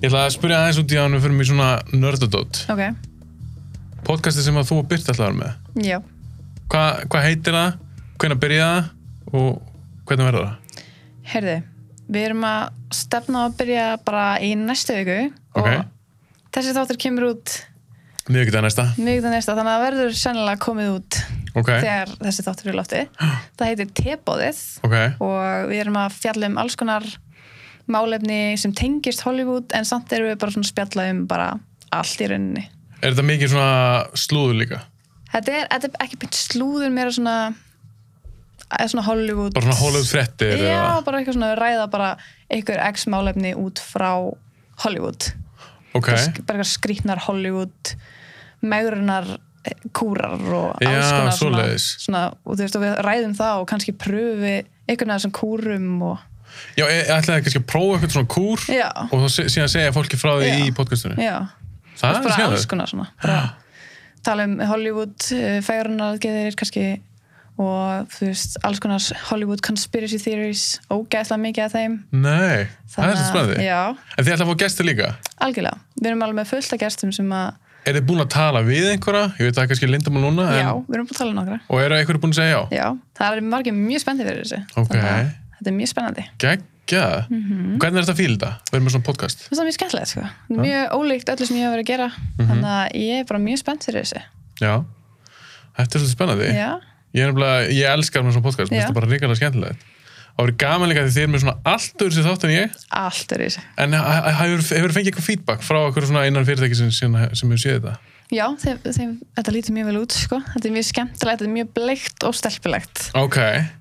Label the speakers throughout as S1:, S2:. S1: Ég ætla að spyrja aðeins út í ánum fyrir mig svona nördadót.
S2: Ok,
S1: Podcasti sem að þú og Byrta ætlaður með.
S2: já.
S1: Hvað hva heitir það? Hvernig byrjaði það? Og hvernig verður það?
S2: Herði, við erum að stefna á að byrja bara í næstu viku
S1: Ok.
S2: og þessi þáttur kemur út
S1: Miðugdag næsta.
S2: mjög það næsta þannig að það verður sennilega komið út
S1: Ok.
S2: þegar þessi þáttur er í lofti. Það heitir Tebóðið
S1: Ok.
S2: og við erum að fjalla um alls konar málefni sem tengist Hollywood en samt erum við bara svona að spjalla um bara allt í rauninni.
S1: Er þetta mikið svona slúður líka?
S2: Þetta er, þetta er ekki beint slúður meira svona, eða svona Hollywood
S1: Bara svona Hollywood frettir?
S2: Já, bara eitthvað svona ræða bara einhver x málefni út frá Hollywood
S1: Ok.
S2: Bara sk- bara eitthvað skrýtnar Hollywood megrunar eh, kúrar og
S1: Já,
S2: alls konar svona,
S1: svoleiðis.
S2: svona og þú veist og við ræðum það og kannski pröfi einhvern veginn sem kúrum og
S1: Já, ég ég ætlaði kannski að prófa eitthvað svona kúr
S2: Já.
S1: og þá se- síðan segja fólki frá því
S2: Já.
S1: í podcastunni.
S2: já,
S1: Það er
S2: bara alls
S1: skemmt.
S2: konar svona
S1: Ah.
S2: bara tala um Hollywood færunar aðgeðir kannski og þú veist alls konar Hollywood conspiracy theories ógæðslega mikið af þeim
S1: Nei, það er svo spennandi.
S2: já,
S1: En þið ætlaði að fá gesti líka.
S2: algjörlega, við erum alveg með fullt af gestum sem að,
S1: Er þið búin að tala við einhverja? Ég veit að það er kannski lindamál núna.
S2: já,
S1: En,
S2: við erum búin að tala um nokkra
S1: og eru einhverju búin að segja já?
S2: já, það er margir mjög spennandi fyrir þessu
S1: Ok.
S2: Þannig að þetta er mjög spennandi
S1: Gægja.
S2: Mhm.
S1: Hvernig er þetta að fíla þetta? Við erum með svona podcast.
S2: það er mjög skemmtilegt sko, Þetta er mjög ólíkt öllu sem ég hef verið að gera
S1: Mhm.
S2: þannig að ég er bara mjög spennt fyrir þessu
S1: Já. Þetta er svolítið spennandi.
S2: já,
S1: Ég, er nefnilega, ég elskar með svona podcast. Mér
S2: Já.
S1: finnst það bara ríkala skemmtilegt. Og það er gaman líka því þið er með svona allt öðru sér þátt en ég.
S2: allt er þessu
S1: En ha- ha- hefur, hefur fengið eitthvað feedback frá okkur svona innan fyrirtæki sem, sem, sem hefur séð þetta?
S2: já, þeim, þeim, þetta lítur mjög vel út sko. þetta er mjög skemmtilegt, þetta er mjög bleikt og stelpilegt
S1: Ok.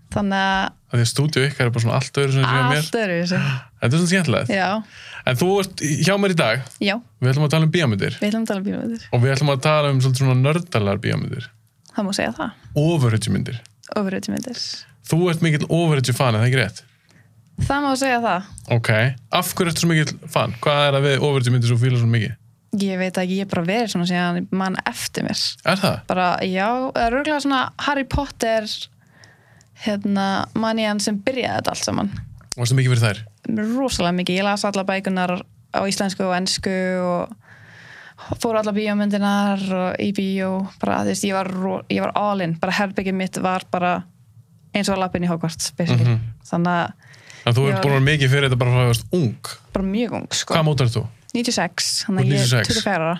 S2: þannig að
S1: Af Því að stúdíu ykkar er bara svona allt öðru sem sér mér.
S2: allt er þessu
S1: Þetta er svona skemmtilegt.
S2: Ah. já,
S1: En þú ert í- hjá mér í dag.
S2: já,
S1: Við ætlum að tala um bíómyndir.
S2: við ætlum að tala um bíómyndir
S1: Og við ætlum að tala um svolítið svona nördalar bíómyndir.
S2: það má segja það,
S1: Overhugmyndir.
S2: ofurautumyndir
S1: Þú ert mikill overhugmyndir fan, er það ekki rétt?
S2: það má segja það,
S1: Ok, af hverju ertu svo mikill fan? Hvað er að við overhugmyndir myndir svo fíla svo mikið?
S2: ég veit ekki, ég er bara verið svona síðan mann eftir mér
S1: Er það?
S2: bara, já, það er örgulega svona Harry Potter hérna, mannian sem byrjaði þetta allt saman
S1: Varstu mikið fyrir þær?
S2: rosalega mikið, ég las alla bækunar á íslensku og ennsku og fór á alla bíómyndinar og í bíó, bara þú veist, ég var, ro- ég var all in, bara herbyggið mitt var bara eins og að lappin í Hogwarts basically, þannig að
S1: En þú ert
S2: Já.
S1: búin að vera mikið fyrir þetta bara frá að þú varst ung.
S2: bara mjög ung sko,
S1: Hvað mótar þú?
S2: 96, þannig að ég er
S1: 96.
S2: 24 ára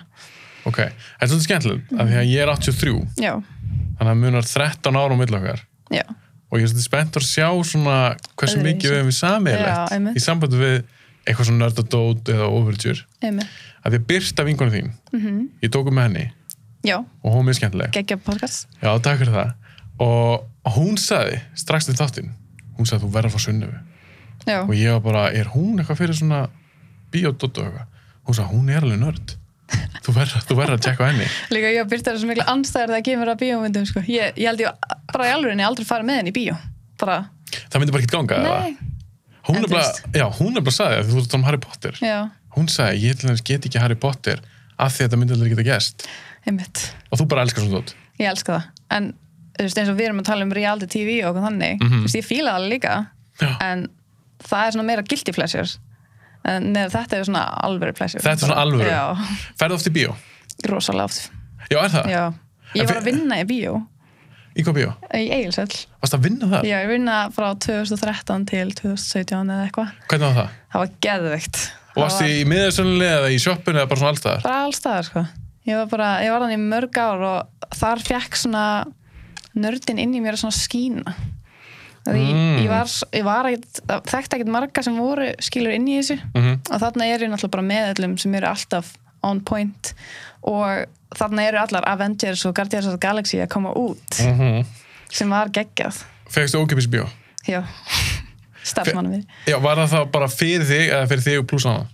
S1: Ok, þetta er svolítið skemmtilegt, af því að ég er 83,
S2: já,
S1: þannig að munar 13 árum milli okkar.
S2: já,
S1: Og ég er svolítið spennt að sjá svona hversu
S2: Öðruvísi.
S1: mikið við hefum
S2: Já,
S1: sammeðilegt
S2: einmitt.
S1: í sambandi við eitthvað svona nördadót eða overture.
S2: einmitt
S1: Af því að Birta vinkonu þín,
S2: Mhm.
S1: ég tóku með henni
S2: já,
S1: og hún er mjög skemmtileg.
S2: geggja podcast
S1: Já, takk fyrir það. Og hún sagði, strax til þáttinn, hún sagði þú verður að fá sunnufu.
S2: já,
S1: Og ég var bara, er hún eitthvað fyrir svona bíódótt og eitthvað? Hún sagði, hún er alveg nörd. Þú verður þú verður að tjekka á henni.
S2: líka ég og Birta er svo miklu andstæðar þegar kemur að bíómyndum sko, ég, ég held ég bara í alveg aldrei fara með henni í bíó bara,
S1: Það myndi bara ekki ganga. eða?
S2: nei,
S1: hún
S2: en
S1: er bara,
S2: þú
S1: já, hún er bara sagði það, því þú ert að tala um Harry Potter.
S2: já,
S1: Hún sagði, ég til þess get ekki Harry Potter af því að þetta myndi aldrei geta gæst.
S2: einmitt
S1: Og þú bara elskar svona þótt.
S2: ég elska það, en þú veist eins og við erum að tala um reality TV og okkur þannig þú veist ég fíla það líka,
S1: Mhm. Já.
S2: en það er svona meira guilty pleasure en neður þetta er svona alvöru pleasure
S1: Þetta er svona alvöru.
S2: já,
S1: Ferðu oft í bíó?
S2: rosalega oft
S1: Já, er það?
S2: já. ég
S1: Ah. En
S2: var
S1: fe-
S2: að vinna í bíó
S1: Í hvað bíó?
S2: í Egilsöll,
S1: Varst að vinna það?
S2: já ég vinna frá 2013 til 2017 eða eitthvað
S1: Hvernig var það?
S2: það var geðveikt
S1: Og
S2: Það
S1: varst
S2: var
S1: í miðarsönni eða í sjoppunni eða bara svona alltaf?
S2: bara allstaðar sko ég var bara, ég var hann í mörg ár og þar fekk svona nördin inn í mér að svona skína því
S1: Mm.
S2: ég var, ég var ekkit, þekkt ekkert marga sem voru skilur inn í þessu
S1: Mhm.
S2: og þarna er ég náttúrulega bara með öllum sem eru alltaf on point og þarna eru allar Avengers og Guardians of the Galaxy að koma út
S1: mm
S2: sem var geggjað
S1: Fegstu ókipis bjó?
S2: já, starfmanum við
S1: Já, var það þá bara fyrir þig eða fyrir þig og pluss hana?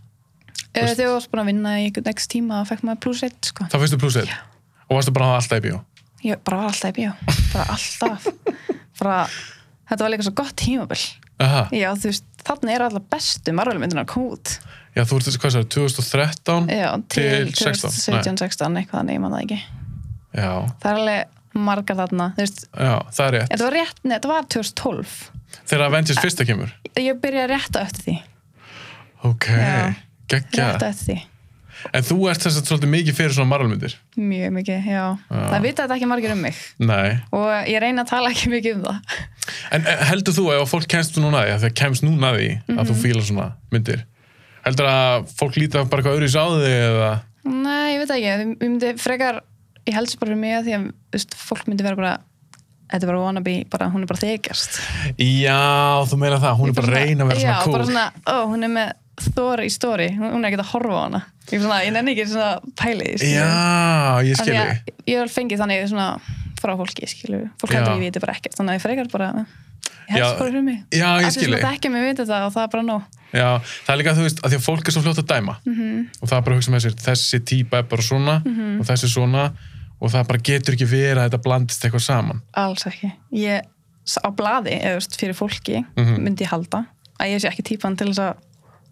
S2: Eh, þegar ég var búin að vinna í einhvern x tíma og fekk maður pluss 1 sko
S1: Þá fyrstu pluss þig? Og varstu bara að hafa alltaf í bjó?
S2: ég bara var alltaf í bíó bara alltaf bara, þetta var líka svo gott tímabil
S1: Aha.
S2: já þú veist, þarna eru alltaf bestu marvelmyndunar að koma út
S1: Já, þú ert, hvað sagði, 2013?
S2: já, til
S1: Til 16,
S2: 17, 16 eitthvað þannig, ég man það ekki
S1: Já,
S2: það er alveg margar þarna þú veist,
S1: já, það er rétt.
S2: þetta var rétt, neða, þetta var 2012
S1: Þegar Avengers fyrsta kemur?
S2: ég byrjaði rétt á eftir því
S1: Ok.
S2: Já.
S1: geggja.
S2: rétt eftir því
S1: En þú ert þess að svolítið mikið fyrir svona marlmyndir.
S2: mjög mikið, já,
S1: Já.
S2: það vita þetta ekki margir um mig
S1: Nei.
S2: og ég reyna að tala ekki mikið um það
S1: En eh, heldur þú að ef fólk kemst núna að því, að það kemst núna að því að
S2: Mhm.
S1: þú fílar svona myndir, heldur að fólk líta bara eitthvað öðru í sáði eða,
S2: nei, ég veit það ekki, ég myndi frekar ég helst bara fyrir mig að því að þú veist, fólk myndi vera bara þetta er bara wannabe, bara, hún er bara þykjast
S1: já, þú meina það, hún er bara að reyna að vera svona
S2: já,
S1: cool.
S2: bara svona, ó, hún er með þóri í stóri, hún hún er ekki að horfa á hana ég, er svona, ég nenni ekki svona pælið skilur.
S1: Já, ég
S2: Af því
S1: skilji.
S2: að ég er alveg fengið þannig svona frá fólki, skilju, fólk
S1: Já.
S2: heldur að ég viti bara ekkert þannig að ég frekar bara, ég
S1: Já.
S2: helst bara fyrir mig
S1: Já, ég
S2: Allir
S1: skilji.
S2: sem þekkja mig vita það og það er bara nóg
S1: Já, það er líka þú veist, að því að fólk er svo fljótt að dæma
S2: Mhm.
S1: og það er bara að hugsa með sér, þessi típa er bara svona og þessi svona og það bara getur ekki verið að þetta blandist eitthvað saman.
S2: alls ekki, ég s- á blaði, eða þú veist, fyrir fólki
S1: Mhm.
S2: myndi ég halda, að ég sé ekki típan til þess að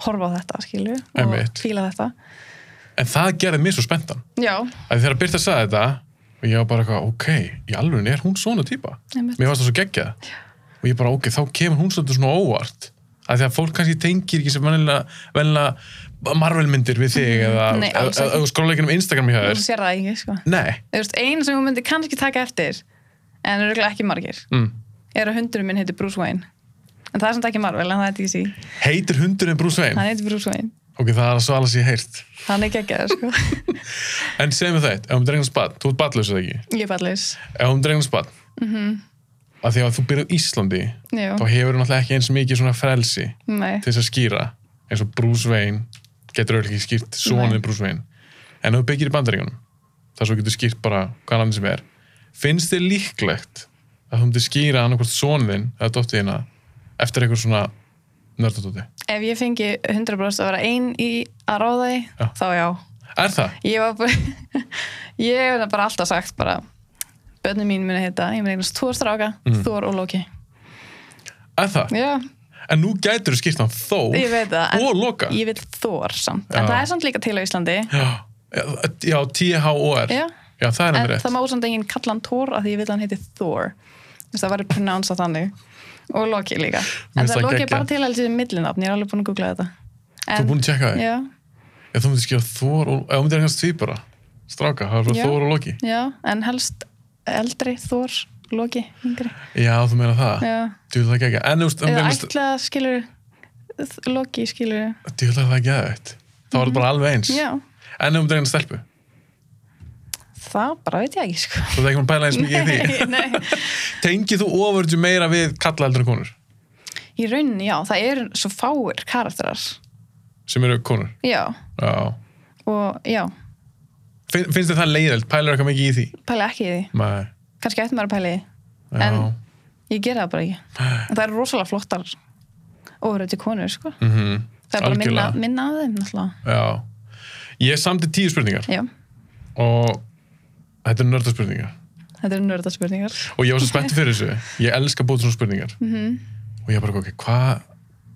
S2: horfa á þetta, skilju
S1: Einmitt.
S2: og fíla þetta,
S1: En það gerði mér svo spenntan.
S2: já,
S1: að þegar Birta sagði þetta og ég var bara eitthvað, ok, í alveg er hún svona típa
S2: Einmitt.
S1: mér varst það svo geggjað og ég bara, ok, þá kemur hún svolítið svona óvart að því að fólk kannski tengir ekki sem vennilega marvelmyndir við þig eða
S2: Mhm. Nei,
S1: eða-
S2: alls ekki.
S1: eða þú skróla ekki um Instagram hjá
S2: þú
S1: þér
S2: sér það ekki, sko
S1: nei,
S2: þú veist, ein sem hún myndi kannski taka eftir en eru ekki margir
S1: mm.
S2: er að hundurum minn heitir Bruce Wayne en það er samt ekki Marvel, en það er DC
S1: heitir hundurinn Bruce Wayne
S2: hann heitir Bruce Wayne,
S1: ok, það er að svala sér heirt
S2: hann er geggjaður, sko
S1: en segjum við þetta, ef hún drengnast bad þú ert badlaus eða ekki,
S2: Ég er ballis,
S1: ef hún drengnast bad mm
S2: Mhm.
S1: -hmm. að því að þú byrjar á Íslandi
S2: já,
S1: þá hefur hún alltaf ekki eins mikið svona frelsi
S2: nei,
S1: til þess að skýra eins og Bruce Wayne getur auðvitað ekki skýrt sonin Bruce Wayne en ef þú byggir í bandaríkunum þar svo getur skýrt bara hvað nafn sem er finnst þér líklegt að þú myndir skýra annarkvort sonin þinn eða dóttið þína eftir einhver svona nördatóti
S2: ef ég fengi 100% að vera ein í að ráða því,
S1: Já.
S2: þá já
S1: er það?
S2: ég var bara ég hef bara alltaf sagt bara börnum mín muni heita, ég mun eignast Thor stráka
S1: Mm.
S2: Thor og Loki,
S1: Er það?
S2: já,
S1: En nú gætur þú skýrt hann þó
S2: ég veit það en
S1: og loka
S2: ég vil Thor samt,
S1: Já.
S2: en það er samt líka til á Íslandi
S1: Já, já T-H-O-R
S2: já,
S1: Já, það er
S2: en
S1: hann rétt
S2: það má samt enginn kalla hann Thor af því ég vil að hann heiti Thor Þú veist, það var pronounsað þannig og Loki líka, en
S1: finnst
S2: það
S1: það
S2: Loki er
S1: geggjað.
S2: bara til að þessi millinafn, ég er alveg búin að googla þetta
S1: Þú er búin að tjekka það?
S2: já,
S1: Já, þú myndir skýra Thor og... Ef þú myndir einhvers tvíbara Stráka, það er
S2: Já.
S1: bara Thor og Loki
S2: Já, en helst eldri, Þór, Loki, yngri.
S1: Já, þú meina það?
S2: Já.
S1: Djú, það gekkja. En þú veist, um
S2: Eða
S1: dæmis,
S2: ætlaða skilur, Loki skilur.
S1: djú, það er ekki aðeitt. Það var þetta bara alveg eins.
S2: Mhm. Já,
S1: En um dæmis stelpu.
S2: það bara veit ég ekki sko.
S1: Þú veit ekki maður pæla eins mikið í því.
S2: nei.
S1: Tengið þú ofurðu meira við kalla eldur en konur?
S2: Í rauninni, já, það eru svo fáir karakterar.
S1: Sem eru konur.
S2: Já,
S1: Já.
S2: og já,
S1: Fin, finnst þið það leiðild? Pælar eitthvað mikið í því?
S2: pæla ekki í því.
S1: Nei.
S2: Kannski ætti maður að pæla í því.
S1: Já.
S2: En ég gera það bara ekki. En það eru rosalega flottar ofröði konur, sko.
S1: Mm
S2: Það er bara minna,
S1: Algjörlega.
S2: minna af þeim, náttúrulega.
S1: Já. Ég samti tíu spurningar
S2: Já,
S1: og þetta er nördarspurningar.
S2: þetta eru nördaspurningar.
S1: Og ég var svo spennt fyrir þessu. Ég elska að búa til svona spurningar. Og ég bara, ok, hvað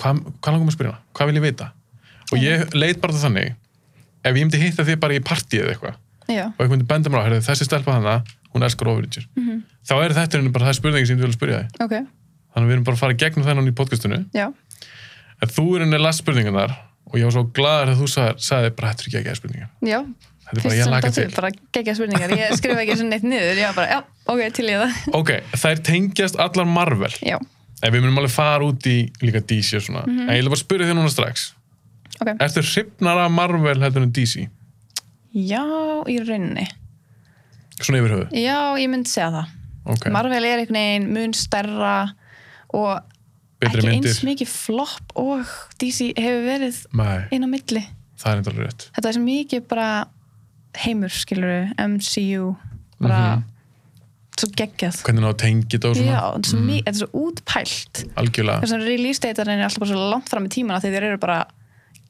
S1: hva, hva langum að spyrja hana? Hvað vil ég vita? Og ég leit bara það þannig, ef ég myndi hitta þig bara í partíið eða eitthvað,
S2: Já,
S1: og eitthvað myndi benda mér á, herrðu, þessi stelpa hana, hún elskar overager. Þá er þetta henni bara það spurningi sem ég vil spyrja þig.
S2: ok,
S1: Þannig að við erum bara að fara í gegnum þennan í podcastinu.
S2: já,
S1: En þú er henni last spurningarnar og ég var svo gladur að þú sagði, sagði bara, þetta er ekki ekki spurningar.
S2: já.
S1: Þetta er bara,
S2: Fyrst
S1: ég
S2: sem
S1: laka
S2: þetta
S1: til.
S2: er bara geggja spurningar, ég skrifa ekki svona neitt niður, ég var bara, já, ok, til ég það.
S1: Ok, þær tengjast allar Marvel.
S2: Já,
S1: En við munum alveg fara út í líka DC og svona.
S2: Mhm.
S1: En ég vil bara spyrja þér núna strax.
S2: ok.
S1: Ertu hrifnar af Marvel heldur en DC?
S2: Já, í rauninni.
S1: Svona yfir höfu.
S2: Já, ég myndi segja það.
S1: Ok,
S2: Marvel er einhvern veginn mun stærra og
S1: betri
S2: ekki
S1: myndir.
S2: eins mikið flopp og DC hefur verið
S1: Nei,
S2: inn á milli.
S1: það er enda alveg rétt.
S2: Þetta er svo mikið bara heimur, skilur, MCU, bara svo geggjað.
S1: Hvernig ná tengið það og svona?
S2: Já, þetta er svo, mi- þetta er svo útpælt.
S1: Algjörlega.
S2: þess að release datarinn er alltaf bara svo langt fram í tímana þegar þeir eru bara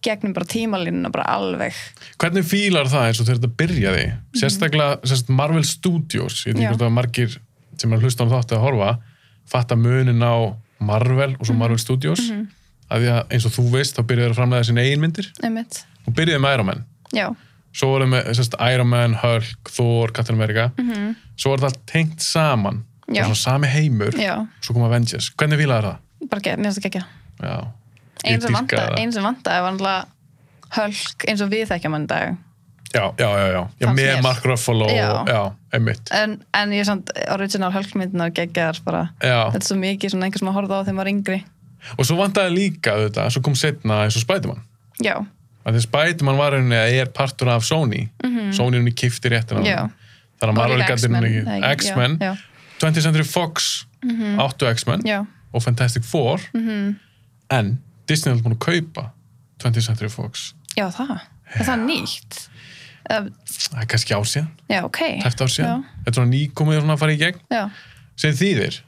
S2: gegnum bara tímalínuna bara alveg
S1: Hvernig fílar það eins og þegar þetta byrjaði? Sérstaklega sérst Marvel Studios, ég veit
S2: Mhm. Já.
S1: ekki hvort að margir sem er að hlusta á þátt að horfa, fatta munin á Marvel og svo
S2: Mhm.
S1: Marvel Studios. Mm -hmm. Að því að eins og þú veist, þá byrjaði að framlega sinni eigin myndir
S2: einmitt,
S1: og byrjaði með Iron Man.
S2: já,
S1: svo voru með sérst, Iron Man, Hulk, Thor, Captain America svo voru það allt tengt saman
S2: Mhm. Já.
S1: og svona sami heimur
S2: já,
S1: svo kom Avengers, hvernig fílaði það?
S2: bara gegn, mér finnst það gegja
S1: Já,
S2: eins sem
S1: dýrkaði
S2: vantaði
S1: það.
S2: ein sem vantaði var náttúrulega hölk eins og við þekkja mann í dag
S1: já, já, já, já, já
S2: Fannst
S1: með
S2: mér.
S1: Mark Ruffalo
S2: Já.
S1: já, einmitt
S2: en, en ég er samt original hölkmyndinar geggjaðar bara
S1: já.
S2: þetta er svo mikið svona einhver sem að horfa á þegar maður er yngri
S1: og svo vantaði líka þetta, svo kom setna eins og Spiderman
S2: já,
S1: að því Spiderman var henni að er partur af Sony Sony henni kifti réttin
S2: Mhm. já
S1: þannig að
S2: Og
S1: Marvel
S2: líka
S1: gæti henni
S2: eða
S1: ekki
S2: ekki?
S1: X-Men,
S2: já, Mhm.
S1: 20th Century Fox áttu X-Men
S2: já, já,
S1: og Fantastic Four
S2: Mhm.
S1: en Disney er búin að kaupa 20th Century Fox
S2: já það er það nýtt Eða-
S1: það er kannski ár síðan,
S2: já, ok
S1: tæft ár síðan þetta er svona nýkomið svona að fara í gegn
S2: já, já,
S1: sem þýðir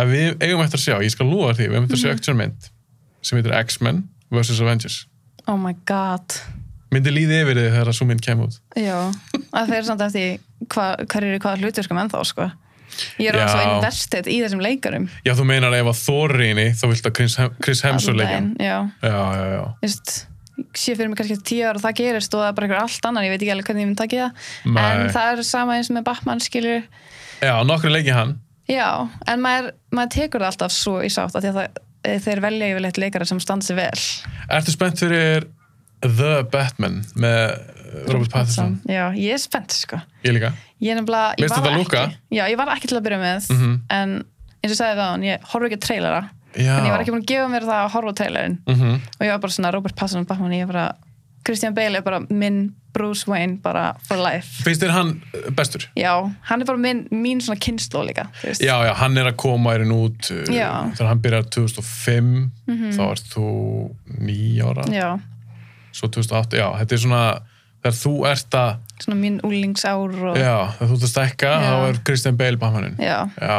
S1: að við eigum eftir að sjá, ég skal lúa því við eigum eftir
S2: Mhm.
S1: að sjá action mynd sem heitir X-Men vs. Avengers
S2: oh my god
S1: myndi líði yfir þið þegar að svo mynd kemur út
S2: Já, að þeir samt eftir hva, hver eru hvaða hluturkum ennþá sko. Ég er
S1: Já.
S2: alveg svo investið í þessum leikarum
S1: já þú meinar ef að Thorini þá viltu að Chris, Hem- Chris Hemsworth leika hann.
S2: Allan, Já,
S1: já, já, já,
S2: Þú veist, sé fyrir mig kannski eftir tíu ára það gerist og það er bara einhver allt annar, ég veit ekki alveg hvernig ég myndi takið það
S1: Nei.
S2: en það er sama eins með Batman skilur
S1: já, nokkru leiki hann
S2: Já, en maður, maður tekur það alltaf svo í sátt af því að það, eh, þeir velja yfirleitt leikarar sem standi sig vel
S1: ertu spennt fyrir The Batman með uh, Robert Pattinson
S2: Já, ég er spennt sko
S1: ég líka,
S2: Ég nefnilega, ég
S1: Veist
S2: var
S1: þetta
S2: það
S1: lúkka?
S2: ekki Já, ég var það ekki til að byrja með
S1: Mhm.
S2: en eins og ég sagði það hann, ég horf ekki að trailera
S1: já
S2: en ég var ekki búin að gefa mér það að horfa á trailerinn
S1: Mhm.
S2: og ég var bara svona Robert Pattinson Batman ég er bara, Christian Bale er bara minn Bruce Wayne bara for life
S1: finnst þér hann uh, bestur?
S2: já, hann er bara minn, mín svona kynnsló líka þú veist.
S1: já, já, hann er að koma erinn út uh,
S2: Já. Mhm.
S1: þegar hann byrjar 2005 þá ert þú nýja ára
S2: já,
S1: svo 2008, já, þetta er svona þegar þú ert að,
S2: svona mín úlingsár og
S1: já, þegar þú ert að stækka
S2: Já.
S1: þá er Christian Bale Batmanin
S2: Já,
S1: Já,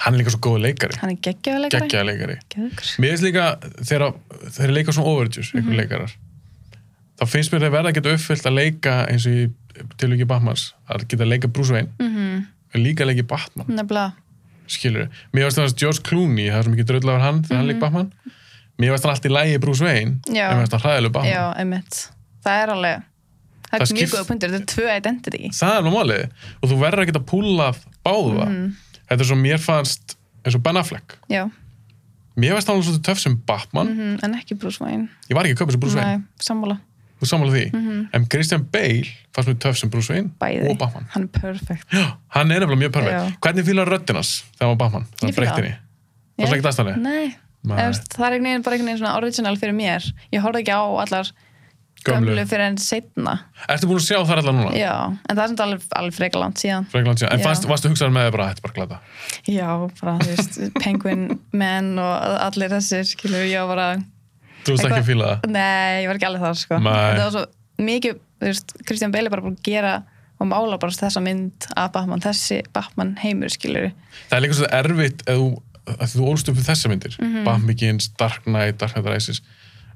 S1: hann er líka svo góð leikari
S2: hann er geggjöðuleikari
S1: geggjaða leikari
S2: geggjöður
S1: Mér finnst líka þegar þeir leika svona overtures, einhver
S2: Mhm.
S1: leikarar þá finnst mér þeir verða að geta uppfyllt að leika eins og í tilviki Batmans að geta að leika Bruce Wayne
S2: mm -hmm.
S1: líka að leika Batman,
S2: nefnilega,
S1: skilur Mér finnst þannig að George Clooney, það er sem ekki dröðlaður hann þegar hann leik Batman Mér finnst hann allt í lægi Bruce Wayne
S2: Mhm. Já.
S1: en mér finnst hann hræðileg Batman
S2: já, einmitt það er alveg, það
S1: Ah. Það
S2: er
S1: skipt-
S2: mjög góða punktur þetta er tvö identity
S1: það er nú málið og þú verður að geta púlað báða
S2: Mhm.
S1: þetta er svo mér fannst eins og Ben Affleck
S2: já,
S1: mér finnst hann alveg svolítið töff sem Batman
S2: mm en ekki Bruce Wayne
S1: ég var ekki að köpa sem Bruce Wayne
S2: Nei, sammála,
S1: þú sammála því en Christian Bale fannst mér töff sem Bruce Wayne
S2: bæði
S1: og Batman
S2: hann er perfect
S1: Já, hann er nefnilega mjög
S2: Já.
S1: perfekt hvernig fýlar röddinas þegar hann var Batman
S2: Ég
S1: þannig
S2: fíla Mm,
S1: breyttinni það er ekki dastanlega
S2: Nei,
S1: Nei.
S2: Nei. Veist, það er einhvern veginn bara einhvern veginn svona original fyrir mér ég horfði ekki á allar gömlu,
S1: gömlu Ah.
S2: fyrir enn setna
S1: ertu búin að sjá það allar núna?
S2: já, en það er samt alveg, alveg frekar langt síðan
S1: Frekar langt síðan. en
S2: Já.
S1: fannst, varstu hugsaður með þér bara þetta er bara glata
S2: já, bara þú veist, Penguin Man og allir þessir skilur, ég var bara,
S1: þú veist ekki að
S2: Eitthvað-
S1: fýla það
S2: nei, ég var ekki alveg þar sko.
S1: Nei.
S2: þetta var svo mikið þú veist, Kristján Beili bara búin að gera og mála bara þessa mynd af Batman þessi Batman heimur skilur
S1: það er líka svo erfitt að þú, að þú ólst upp við þessa myndir mm
S2: Mhm.
S1: -hmm. Batman Begins, Dark Knight, Dark Knight Rises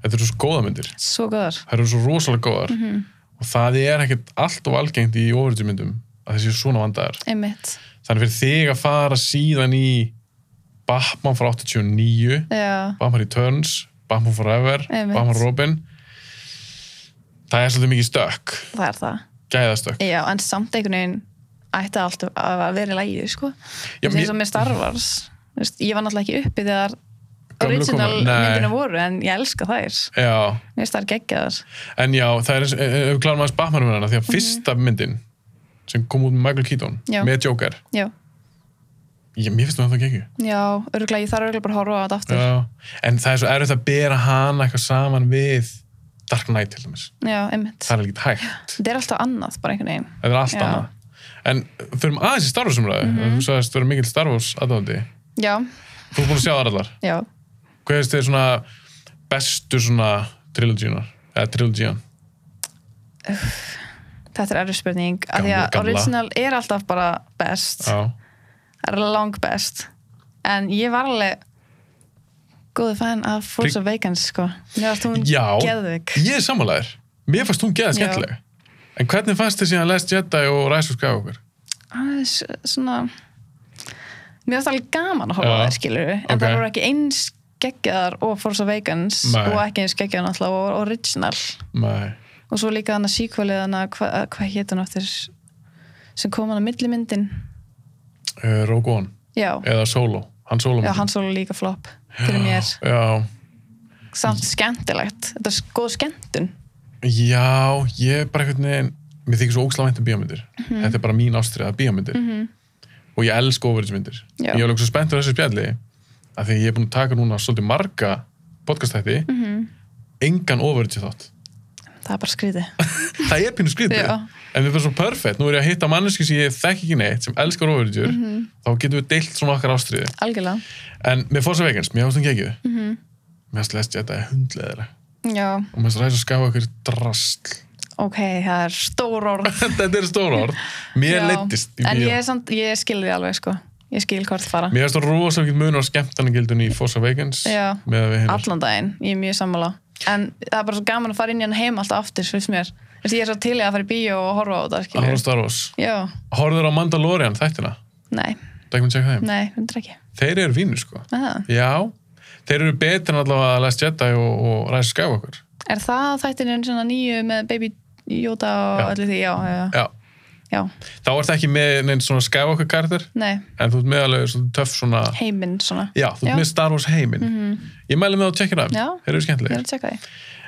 S1: þetta eru svo góða myndir
S2: svo góðar
S1: það eru svo rosalega góðar
S2: Mhm.
S1: og það er ekkert allt og algengt í overage myndum að þessi svona vandaðar
S2: einmitt,
S1: þannig fyrir þig að fara síðan í Batman frá 89
S2: já,
S1: Batman Returns, Batman Forever
S2: Einmitt.
S1: Batman Robin það er svolítið mikið stökk
S2: það er það
S1: gæðastökk
S2: Já, en samt einhvern veginn ætti allt að vera í lægi, sko.
S1: Já,
S2: Já, mér...
S1: mér-
S2: Eins og með Star Wars. þú Veist, ég var náttúrulega ekki uppi þegar
S1: Gömlu
S2: original
S1: komu- Nei.
S2: myndina voru, en ég elska þær.
S1: já,
S2: Mér finnst þær geggjaðar.
S1: en já, það er eins- ef við klárum aðeins Batman um hana því að fyrsta myndin sem kom út með Michael Keaton
S2: Mhm. Já.
S1: með Joker
S2: Já,
S1: ég, mér finnst það ekki ekki
S2: já, örgulega, ég þarf örgulega bara að horfa á þetta aftur.
S1: Já, en það er svo erfitt að bera hana eitthvað saman við Dark Knight til dæmis.
S2: Já, einmitt.
S1: Það er ekkert hægt.
S2: Þetta er alltaf annað, bara einhvern veginn.
S1: Það er allt
S2: Já. Mhm.
S1: annað. En förum aðeins í Star Wars umræðu. Þú sagðist þú verður mikill Star Wars aðdáðandi.
S2: Já,
S1: Þú er búin að sjá þar allar.
S2: já.
S1: Hvað er þetta svona bestu svona trilogíunar? Eða trilogían?
S2: Þetta er erfið spurning. Af því
S1: Gamla,
S2: að
S1: gamla.
S2: original er alltaf bara best.
S1: Já.
S2: Er lang best. En ég var alveg góðu fæn af Force
S1: Prik-
S2: Awakens, sko. Mér varst hún
S1: Já.
S2: geðvik.
S1: Ég er sammálaður. Mér fannst hún geða
S2: Já.
S1: skemmtilega. En hvernig fannst þið síðan Last Jedi og Rise of Skywalker?
S2: aðeins eh, svona mér finnst alveg gaman að horfa
S1: Já.
S2: á það skilur en
S1: Ok.
S2: það voru ekki eins geggjaðar og Force Awakens
S1: Nei.
S2: og ekki eins geggjaðar náttúrulega og original
S1: Nei.
S2: og svo líka hann að síkvalið hann að hvað hva hétt hann aftur sem kom hann að millimyndin
S1: Uh, Rogue One.
S2: já,
S1: Eða Solo. Hann Solo.
S2: já
S1: myndin.
S2: hann svo líka flop fyrir mér,
S1: Já.
S2: samt skemmtilegt þetta er s- góð skemmtun
S1: Já, ég er bara einhvern veginn mér þykir svo ókslega vænt um bíómyndir
S2: Mhm.
S1: þetta er bara mín ástriða bíómyndir og ég elska ofuritsmyndir
S2: Já.
S1: ég er alveg svo spenntur á þessu spjalli af því að ég er búin að taka núna svolítið marga podcastætti,
S2: Mhm.
S1: engan ofuritsi þátt
S2: það er bara skrítið
S1: það er pínu skrítið
S2: Já.
S1: en við erum svo perfect, nú er ég að hitta manneski sem ég þekk ekki neitt, sem elskar ofuritsjur
S2: Mhm.
S1: þá getum við deilt svona okkar ástriði
S2: algjörlega,
S1: en með Forza Vegans, mér ást hún gekk mm -hmm.
S2: Mhm.
S1: mér ást lest ég þetta er hundleðilega
S2: já,
S1: og mér ást ræðis að skafa ykkur drastl
S2: ok, það er stór orð
S1: þetta er stór orð mér
S2: Já.
S1: leittist í
S2: en
S1: bíó.
S2: ég, er samt, ég skil því alveg sko ég skil hvort fara,
S1: Mér finnst það rosalega mikið munur á skemmtarnagildunni í Fossa Vegans
S2: Já.
S1: með að við hinnar.
S2: allan daginn ég er mjög sammála, en það er bara svo gaman að fara inn í hann heim alltaf aftur, finnst mér Þessi, ég er svo til í að fara í bíó og horfa á þetta
S1: Að horfa á
S2: skilur.
S1: Star Wars.
S2: já,
S1: Horður á Mandalorian þættina?
S2: nei,
S1: Það ekki mér tjekka þeim.
S2: nei, hundur ekki
S1: Þeir eru fínir sko.
S2: Aha.
S1: Já, þeir eru betri en allavega að Last Jedi og, og Rise of Skywalker.
S2: er það þættininn svona nýju með Baby Yoda og
S1: Já.
S2: öllu því, já, já,
S1: Já,
S2: já.
S1: þá er það ekki með neinn svona Skywalker karakter
S2: nei,
S1: en þú ert með alveg svona töff svona...
S2: heiminn svona
S1: Já, þú
S2: Já. Mhm.
S1: ert með Star Wars heiminn. Ég mæli með að tjekka þeim.
S2: Já.
S1: Þeir eru
S2: ég er
S1: skemmtilegir.
S2: að tjekka því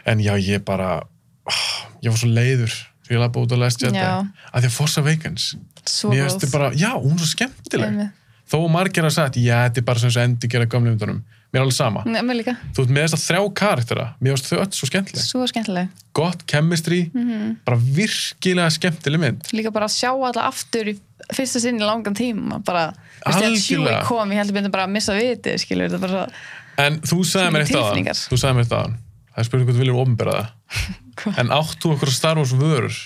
S1: En já, ég bara... ah, Ég var svo leiður því ég lappa út á Last Jedi.
S2: Já.
S1: Af því að Forza Vegans,
S2: svo
S1: mér finnst
S2: góð.
S1: þið bara... Já, hún er svo skemmtileg.
S2: Einmitt.
S1: þó að margir að sagt, já, þetta er bara sem þessu endi gera gamlega myndunum, mér er alveg sama
S2: Nei, mér líka,
S1: þú ert með þess að þrjá karaktera mér varst þau öll svo skemmtileg,
S2: svo skemmtileg
S1: gott chemistry
S2: Mhm.
S1: bara virkilega skemmtileg mynd
S2: líka bara að sjá alla aftur í fyrsta sinn í langan tíma bara, veist ég að Chewie
S1: Algjörlega.
S2: kom, ég heldur myndi bara að missa vitið skilur, þetta er bara svo
S1: en þú sagði mér eitt aðan
S2: Tilfinningar.
S1: þú sagði mér eitt aðan, það er spurning hvað þú viljum ofnbera það
S2: Hvað?
S1: en átt þú okkur Star Wars vörur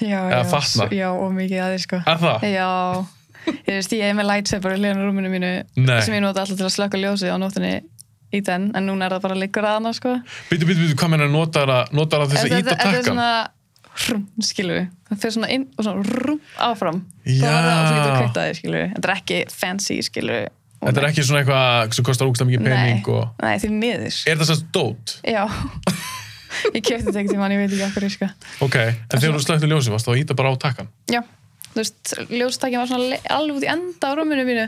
S2: já,
S1: Eða Ah.
S2: já,
S1: fatnað.
S2: s- já, og mikið aðeins sko
S1: er það?
S2: já, ég veist, ég er með lightsaber í liðan rúminu mínu
S1: Nei.
S2: sem ég nota alltaf til að slökka ljósið á nóttinni í den, en núna er það bara liggur aðna sko
S1: Býtu, býtu, býtu, hvað menna notar að notar að þess
S2: En
S1: að íta
S2: þetta er
S1: takkan?
S2: svona hrum, skilur við, það fyrir svona inn og svona rrum áfram
S1: Já.
S2: það var það og svo getur að kveikta þig skilur við, þetta er ekki fancy skilur við
S1: Þetta er ekki svona eitthvað sem kostar ógstlega mikið pening
S2: nei,
S1: og...
S2: nei, því miður
S1: Er það sérst dót?
S2: Já, ég kefti þetta ekki tíma, ég veit ekki okkur ég sko.
S1: Ok, en þegar þú slöktu ljósið varst þá að íta bara á takkan?
S2: Já, þú veist, ljóstakkin var svona le- alveg út í enda á rúminu mínu,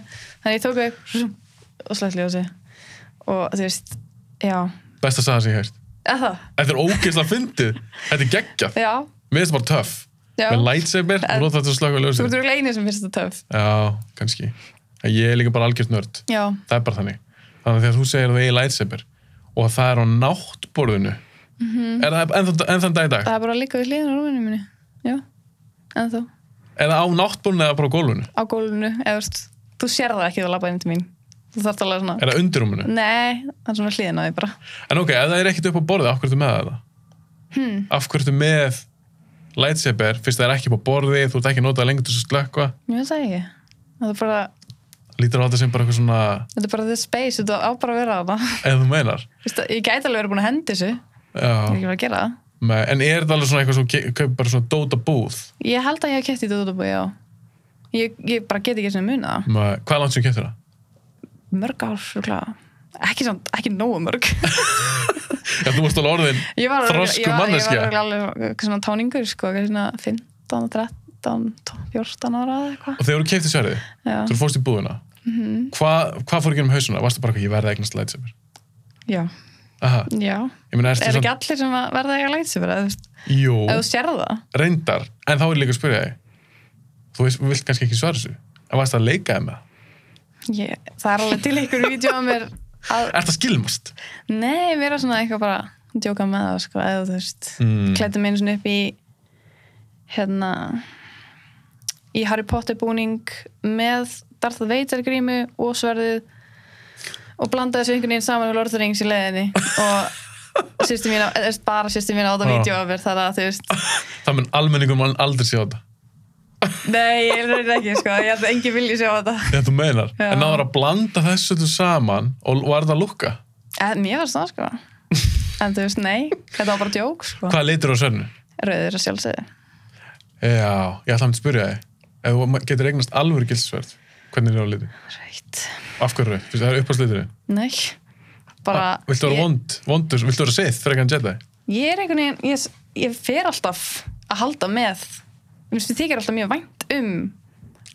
S2: þannig ég tók þau og slætt ljósi og þú veist, já,
S1: Besta sagan sem ég hef heyrt.
S2: eða það,
S1: Þetta er ógeðslega fyndið. Þetta er geggjað.
S2: já,
S1: Mér finnst það bara töff.
S2: já,
S1: Með lightsaber og
S2: En-
S1: nota þetta að slökka
S2: þú
S1: ljósið.
S2: ertur ekki einu sem finnst þetta töf.
S1: Já, kannski. En Ég er líka bara algjört nörd.
S2: Já,
S1: Það er bara þannig. Þannig að þegar þú segir að þú eigi lightsaber og að það er á náttborðinu er það enn, þann- enn þann dag í dag?
S2: það er bara líka við hliðin á rúminu mínu, já, en þú,
S1: Er það á náttborðinu eða bara á gólfinu?
S2: á gólfinu, eða þú veist, þú sér það ekki þú labbaði inn til mín, þú þarft alveg svona,
S1: Er það undir rúminu?
S2: nei, það er svona hliðin á því bara.
S1: En ok, ef það er ekkert upp á borðið, af hverju ertu með það? Hmm. Af hverju ertu með lightsaber fyrst það er ekki upp á borðið, þú ert ekki að nota það lengur til þess að slökka?
S2: Ég veit það ekki, það er bara,
S1: Lítur á þetta sem bara eitthvað svona,
S2: þetta er bara the space, þetta á bara að vera á það.
S1: ef þú meinar.
S2: Vist, ég gæti alveg verið búin að henda þessu ég
S1: Já.
S2: er ekki verið að gera það
S1: Nei, en er þetta alveg svona eitthvað sem þú ke- kaupir bara svona dóta búð?
S2: ég held að ég hef kæft í Dóttabúi, já ég, ég bara get ekki svona muna það
S1: Nei, Hvað er langt sem þú keftir það?
S2: mörg ár, rúklega ekki, samt, ekki nógu mörg
S1: Já, þú varst alveg orðin
S2: ég var örugglega-
S1: Þroskuð
S2: ég var- ég
S1: manneskja.
S2: var örugglega alveg eitthvað svona táningur sko, eitthvað svona 15, 13, 12, 14 ára eða eitthvað
S1: og þegar þú keftir sverðið,
S2: já,
S1: þú fórst í búðina
S2: Mhm.
S1: hvað, hvað fór ekki um hausuna? Varstu bara eitthvað, ég verði að eignast lightsaber
S2: já,
S1: Aha,
S2: já
S1: ég meina, ertu
S2: er ekki
S1: svona,
S2: allir sem að verða ekki að læta sig verið
S1: jú,
S2: ef þú sér það
S1: reyndar en þá er líka að spyrja þig þú veist, vilt kannski ekki svara þessu en varst að leika þeim með það?
S2: ég, það er alveg til ykkur vídeo að mér að
S1: Er það skilmast?
S2: Nei, mér er svona eitthvað bara að djóka með það, sko, eða þú veist
S1: Mm.
S2: mm. klættu mig einu svona upp í hérna í Harry Potter búning með Darth Vader grímu og sverðið og blandaði þessu einhvern veginn saman við Lord of the Rings í leiðinni og sýstu mín, eða þú veist, bara sýstu mín á þetta
S1: Já.
S2: vídeo af mér þar að þú veist
S1: Það mun almenningum mann aldrei sjá þetta
S2: nei, ég er reyna ekki, sko, ég held að engin vilji sjá þetta
S1: en þú meinar,
S2: Já.
S1: en náður að blanda þessu öllu saman og var það að lukka
S2: en mér var svona, sko en þú veist, nei, þetta var bara djók, sko
S1: hvað leitur á sverðinu?
S2: rauður að sjálfsögðu
S1: Já, ég ætla að spyrja þig ef þú getur eignast alvöru gildsverð hvernig er á liti?
S2: Rautt.
S1: Af hverju? Fyrst, það er uppáðsliturinn
S2: Nei, bara
S1: Viltu vera
S2: ég,
S1: vond, vondur, viltu vera Sith frekar en Jedi?
S2: ég er einhvern veginn ég, ég fer alltaf að halda með Mér finnst þykir alltaf mjög vænt um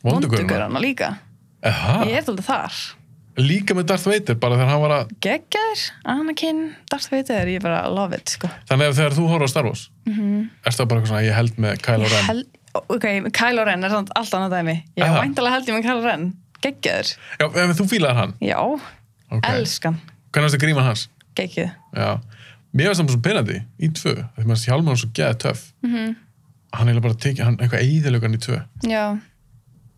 S1: Vondugurinn?
S2: vondugurana líka
S1: Eha,
S2: Ég er alltaf þar
S1: Líka með Darth Vader, bara þegar hann var að...
S2: geggar, Anakin, Darth Vader ég bara love it sko.
S1: Þannig að þegar þú horfður á Star Wars, mm -hmm. ertu það bara eitthvað svona, ég held með Kylo Ren.
S2: Hel, ok, Kylo Ren er samt allt annað dæmi
S1: Er
S2: já,
S1: það?
S2: væntalega held ég með Kylo Ren geggar,
S1: Já, ef þú fílaðir hann.
S2: já,
S1: Ok.
S2: elskan
S1: Hvernig varst það gríman hans?
S2: geggið,
S1: Já. Mér varst það svo penandi í tvö, því maður sé hjálma hann svo geða töff. Mm -hmm. Hann er bara að tekja, hann eitthvað eigðilegan í tvö.
S2: já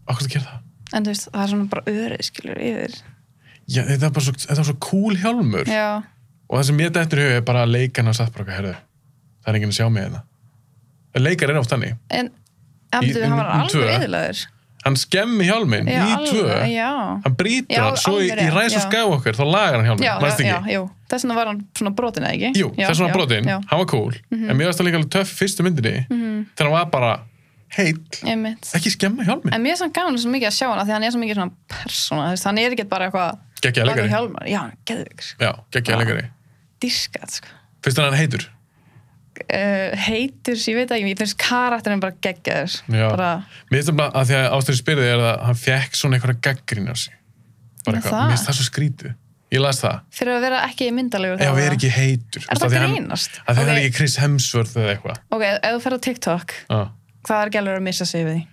S1: Akkur það gera það?
S2: en þú veist, það er svona bara öðru skilur yfir,
S1: Já, þetta er bara svo, þetta er svo cool hjálmur.
S2: já
S1: Og það sem mér dættur í hug er bara að leikan hans að bara, herðu, það er enginn að sjá mig þetta. Leikar er oft þannig.
S2: en, en
S1: Í-
S2: þú, hann var
S1: um- um tvö.
S2: alveg yðurlegur
S1: Hann skemmi hjálminn í tvö.
S2: já,
S1: hann brýtur
S2: Já,
S1: hann, svo í,
S2: alveg
S1: í
S2: rétt,
S1: Rise of
S2: já.
S1: Skywalker þá lagar hann hjálminn,
S2: já,
S1: mannst
S2: já,
S1: ekki?
S2: já, já. þess vegna var hann svona brotin eða ekki
S1: Jú,
S2: já,
S1: þess vegna
S2: já,
S1: brotinn,
S2: já. Mhm.
S1: hann var cool en mér varst það líka alveg töff fyrstu myndinni þegar hann var bara heill
S2: einmitt
S1: ekki skemma hjálminn,
S2: En mér er samt gaman svo mikið að sjá hana því hann er svo mikið svona persóna, þú veist, hann er ekki bara eitthvað
S1: geggjaði
S2: Lagi
S1: leikari
S2: Hjálmar, já, hann er geðvik sko.
S1: já, geggjaði
S2: Já.
S1: leikari,
S2: Dýrkat, sko
S1: fyrst hann hann heitur
S2: uh, Heitur, ég veit ekki, ég finnst karakterinn bara geggjaður
S1: Já.
S2: bara,
S1: mér finnst það bara að því að ástæður spyrði er að hann fekk svona eitthvað gaggrín á sig bara
S2: Já,
S1: eitthvað,
S2: það.
S1: mér finnst það svo skrítið ég las það,
S2: Fyrir að vera ekki myndalegur
S1: ef
S2: þá
S1: hann
S2: var
S1: er ekki heitur Þú
S2: Er
S1: veist,
S2: það
S1: af því hann-
S2: grínast?
S1: af því hann er
S2: Ok.
S1: ekki Chris Hemsworth eða eitthvað
S2: Ok, ef þú ferð á TikTok,
S1: Já.
S2: hvað er gælur að missa sig við því?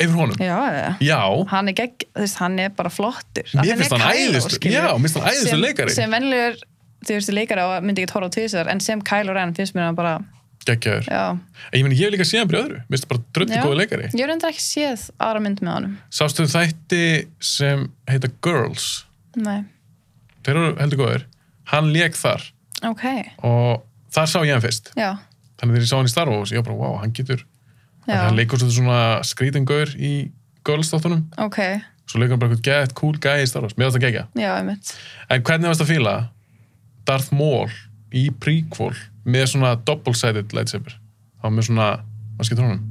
S1: yfir honum,
S2: Já, eða
S1: já,
S2: Hann er gegg, þú veist, hann er bara flottur Af því
S1: mér finnst
S2: er
S1: hann
S2: Kylo,
S1: æðistur
S2: skilurðu.
S1: já, mér finnst hann æðistur
S2: Sem-
S1: leikari
S2: Sem venlegur, þú veist, leikari á myndi ekki horfa á tvisar en sem Kylo Ren finnst mér hann bara,
S1: geggjaður
S2: já
S1: En Ég meni, ég hef líka séð hann fyrir öðru, mér finnst það bara dröldi
S2: Já.
S1: góðu leikari.
S2: Ég er enda ekki séð aðra mynd með honum
S1: Sástu um þætti sem heita Girls,
S2: Nei,
S1: þeir eru heldur góður, hann lék þar
S2: ok,
S1: og þar sá ég hann fyrst.
S2: já
S1: Þannig þegar ég sá hann í Star Wars, ég var bara, wow, hann getur,
S2: Já,
S1: hann leikur svolítið svona skrítin gaur í Girls-þáttunum,
S2: ok,
S1: svo leikur hann bara eitthvað gett, cool guy í Star Wars, mér varst það gegja.
S2: já, einmitt
S1: En hvernig varst það fíla Darth Maul í prequel með svona double-sided lightsaber? Hann var með svona, hvað skiptir honum?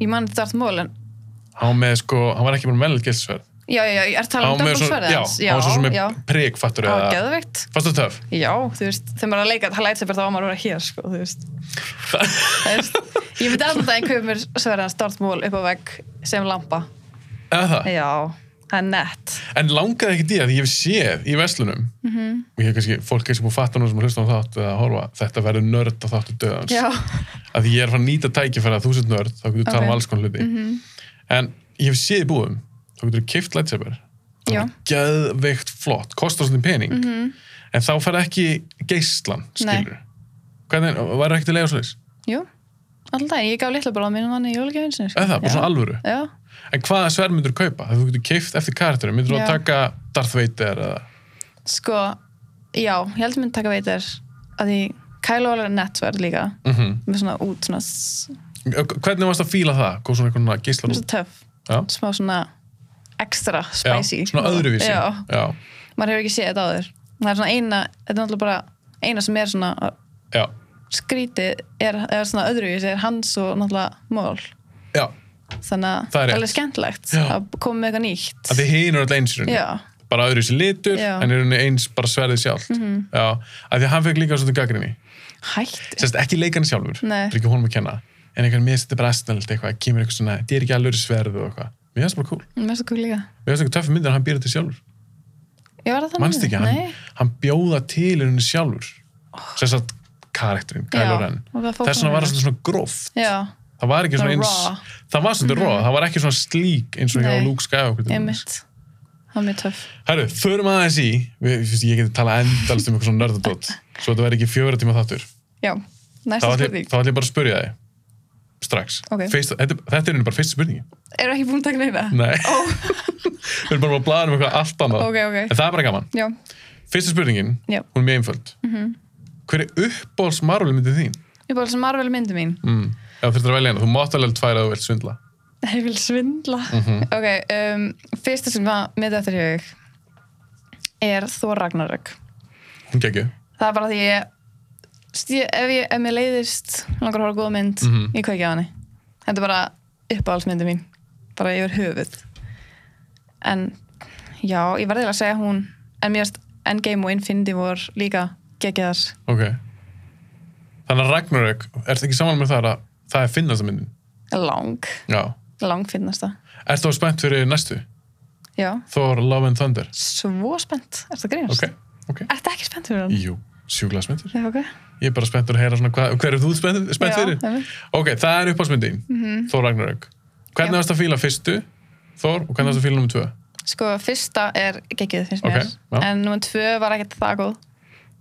S2: Ég man þetta um Darth Maul, en
S1: Hann var með sko, hann var ekki bara með gilsverð.
S2: Já, já, já, ég er að tala um
S1: Hann var með
S2: Double
S1: svona,
S2: Sverðið
S1: já,
S2: hans
S1: hann var svo sem
S2: já,
S1: með prik, fattur
S2: það var
S1: eða...
S2: geðveikt
S1: Fannst það töff?
S2: Já, þú veist, þegar maður er að leika það lætsa bara þá á maður að vera hér, sko, þú veist Þú veist, Ég myndi alltaf að ég kaupi mér Sverðið hans Darth Maul upp á vegg sem lampa
S1: Eða það?
S2: Já, það er nett
S1: En langaði ekki því að ég hef séð í veslunum
S2: Mhm.
S1: og ég hef kannski, fólk er kannski búið að fatta núna sem að hlusta á þátt eða að horfa, þetta verður nörd á þáttu döðans.
S2: Já,
S1: Að því ég er að fara að nýta tækifæri að þú sett nörd, þá getur þú talað
S2: Ok. Mhm.
S1: um alls konar hluti. En ég hef séð í búðum, þá getur þú keift lightsaber. Það
S2: Já. Mhm.
S1: er Geðveikt flott, kostar svona pening. En þá fer ekki geislan,
S2: Nei.
S1: skilur. Hvernig, var ekki til leiða svo leys?
S2: jú, alltaf Ég gaf litla bara á mínum manni í jólgefinsinni sko.
S1: Eða það, bara
S2: Já.
S1: svona alvöru.
S2: Já,
S1: En hvaða sverð myndur kaupa? Þegar þú getur keift eftir karakterum, myndur þú
S2: Já.
S1: að taka Darth Vader eða...
S2: sko, já, ég held að myndi taka veitir að því Kylo Ren er nett sverð líka
S1: Mm
S2: með svona út, svona, s-
S1: Hvernig varst að fíla það? Hvað svona einhvern geislar
S2: svona
S1: út?
S2: töff
S1: Já.
S2: smá svona extra
S1: Já,
S2: spicy
S1: svona öðruvísi.
S2: já,
S1: Já,
S2: maður hefur ekki séð þetta áður það er svona eina, þetta er náttúrulega bara eina sem er svona
S1: já,
S2: skrítið er, er svona öðruvísi er hans og náttúrulega mól
S1: já.
S2: þannig að
S1: Það er rétt.
S2: alveg skemmtilegt
S1: Já.
S2: að koma með eitthvað nýtt
S1: Að þið hinn eru alltaf eins í rauninni.
S2: já,
S1: Bara öðru sér litur,
S2: Já. Mhm.
S1: en í rauninni eins bara sverðið sjálft. Já, að því að hann fekk líka svolítið gaggrinni.
S2: hætti
S1: Sérst, ekki leikan sjálfur,
S2: Nei.
S1: það er ekki honum að kenna. En einhvern mér setið bara aðstælt eitthvað, kemur eitthvað svona, þið er ekki alveg sverð og eitthvað. Mér finnst það bara cool.
S2: mér finnst það kúl líka
S1: Mér finnst það töffi myndir að hann býr þetta sjálfur.
S2: ég var að það
S1: Manst ekki, hann,
S2: nei,
S1: hann bjóða til henni sjálfur sem sagt karakterinn, Kylo
S2: Já,
S1: Ren
S2: og það fór
S1: þess vegna
S2: svona
S1: var það
S2: vel.
S1: svolítið svona gróft
S2: já,
S1: það var ekki
S2: Svona
S1: svona eins
S2: raw. Mhm.
S1: það var svolítið mm það var ekki svona slík eins og hjá
S2: Nei.
S1: Luke Skywalker til dæmis.
S2: einmitt það er mjög töff
S1: Herru, förum aðeins í við, fyrst, ég geti talað endalst um eitthvað svona nördadótt svo þetta verði ekki fjóra tíma þáttur
S2: já,
S1: þá
S2: næsta
S1: ætla ég-
S2: spurning
S1: þá ætla ég bara að spurja þig strax
S2: Ok.
S1: Fyrst, þetta, þetta er einu bara fyrsta spurningi
S2: eru ekki búin að taka neina?
S1: Nei, við erum bara að blaða um eitthvað allt annað
S2: ok,
S1: en
S2: ok,
S1: það er bara gaman
S2: já
S1: Fyrsta spurningin,
S2: Já.
S1: hún er mjög einföld.
S2: Mhm.
S1: Hver er uppbóls Marvel myndið þín?
S2: ég bara sem Marvel myndi mín
S1: Mm. Ef þú þurftir að velja hana, þú mátt alveg tvær að þú vilt svindla.
S2: Ég vil svindla.
S1: Mhm.
S2: Ok, um, fyrsta sem var mitt eftir hug er Þór Ragnarök.
S1: Hún gekkju.
S2: Það er bara því ég, stið, ef, ég, ef mér leiðist langar að horfa á góða mynd,
S1: Mhm.
S2: ég kveikja á henni. Þetta er bara uppáhaldsmyndi mín, bara yfir höfuð. En já, ég verði að segja hún, en mér erst Endgame og Infinity War líka geggjaðar.
S1: Ok. Þannig að Ragnarök, ertu ekki saman með það að það er finnasta myndin?
S2: Lang,
S1: Já.
S2: lang finnast það.
S1: Ertu þá spennt fyrir næstu?
S2: já,
S1: Thor Love and Thunder
S2: svo spennt er það grínast?
S1: ok, ok,
S2: Er það ekki spennt fyrir hann?
S1: jú, sjúkla spenntur
S2: Já, ok.
S1: ég er bara spenntur að heyra svona hvað, hver er þú spennt, spennt
S2: Já,
S1: fyrir
S2: einmitt.
S1: ok, það er uppáðsmyndin, mm Thor Ragnarök hvernig
S2: Já.
S1: varst að fíla fyrstu Thor og hvernig varst að fíla nummer tvö
S2: Sko, fyrsta er geggið, finnst
S1: Ok,
S2: mér.
S1: já.
S2: En nummer tvö var ekkert það góð.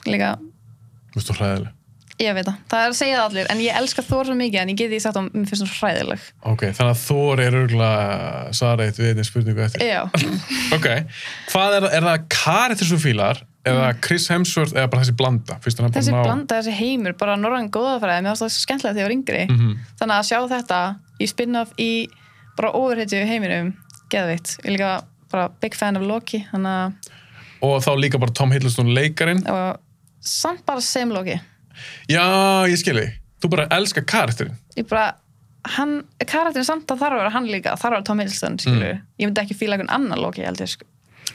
S2: Líka,
S1: Mér finnst þú hræðileg
S2: ég veit það. Það er að segja það allir, en ég elska Þór svo mikið, en ég geti því sagt að mér finnst hún hræðileg.
S1: ok, þannig að Thor er örgulega svarið við einnig spurningu eftir
S2: Já,
S1: ok, hvað er, er það Karit þessu fílar eða Chris Hemsworth eða bara þessi blanda fyrst hann
S2: Mm. þessi
S1: bara ná
S2: blanda, þessi heimur, bara norðan góðafræði, mér finnst það svo skemmtilegt þegar ég var yngri.
S1: Mhm.
S2: Þannig að sjá þetta í spin-off í bara ofurhetju heiminum, geðveitt. Ég er líka bara big fan of Loki, þannig að,
S1: og þá líka bara Tom Hiddleston leikarin
S2: og samt bara sem Loki.
S1: já, ég skilji, þú bara elskar karakterinn
S2: ég bara hann, karakterin samt að þarf að vera hann líka þarf að vera Tom Hiddleston, skilur ég myndi ekki fíla einhvern annan Loki, held ég, sko.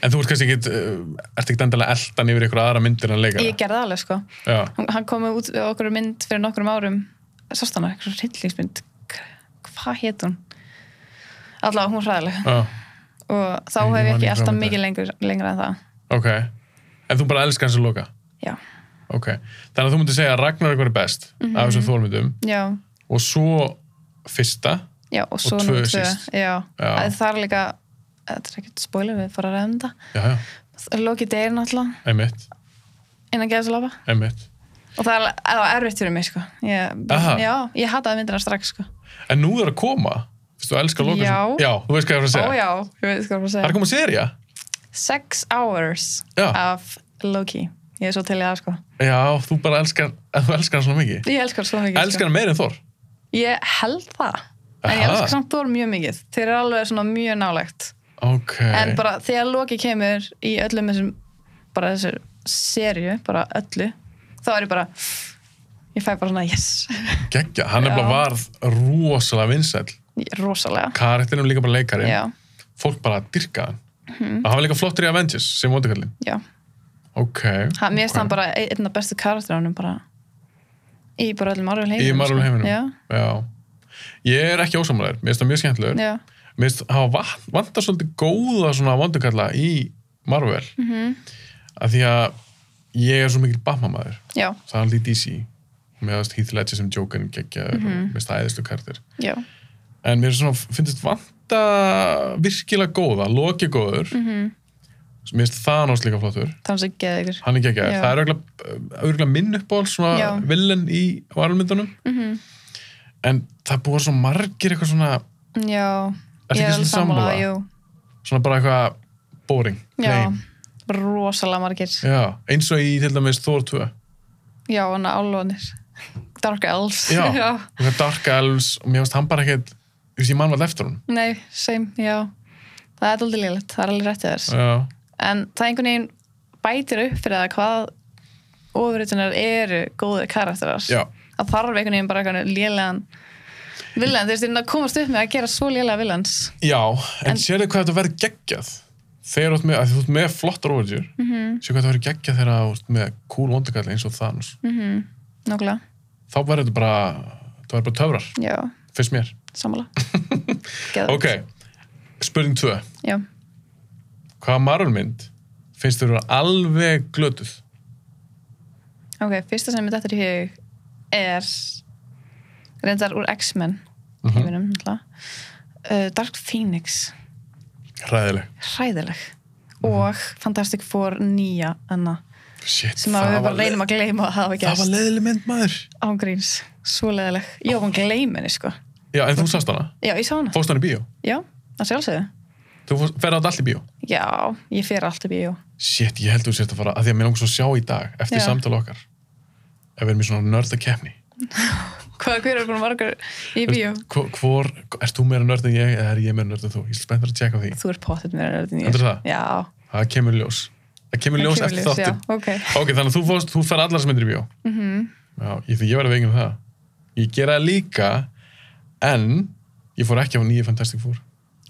S1: en þú ert kannski ekkit, uh, ert ekkit endilega eldan yfir ykkur aðra myndir en leikara
S2: ég gerði það alveg, sko
S1: já,
S2: hann, hann kom út við okkur mynd fyrir nokkrum árum sást hann, eitthvað hryllingsmynd K- hvað hétt hún? allavega, hún er hræðileg
S1: já,
S2: og þá
S1: Ég
S2: hef ég
S1: man
S2: ekki
S1: ekki
S2: alltaf
S1: hvað
S2: mikið lengur, lengra en það
S1: ok en þú bara elskar hans að loka
S2: já,
S1: ok, þannig að þú myndir segja að Ragnar ykkur er best
S2: Mhm.
S1: af þessum þólmyndum
S2: já,
S1: og svo fyrsta
S2: já og svo
S1: Og tvö
S2: númer
S1: síst.
S2: já,
S1: Já.
S2: já. það er líka þetta er ekkert spoiler við fara að ræða um þetta
S1: já, já,
S2: Loki deyr náttúrulega
S1: einmitt,
S2: innan geðsalafa
S1: einmitt
S2: og það er það var erfitt fyrir mig sko ég,
S1: Aha.
S2: já, ég hataði myndina strax sko
S1: en nú er að koma, fyrst þú elskar að loka
S2: Já.
S1: já, þú veist hvað ég er að segja
S2: ó já, ég veit hvað það
S1: það er
S2: segja
S1: að koma seria
S2: sex hours
S1: Já.
S2: af Loki ég er svo til í það sko
S1: Já, þú bara elskar, þú elskar hann svona mikið.
S2: ég elskar hann svo mikið
S1: Elskar hann meir en Þór.
S2: sko ég held það en ég
S1: Aha.
S2: elskar samt Thor mjög mikið þeir eru alveg svona mjög nálegt
S1: Ok.
S2: en bara þegar Loki kemur í öllum þessum bara þessar serju, bara öllu þá er ég bara ég fæ bara svona yes
S1: Gekkja, hann er
S2: Já.
S1: bara varð rosalega vinsæll.
S2: rosalega
S1: Karakterinn er líka bara leikarinn.
S2: já, Mhm.
S1: Fólk bara dyrka hann. Mm. Og hann var líka flottur í Avengers sem vondakallin.
S2: já
S1: Ok.
S2: Ha, mér finnst
S1: ok.
S2: hann bara einn af bestu karakterunum bara í bara öllum Marvel
S1: Í
S2: heiminum.
S1: Marvel heiminum.
S2: sko. Já,
S1: Já. Ég er ekki ósamlegar. Mér finnst það mjög skemmtilegur.
S2: já,
S1: Mér finnst hafa van- vantar svolítið góða svona vondakalla í Marvel. Mm -hmm.
S2: Mhm.
S1: Af því að ég er svo mikil Batman-maður.
S2: já,
S1: Það er alveg DC. Mér finnst Heath Ledger sem Jokerinn geggja. Mm
S2: Mhm.
S1: -hmm. Mér finnst það æðislu karakter.
S2: já,
S1: en mér er svona, finnst vanta virkilega góða, loki góður mm -hmm.
S2: Mhm.
S1: mér finnst Thanos líka flottur
S2: þannig sem geði ykkur.
S1: hann er ekki ekki,
S2: Já.
S1: það er örgulega, örgulega minn uppból svona
S2: Já. Mhm.
S1: villin í varumyndunum -hmm. en það búa svo margir eitthvað svona,
S2: Já,
S1: Ertu ekki svona sammála?
S2: jú.
S1: svona bara eitthvað boring,
S2: Já,
S1: plain
S2: rosalega margir.
S1: Já, eins og í til dæmis Thor 2
S2: Já, hann að álónir. Dark Elves.
S1: Já, eitthvað Dark Elves og mér finnst hann bara ekkert, þú veist, ég mann var eftir hún
S2: Nei, same, já. Það er aldrei lélegt, það er alveg réttið þess.
S1: Já,
S2: En það einhvern veginn bætir upp fyrir það hvað ofurritunar eru góðir karakterar.
S1: já,
S2: það þarf einhvern veginn bara einhvern lélegan villan, þeir styrna að komast upp með að gera svo lélega villans
S1: já en,
S2: En-
S1: sérðu hvað þetta verður geggjað þegar þú ert með, af því þú ert með flottar overture
S2: mm -hmm.
S1: Sér hvað það verður geggja þegar þú ert með cool vondakalli eins og Thanos.
S2: Mhm. Nókulega,
S1: Þá verður þetta bara, það verður bara töfrar,
S2: já,
S1: finnst mér.
S2: sammála
S1: Ok, spurning 2.
S2: Já,
S1: Hvaða marulmynd finnst þú vera alveg glötuð?
S2: ok, fyrsta sem ég dættur í hug er reyndar úr X-Men
S1: Mhm.
S2: heiminum, náttúrulega uh, Dark Phoenix,
S1: Ræðileg.
S2: hræðileg
S1: Mhm.
S2: og Fantastic Four nýja enna,
S1: Shit,
S2: sem að við bara
S1: le-
S2: reynum að gleyma að hafa
S1: það var
S2: gerst
S1: leiðileg mynd maður.
S2: ángríns, svo leðileg Jó, hann gleyma henni sko
S1: Já, en þú sást hana.
S2: Já, ég sá hana,
S1: Fóst hana í bíó.
S2: já, það sjálfsögðu
S1: Þú fórst- ferð á þetta allt í bíó.
S2: Já, ég fer allt upp í bíó.
S1: Shit, ég held þú sért að fara, að því að mér langar svo að sjá í dag, eftir
S2: Já.
S1: samtala okkar. Ef við erum í svona nörda keppni.
S2: Hvað, hver er búin margar í bíó?
S1: Hvor, hvor ert þú meira nörd en ég, eða er ég meira nörd en þú? Ég er spenntur að tjekka á því.
S2: Þú er pottet mér að röðin í.
S1: Heldurðu það?
S2: Já.
S1: Það kemur í ljós. Það kemur í ljós
S2: Það kemur
S1: eftir
S2: ljós,
S1: þáttin.
S2: Já, Mhm. ok.
S1: Ok, þannig að þú, fórst, þú fer allar sem myndir í bíó. Já, ég, ég verði veginn um það. Ég gera það líka, en ég fór ekki á nýju Fantastic Four.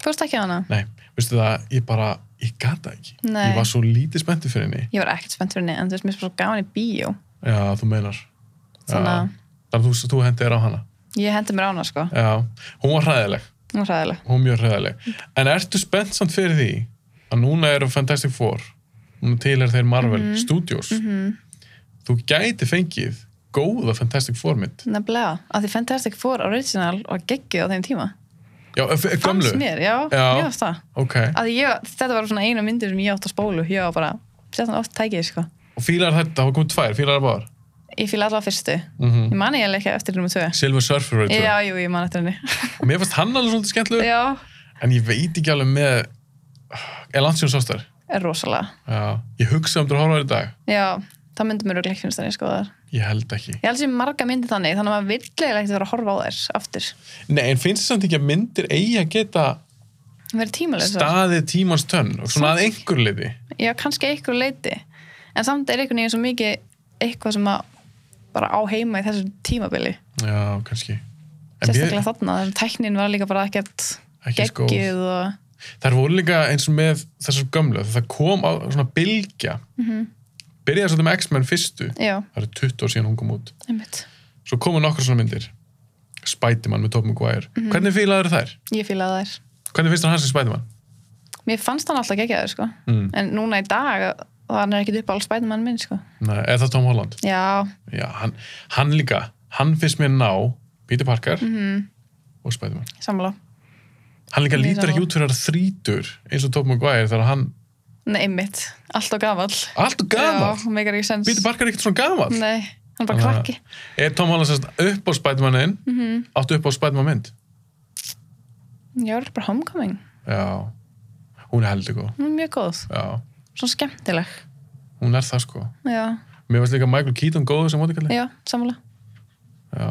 S2: Fórst ekki á hana?
S1: Nei, veistu það, ég bara, ég gata ekki.
S2: Nei.
S1: Ég var svo lítið spenntu fyrir henni.
S2: Ég var ekkert spennt fyrir henni, en þú veist, mér er svo gaman í bíó.
S1: Já, þú meinar. Já.
S2: Þannig að
S1: Þannig að þú, þú hendi er á hana.
S2: ég hendi mér á hana, sko.
S1: Já, hún var hræðileg.
S2: Nú er hræðileg.
S1: Hún var mjög hræðileg. En ertu spennt samt fyrir því að núna eru Fantastic Four núna til er þeir Marvel
S2: Mhm.
S1: Studios þú gæti fengið góða Fantastic Four mynd
S2: nefnilega, að því Fantastic Four original var geggjuð á þeim tíma
S1: já, eh, f- gömlu,
S2: fannst mér, já,
S1: Já.
S2: ég veist það
S1: ok
S2: að ég, þetta var svona einu myndir sem ég átt að spólu ég var bara, þetta oft tækið sko.
S1: og fílar þetta, það var komið tvær, fílar það báðar
S2: ég fíla allavega fyrstu
S1: mm
S2: ég mani ég ekki eftir nummer 2
S1: Silver Surfer veit þú.
S2: já, jú, ég man eftir henni
S1: og mér fannst hann alveg svolítið skemmtilegur
S2: já,
S1: en ég veit ekki alveg með er landsjón sástar
S2: er rosalega
S1: já. ég hugsa um þú að horfa á þér í dag
S2: já, það myndi mér auðvitað finnst þannig sko þar
S1: ég held ekki
S2: ég held sem marga myndi þannig, þannig að maður virkilega ekkert vera að horfa á þær aftur,
S1: Nei, en finnst þér samt ekki að myndir eigi að geta
S2: verið tímalega
S1: staðið tímans tönn og svona að
S2: Samt ekki.
S1: einhver liði
S2: já, kannski eitthvað leiti en samt er einhvern veginn svo mikið eitthvað sem að bara á heima í þessu tímabili
S1: Já, kannski En
S2: sérstaklega
S1: mér-
S2: þarna, þar tæknin var líka bara ekkert
S1: Ekki skóð.
S2: geggið og
S1: Þær voru líka eins og með þessar gömlu það kom á svona bylgja
S2: Mhm.
S1: byrjaði svolítið með X-Men fyrstu
S2: já,
S1: það eru 20 ár síðan hún kom út
S2: einmitt,
S1: svo komu nokkur svona myndir Spiderman með Tobey Maguire
S2: Mhm.
S1: hvernig fílaður þær?
S2: ég fílaði þær
S1: Hvernig finnst þér hann sem Spiderman?
S2: mér fannst hann alltaf geggjaður sko
S1: Mm.
S2: en núna í dag, það hann er ekkert upp á alls bæðumann minn sko,
S1: Nei, eða það Tom Holland
S2: já,
S1: Já, hann, hann líka, hann finnst mér ná Peter Parker
S2: Mhm.
S1: og Spiderman
S2: samla
S1: hann líka
S2: Mér
S1: lítur
S2: sammála.
S1: ekki út fyrir að vera þrítur eins og Tobey Maguire þegar hann
S2: nei, einmitt, alltaf gamall
S1: allt og gamall,
S2: já, megar ekki sens
S1: Peter Parker er ekkert svona gamall
S2: nei, hann er bara
S1: Þannig að-
S2: krakki
S1: er Tom Holland sérst upp á Spidermanin mm áttu upp á Spiderman mynd
S2: ég var bara homecoming,
S1: já, hún er heldur góð
S2: hún er mjög góð
S1: já,
S2: svona skemmtileg
S1: hún er það sko
S2: já,
S1: mér varst líka Michael Keaton góður sem mótikalli
S2: já, samla
S1: já,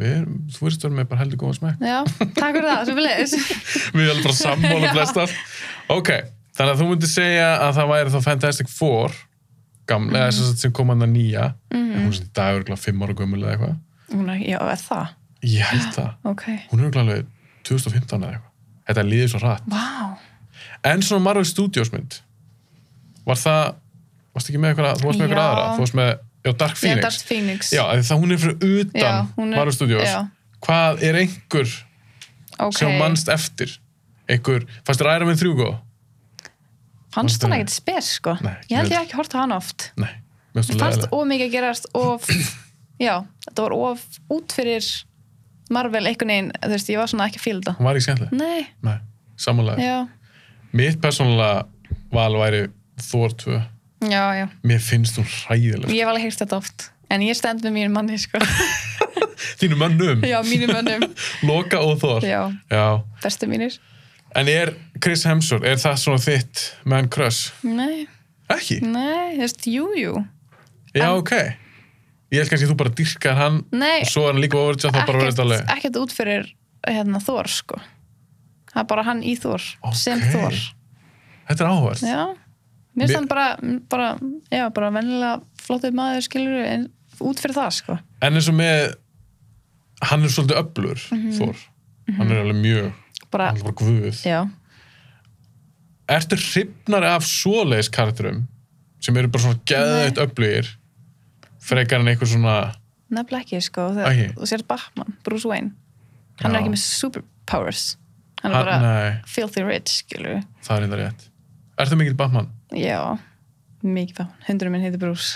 S1: við erum, þú veist verður með bara heldur góðan smekk
S2: já, takk fyrir það, sem við leðis
S1: Við erum bara sammála
S2: Já.
S1: flestar. Ok, þannig að þú myndir segja að það væri þá Fantastic Four, gamla, eða sem, sagt sem kom hann að nýja, en hún er svona í dag örgulega fimm ára gömul eða eitthvað.
S2: hún er, já, er það,
S1: Ég held það.
S2: ok
S1: Hún er örgulega alveg 2015 eða eitthvað. Þetta líður svo rætt.
S2: vá,
S1: En svona Marvel Studios mynd, var það, varst ekki með eitthvað, þú varst með eitthvað
S2: Já.
S1: aðra, þú varst með, já, Dark
S2: ég
S1: Phoenix.
S2: er Dark Phoenix
S1: Já, af því það hún er fyrir utan
S2: Já, hún er-
S1: Marvel Studios.
S2: já.
S1: Hvað er einhver
S2: ok,
S1: sem mannst eftir? Einhver, fannst þér Iron Man 3 góð?
S2: fannst hann ekkert spes sko
S1: Nei, ekki
S2: ég held
S1: heldur.
S2: ég ekki hort á hann oft
S1: Nei, mér finnst
S2: Mér
S1: það
S2: fannst
S1: leiðilegt.
S2: of mikið að gerast of, já, þetta var of út fyrir Marvel einhvern veginn, þú veist, ég var svona ekki að fíla þetta
S1: Hún var ekki skemmtileg.
S2: Nei,
S1: Nei, samanlega.
S2: Mm. já,
S1: Mitt persónulega val væri Thor 2.
S2: já, já
S1: Mér finnst hún hræðileg.
S2: Ég hef alveg heyrt þetta oft, en ég stend með mínum manni, sko
S1: Þínu mönnum,
S2: Já, mínum mönnum,
S1: Loka og Thor.
S2: já,
S1: Já.
S2: bestu mínir
S1: En er Chris Hemsworth, er það svona þitt man crush?
S2: Nei,
S1: Ekki?
S2: nei, þú veist, jú, jú
S1: Já,
S2: En-
S1: ok. Ég held kannski að þú bara dyrkar hann
S2: Nei,
S1: og svo er hann líka overja þá bara verður þetta alveg.
S2: ekkert út fyrir hérna Þór, sko Það er bara hann í Þór,
S1: Ok.
S2: sem Þór
S1: Þetta er áhverð.
S2: Já, mér
S1: Mér-
S2: finnst hann bara, bara já, bara vennilega flottur maður skilur en út fyrir það, sko
S1: En eins og með, hann er svolítið öblur,
S2: Mhm.
S1: Thor. Hann er alveg mjög,
S2: bara,
S1: hann er bara guð.
S2: já,
S1: Ertu hrifnari af svoleiðis karakterum sem eru bara svona geðveitt öflugir frekar en einhver svona
S2: nefnilega ekki sko,
S1: Ekki?
S2: þegar þú sér Batman, Bruce Wayne
S1: Já.
S2: hann er ekki með superpowers hann er
S1: hann,
S2: bara
S1: Nei,
S2: filthy rich, skilur
S1: það er þetta rétt Ertu mikil Batman?
S2: já, mikið Batman, hundurinn minn heitir Bruce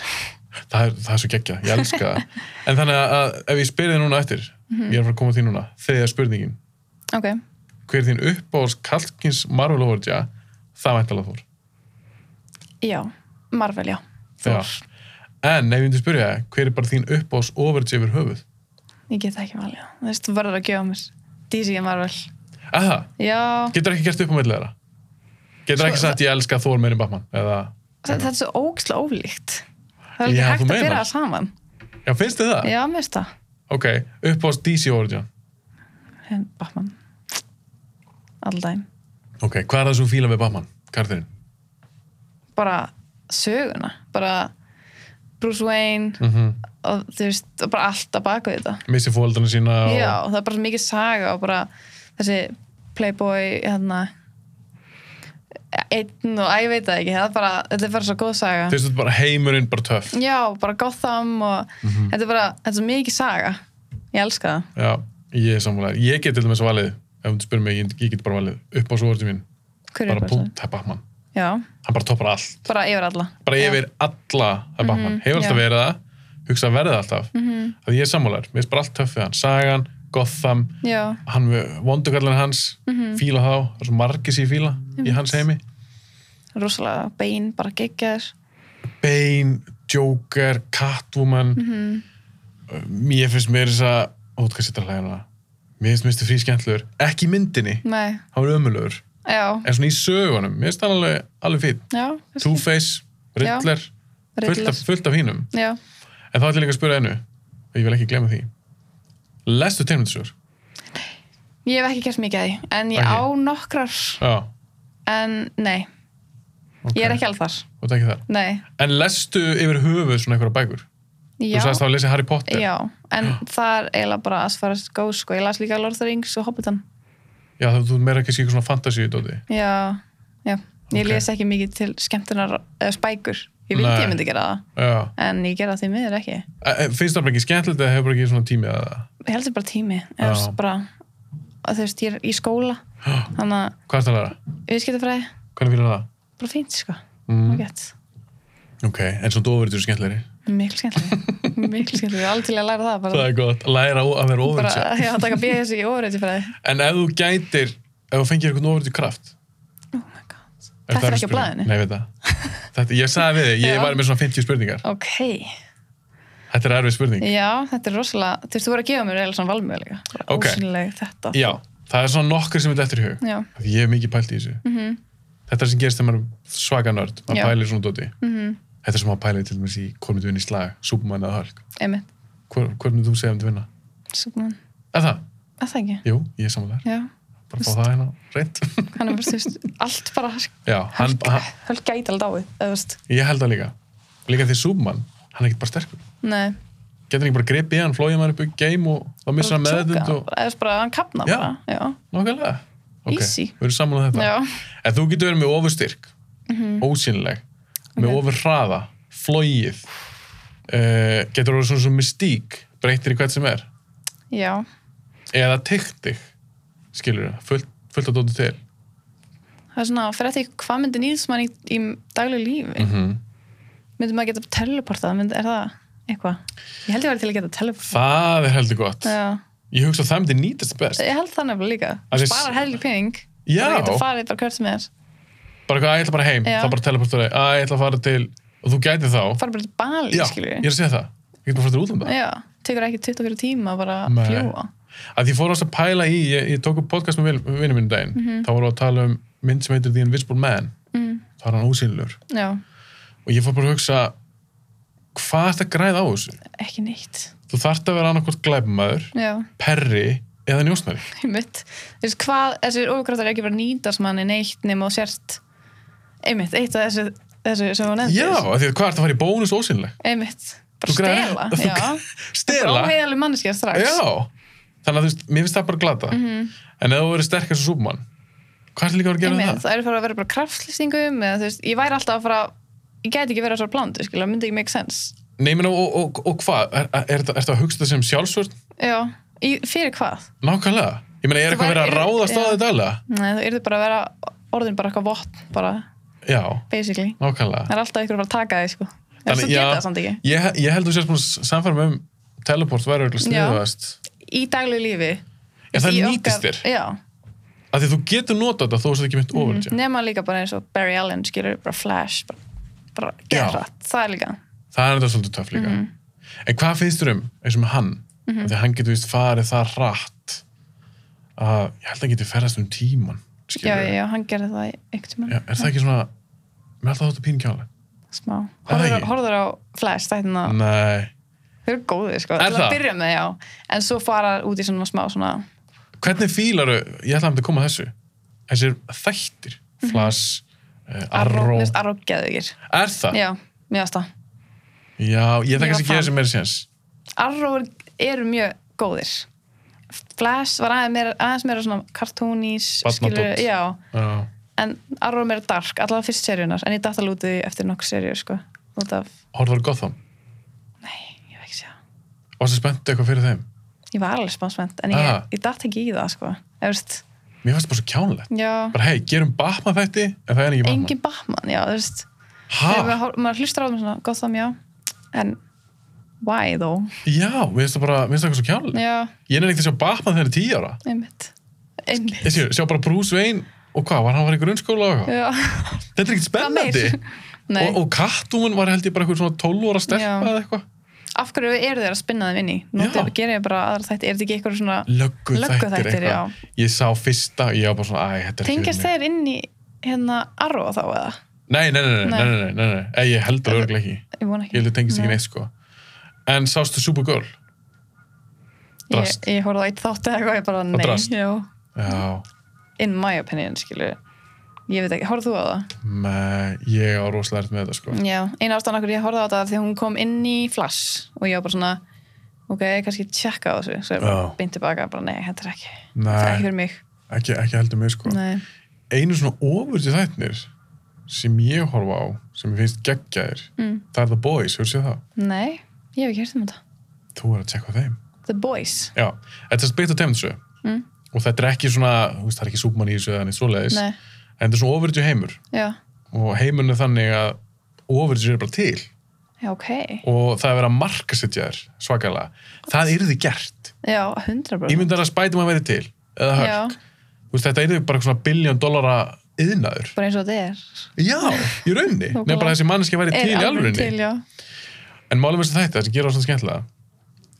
S1: Það er, það er svo geggjað, ég elska það En þannig að ef ég spyrir þið núna eftir
S2: Mhm.
S1: ég er að fara að koma að því núna, þegar spurningin
S2: ok,
S1: hver er þín uppáhalds Kalkins Marvel Overja það væntalega Þór
S2: já, Marvel, já
S1: Já.
S2: Þór,
S1: En ef ég myndi spyrja það, hver er bara þín uppáhalds Overja yfir höfuð?
S2: ég get það ekki valið þú veist, þú verður að gefa mér DC en Marvel
S1: Aha,
S2: já,
S1: getur ekki gert upp á milli þeirra? Getur
S2: Sko,
S1: ekki sagt ég elska Þór meirinn Batman? Eða,
S2: þetta þetta er svo ógislega ólíkt það er
S1: Já,
S2: ekki
S1: þú
S2: hægt að
S1: meinar.
S2: byrja það saman
S1: já, finnst þið það?
S2: já, mér finnst það,
S1: Ok, uppáhalds DC Overja
S2: En Batman alldæm,
S1: Ok, hvað er það sem þú fílar við Batman, karakterinn?
S2: bara söguna, bara Bruce Wayne
S1: Mm -hmm.
S2: og þú veist, og bara allt að baka við þetta
S1: Missi fóldrana sína og...
S2: já, það er bara svo mikið saga og bara þessi playboy hérna einn og æ, ég veit það ekki það er bara, þetta er bara svo góð saga
S1: Þú veist, þetta er bara heimurinn, bara töff.
S2: já, bara Gotham og
S1: Mhm.
S2: þetta er bara, þetta er svo mikið saga ég elska það,
S1: Já, ég er samfélag. Ég get til dæmis valið, ef þú spyrir mig, ég, ég get bara valið upp á svo orðið mín.
S2: hverju
S1: Bara
S2: er bara
S1: punkt, það er Batman.
S2: já,
S1: hann bara toppar allt
S2: bara yfir alla
S1: bara yfir alla að Batman hefur alltaf
S2: Mhm, já. Mhm.
S1: verið það, hugsa að verða alltaf mm -hmm. að ég er sammálar, mér er bara allt töff við hann Sagan, Gotham,
S2: já, já,
S1: hann vondukallin hans,
S2: Mhm.
S1: fíla þá það er svo margir sér fíla í hans heimi
S2: rosalega bein, bara geggjaður
S1: Bane, Joker, Catwoman
S2: Mhm.
S1: mér finnst mér þess að ó, hvað sittur að hlæða hana hérna. mér finnst minnstu frí skemmtlur, ekki í myndinni
S2: nei,
S1: hann er ömulugur,
S2: já,
S1: en svona í sögunum mér finnst hann alveg, alveg fín
S2: já
S1: Two-Face, Riddler, fullt af,
S2: Riddler.
S1: fullt af hínum
S2: já,
S1: En þá ætlum ég líka að spura einu og ég vil ekki glemma því Lestu tegnmyndisjór?
S2: ég hef ekki gert mikið að því en ég
S1: Ok.
S2: á nokkrar
S1: Já,
S2: en nei,
S1: ok.
S2: ég er ekki alveg þar
S1: Þú ert ekki þar.
S2: nei,
S1: En lestu yfir höfuð svona einhverja bækur? Þú
S2: já
S1: sagðist þá að lesa Harry Potter
S2: já, en það er eiginlega bara as far as it goes sko, ég las líka Lord of the Rings og Hobbitan
S1: Já, þá þú meira ekki skikir svona fantasíu dóti
S2: já, já, ég
S1: Ok.
S2: les ekki mikið til skemmtunar eða spækur ég vildi
S1: Nei.
S2: ég myndi gera það
S1: Já,
S2: en ég gera það því miður ekki
S1: E- e, finnst það bara ekki skemmtilegt eða hefur bara ekki svona tími að það?
S2: ég held sér bara tími eða
S1: Já.
S2: þú veist, bara, að þú veist, ég er í skóla þannig að
S1: Hvað er það að læra?
S2: viðskiptafræði,
S1: Hvernig fyrir það?
S2: bara fínt sko
S1: Mm.
S2: mm. og
S1: Ok, en svona dofuritur er skemmtilegri
S2: miklu skemmtileg miklu skemmtileg, ég er alveg til að læra það
S1: Það
S2: bara,
S1: er gott, læra ó- að vera
S2: bara
S1: ofuritur
S2: já, taka BS í ofureytjafræði
S1: En ef þú gætir, ef þú fengir eitthvað ofuritur kraft
S2: oh my god, þetta
S1: það
S2: er ekki á
S1: spurning?
S2: blæðinu
S1: Nei, ég veit það Þetta, ég sagði við þig, ég
S2: Já.
S1: var með svona 50 spurningar
S2: ok,
S1: Þetta er erfið spurning
S2: já, þetta er rosalega þú veist, þú voru að gefa mér eða svona valmöðuleika bara
S1: Ok.
S2: ósynleg þetta
S1: Já, það er svona nokkur sem þetta eftir í hug
S2: já,
S1: Af því Ég hef mikið pælt í þessu
S2: Mhm.
S1: Þetta er sem gerist þegar maður er svaka nörd maður
S2: Já.
S1: pælir svona dóti
S2: Mhm.
S1: Þetta er sem maður pælir til dæmis í hvort myndu vinna í slag Superman eða Hulk
S2: einmitt,
S1: Hvor- Hvort myndu þú segja um til vinna?
S2: Superman
S1: Eða það?
S2: að það ekki,
S1: Jú, ég er samanlega
S2: já
S1: Bara fá það hérna reynd
S2: hann er bara, þú veist, allt bara
S1: Já, hann, hann,
S2: höll gæti alveg dáið, eða þú veist
S1: ég held það líka Líka því Superman, hann er ekkert bara sterkur
S2: nei
S1: Getur ekki bara gripið í hann, flóið hann upp í game og þá missar hann meðvitund og
S2: eða bara hann kapna
S1: Já.
S2: bara já,
S1: Nákvæmlega Ok,
S2: Easy.
S1: við erum saman á þetta
S2: já.
S1: En þú getur verið með ofurstyrk, ósynleg, með
S2: Mhm. Ok.
S1: ofurhraða, flóið, uh, getur verið svona svona mystík, breytir í hvert sem er,
S2: já.
S1: eða tyggt þig, skilur það, fullt, fullt að dóti til.
S2: það er svona, fyrir eftir hvað myndir nýðist mann í, í daglegu
S1: Mm.
S2: lífi myndir maður geta teleportað, mynd, er það eitthvað ég held ég væri til að geta teleportað
S1: Það er heldur gott.
S2: já.
S1: Ég hugsa að það myndi nýtast best.
S2: ég held það nefnilega líka,
S1: Að þess-
S2: sparar helgi pening
S1: Já.
S2: það getur farið bara hvert sem er
S1: Bara eitthvað, að ég ætla bara heim,
S2: Já.
S1: þá bara teleportur þig, að ég ætla að fara til, og þú gæti þá.
S2: farið bara til Bali,
S1: Já, ég
S2: skilur
S1: er að segja það. Ég get bara að fara til útlanda.
S2: já, tekur ekki 24 tíma bara
S1: Nei.
S2: að fljúa
S1: að ég fór ást að pæla í, ég, ég tók upp podcast með vin- vinur minn um daginn,
S2: Mhm.
S1: þá voru að tala um mynd sem heitir The Invisible Man
S2: Mm.
S1: þá er hann ósynlur
S2: já,
S1: og ég fór bara að hugsa hvað er þetta græð á þessu?
S2: ekki neitt
S1: Þú þarft að vera annarkvort glæbumæður
S2: já,
S1: perri eða njósnari
S2: einmitt þú veist hvað, þessir ofurkraftar er ekki bara að nýtast manni neitt nema og sért einmitt, eitt af þessu, þessu sem hún
S1: Já,
S2: nefndir
S1: af því að hvað er þetta að fara í bónus ósynleg?
S2: einmitt, bara
S1: Þú græðir-
S2: stela
S1: þú-
S2: já,
S1: Stela?
S2: óheiðaleg manneskja strax
S1: Já, þannig að þú veist, mér finnst það bara glata
S2: Mhm.
S1: en ef þú verður sterkar sem Superman hvað er líka að vera að gera
S2: einmitt,
S1: með það?
S2: það eru fyrir að vera bara kraftlýstingum eða þú veist, ég væri alltaf að fara ég gæti ekki verið svo blándu, skilja, myndi ekki make sense
S1: Nei, menn, og, og, og, og hvað? Er, er, er, þetta- ertu að hugsa þetta sem sjálfsvörn?
S2: já, í, fyrir hvað
S1: Nákvæmlega. Ég meina, er
S2: Þú
S1: eitthvað verið að
S2: væri-
S1: ráðast á
S2: Já.
S1: þetta alveg?
S2: Nei, þú yrði bara að vera orðin bara eitthvað vott, bara,
S1: Já,
S2: basically
S1: nákvæmlega.
S2: það er alltaf ykkur að fara að taka þig, sko en
S1: Þannig- já.
S2: svo geta það samt ekki,
S1: Ég, ég held þú sérst búin að samfæra með um teleport væri auðvitað
S2: Já.
S1: sniðast
S2: í daglegu lífi
S1: en það
S2: í
S1: nýtist
S2: okkar-
S1: þér,
S2: já,
S1: af því þú getur notað þetta þó þess að ekki
S2: Mhm.
S1: mynd ofur
S2: Mm, nema líka bara eins og Barry Allen skilur bara flash bara, bara
S1: Já.
S2: gerrat, það er líka
S1: það er þetta svolítið töff líka
S2: Mhm.
S1: en hvað finnst þér um, eins og með hann mm -hmm. því að hann getur vist farið það rætt að ég held að hann getur ferðast um tíman
S2: já,
S1: skilurðu.
S2: já, hann gerði það einhvern tímann
S1: Já, er það ekki svona mér er alltaf þóttu pínu kjálega
S2: smá,
S1: Er það
S2: horfður,
S1: ekki?
S2: horfður á flash þættina,
S1: Nei,
S2: þau eru góðir sko
S1: Er
S2: til
S1: það?
S2: að byrja með, já, en svo fara út í svona smá svona,
S1: hvernig fílaru ég ætla að myndi að koma að þessu þessir þættir,
S2: Mhm.
S1: flash mm
S2: arró,
S1: arró,
S2: veist, arró geðugir
S1: er það?
S2: já, mjög aðsta
S1: Já, ég ætla
S2: Ég var
S1: kannski að gera
S2: fan.
S1: sem meira séns
S2: arró eru mjög góðir flash var aðeins meira, aðeins meira svona kartónís,
S1: Barnadót.
S2: já
S1: Já.
S2: en arró er meira dark, allavega fyrst seríunar en ég datt alveg út í því eftir nokkuð seríu sko, út af,
S1: Horfður Gotham?
S2: ég veit ekki sjá
S1: Varstu spennt eitthvað fyrir þeim?
S2: ég var alveg smá spennt en ég,
S1: Aha.
S2: ég datt ekki í það sko Eða, veist,
S1: mér fannst það bara svo kjánlegt
S2: já,
S1: bara hei, gerum Batman þætti en það er ekki Batman
S2: engin Batman, já, þú veist þegar
S1: ha,
S2: maður hor- maður hlustar á þeim svona, Gotham, já en, why though
S1: já, mér finnst það bara mér finnst það eitthvað svo kjánlegt
S2: já,
S1: ég nefnir ekkert að sjá Batman þegar ég er tíu ára
S2: einmitt
S1: ég
S2: einmitt
S1: sé, sjá bara Bruce Wayne og hvað, var hann var í grunnskóla og eitthvað
S2: já,
S1: þetta er ekkert
S2: Hvað meir?
S1: spennandi
S2: nei,
S1: og, og Catwoman var held ég bara eitthvað svona 12 ára stelpa
S2: Já.
S1: eða eitthvað
S2: af hverju eru þeir að spinna þeim inn í nú
S1: Já.
S2: þeir gera ég bara aðra þætti, er þetta ekki eitthvað svona
S1: löggu þættir
S2: Lögguþættir,
S1: eitthvað ég sá fyrsta, ég var bara svona, æ, þetta er ekki
S2: tengjast
S1: fyrir mig."
S2: þeir inn í hérna Arrow þá eða,
S1: nei, nei, nei, nei,
S2: Nei.
S1: nei, nei, nei, nei, nei. ég heldur
S2: Þetta-
S1: örglega ekki
S2: ég vona ekki
S1: ég heldur tengist ekki
S2: Nei.
S1: neitt sko en sástu Supergirl
S2: ég,
S1: Drast.
S2: ég horfði á eitt þátt eða eitthvað, ég bara
S1: drast.
S2: nei já,
S1: já,
S2: in my opinion skilur ég veit ekki, horfðu þú á það?
S1: með, ég á rosalega erfitt með þetta sko
S2: Já, eina ástæðan okkur ég horfði á þetta er því að hún kom inn í Flash og ég var bara svona ok, kannski tjekka á þessu svo ég bara
S1: Já.
S2: beint tilbaka, bara nei, þetta er ekki þetta er ekki
S1: nei,
S2: fyrir mig
S1: ekki, ekki heldur mig sko
S2: nei.
S1: einu svona ofurði þættir sem ég horfa á, sem ég finnst geggjaðir
S2: Mm.
S1: það er The Boys, hefur séð það
S2: nei, ég hef ekki hert um þetta
S1: þú er að tjekka á þeim
S2: The Boys,
S1: já, þetta er byggt á teimtsu
S2: Mm.
S1: og þetta er ekki svona, þú veist, það er ekki súpmann í þessu eða neitt svoleiðis,
S2: nei,
S1: en þetta er svona ofurði heimur
S2: já
S1: og heimurinn er þannig að ofurði er bara til
S2: já, ok,
S1: og það er verið að markasetja þér svakalega það yrði gert
S2: já, 100
S1: ég myndi að spætum að vera til eða
S2: Já.
S1: hölk Veist, þetta yrði bara svona biljón dollara yðnaður
S2: bara eins og þetta er
S1: já, í raunni
S2: Nákvæmlega.
S1: nefnir bara þessi mannski væri til í
S2: er alveg
S1: alvörinni
S2: til, já
S1: en málum þess að þetta, það sem gera á svona skemmtilega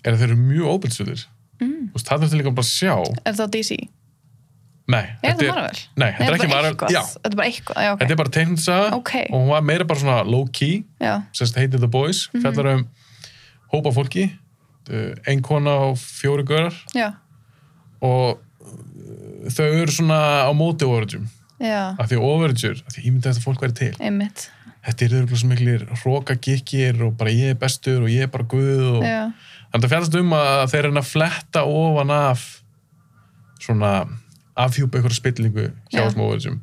S1: er að þeir eru mjög óbyrðsvöldir
S2: Mm.
S1: mm. það er til líka bara að sjá
S2: er það DC?
S1: nei,
S2: er
S1: þetta
S2: það Marvel?
S1: nei, þetta er
S2: bara
S1: ekki Marvel
S2: eitthvað.
S1: já,
S2: þetta er bara eitthvað, já, ok,
S1: þetta er bara teiknsa
S2: Ok.
S1: og hún var meira bara svona low key
S2: já,
S1: sem sagt heitir The Boys
S2: Mhm.
S1: fjallar um hópa fólki uh, ein kona og fjóri görar
S2: já,
S1: og uh, þau eru svona á móti overgjum
S2: já
S1: af því overgjur, af því ég myndi að þetta fólk væri til
S2: einmitt,
S1: þetta eru örugglega svo miklir roka gikkir og bara ég er bestur og ég er bara guð og...
S2: já,
S1: þannig að fjallast um að þeir eru að fletta ofan af svona afhjúpa einhverja spillingu hjá
S2: Já.
S1: þessum overgjum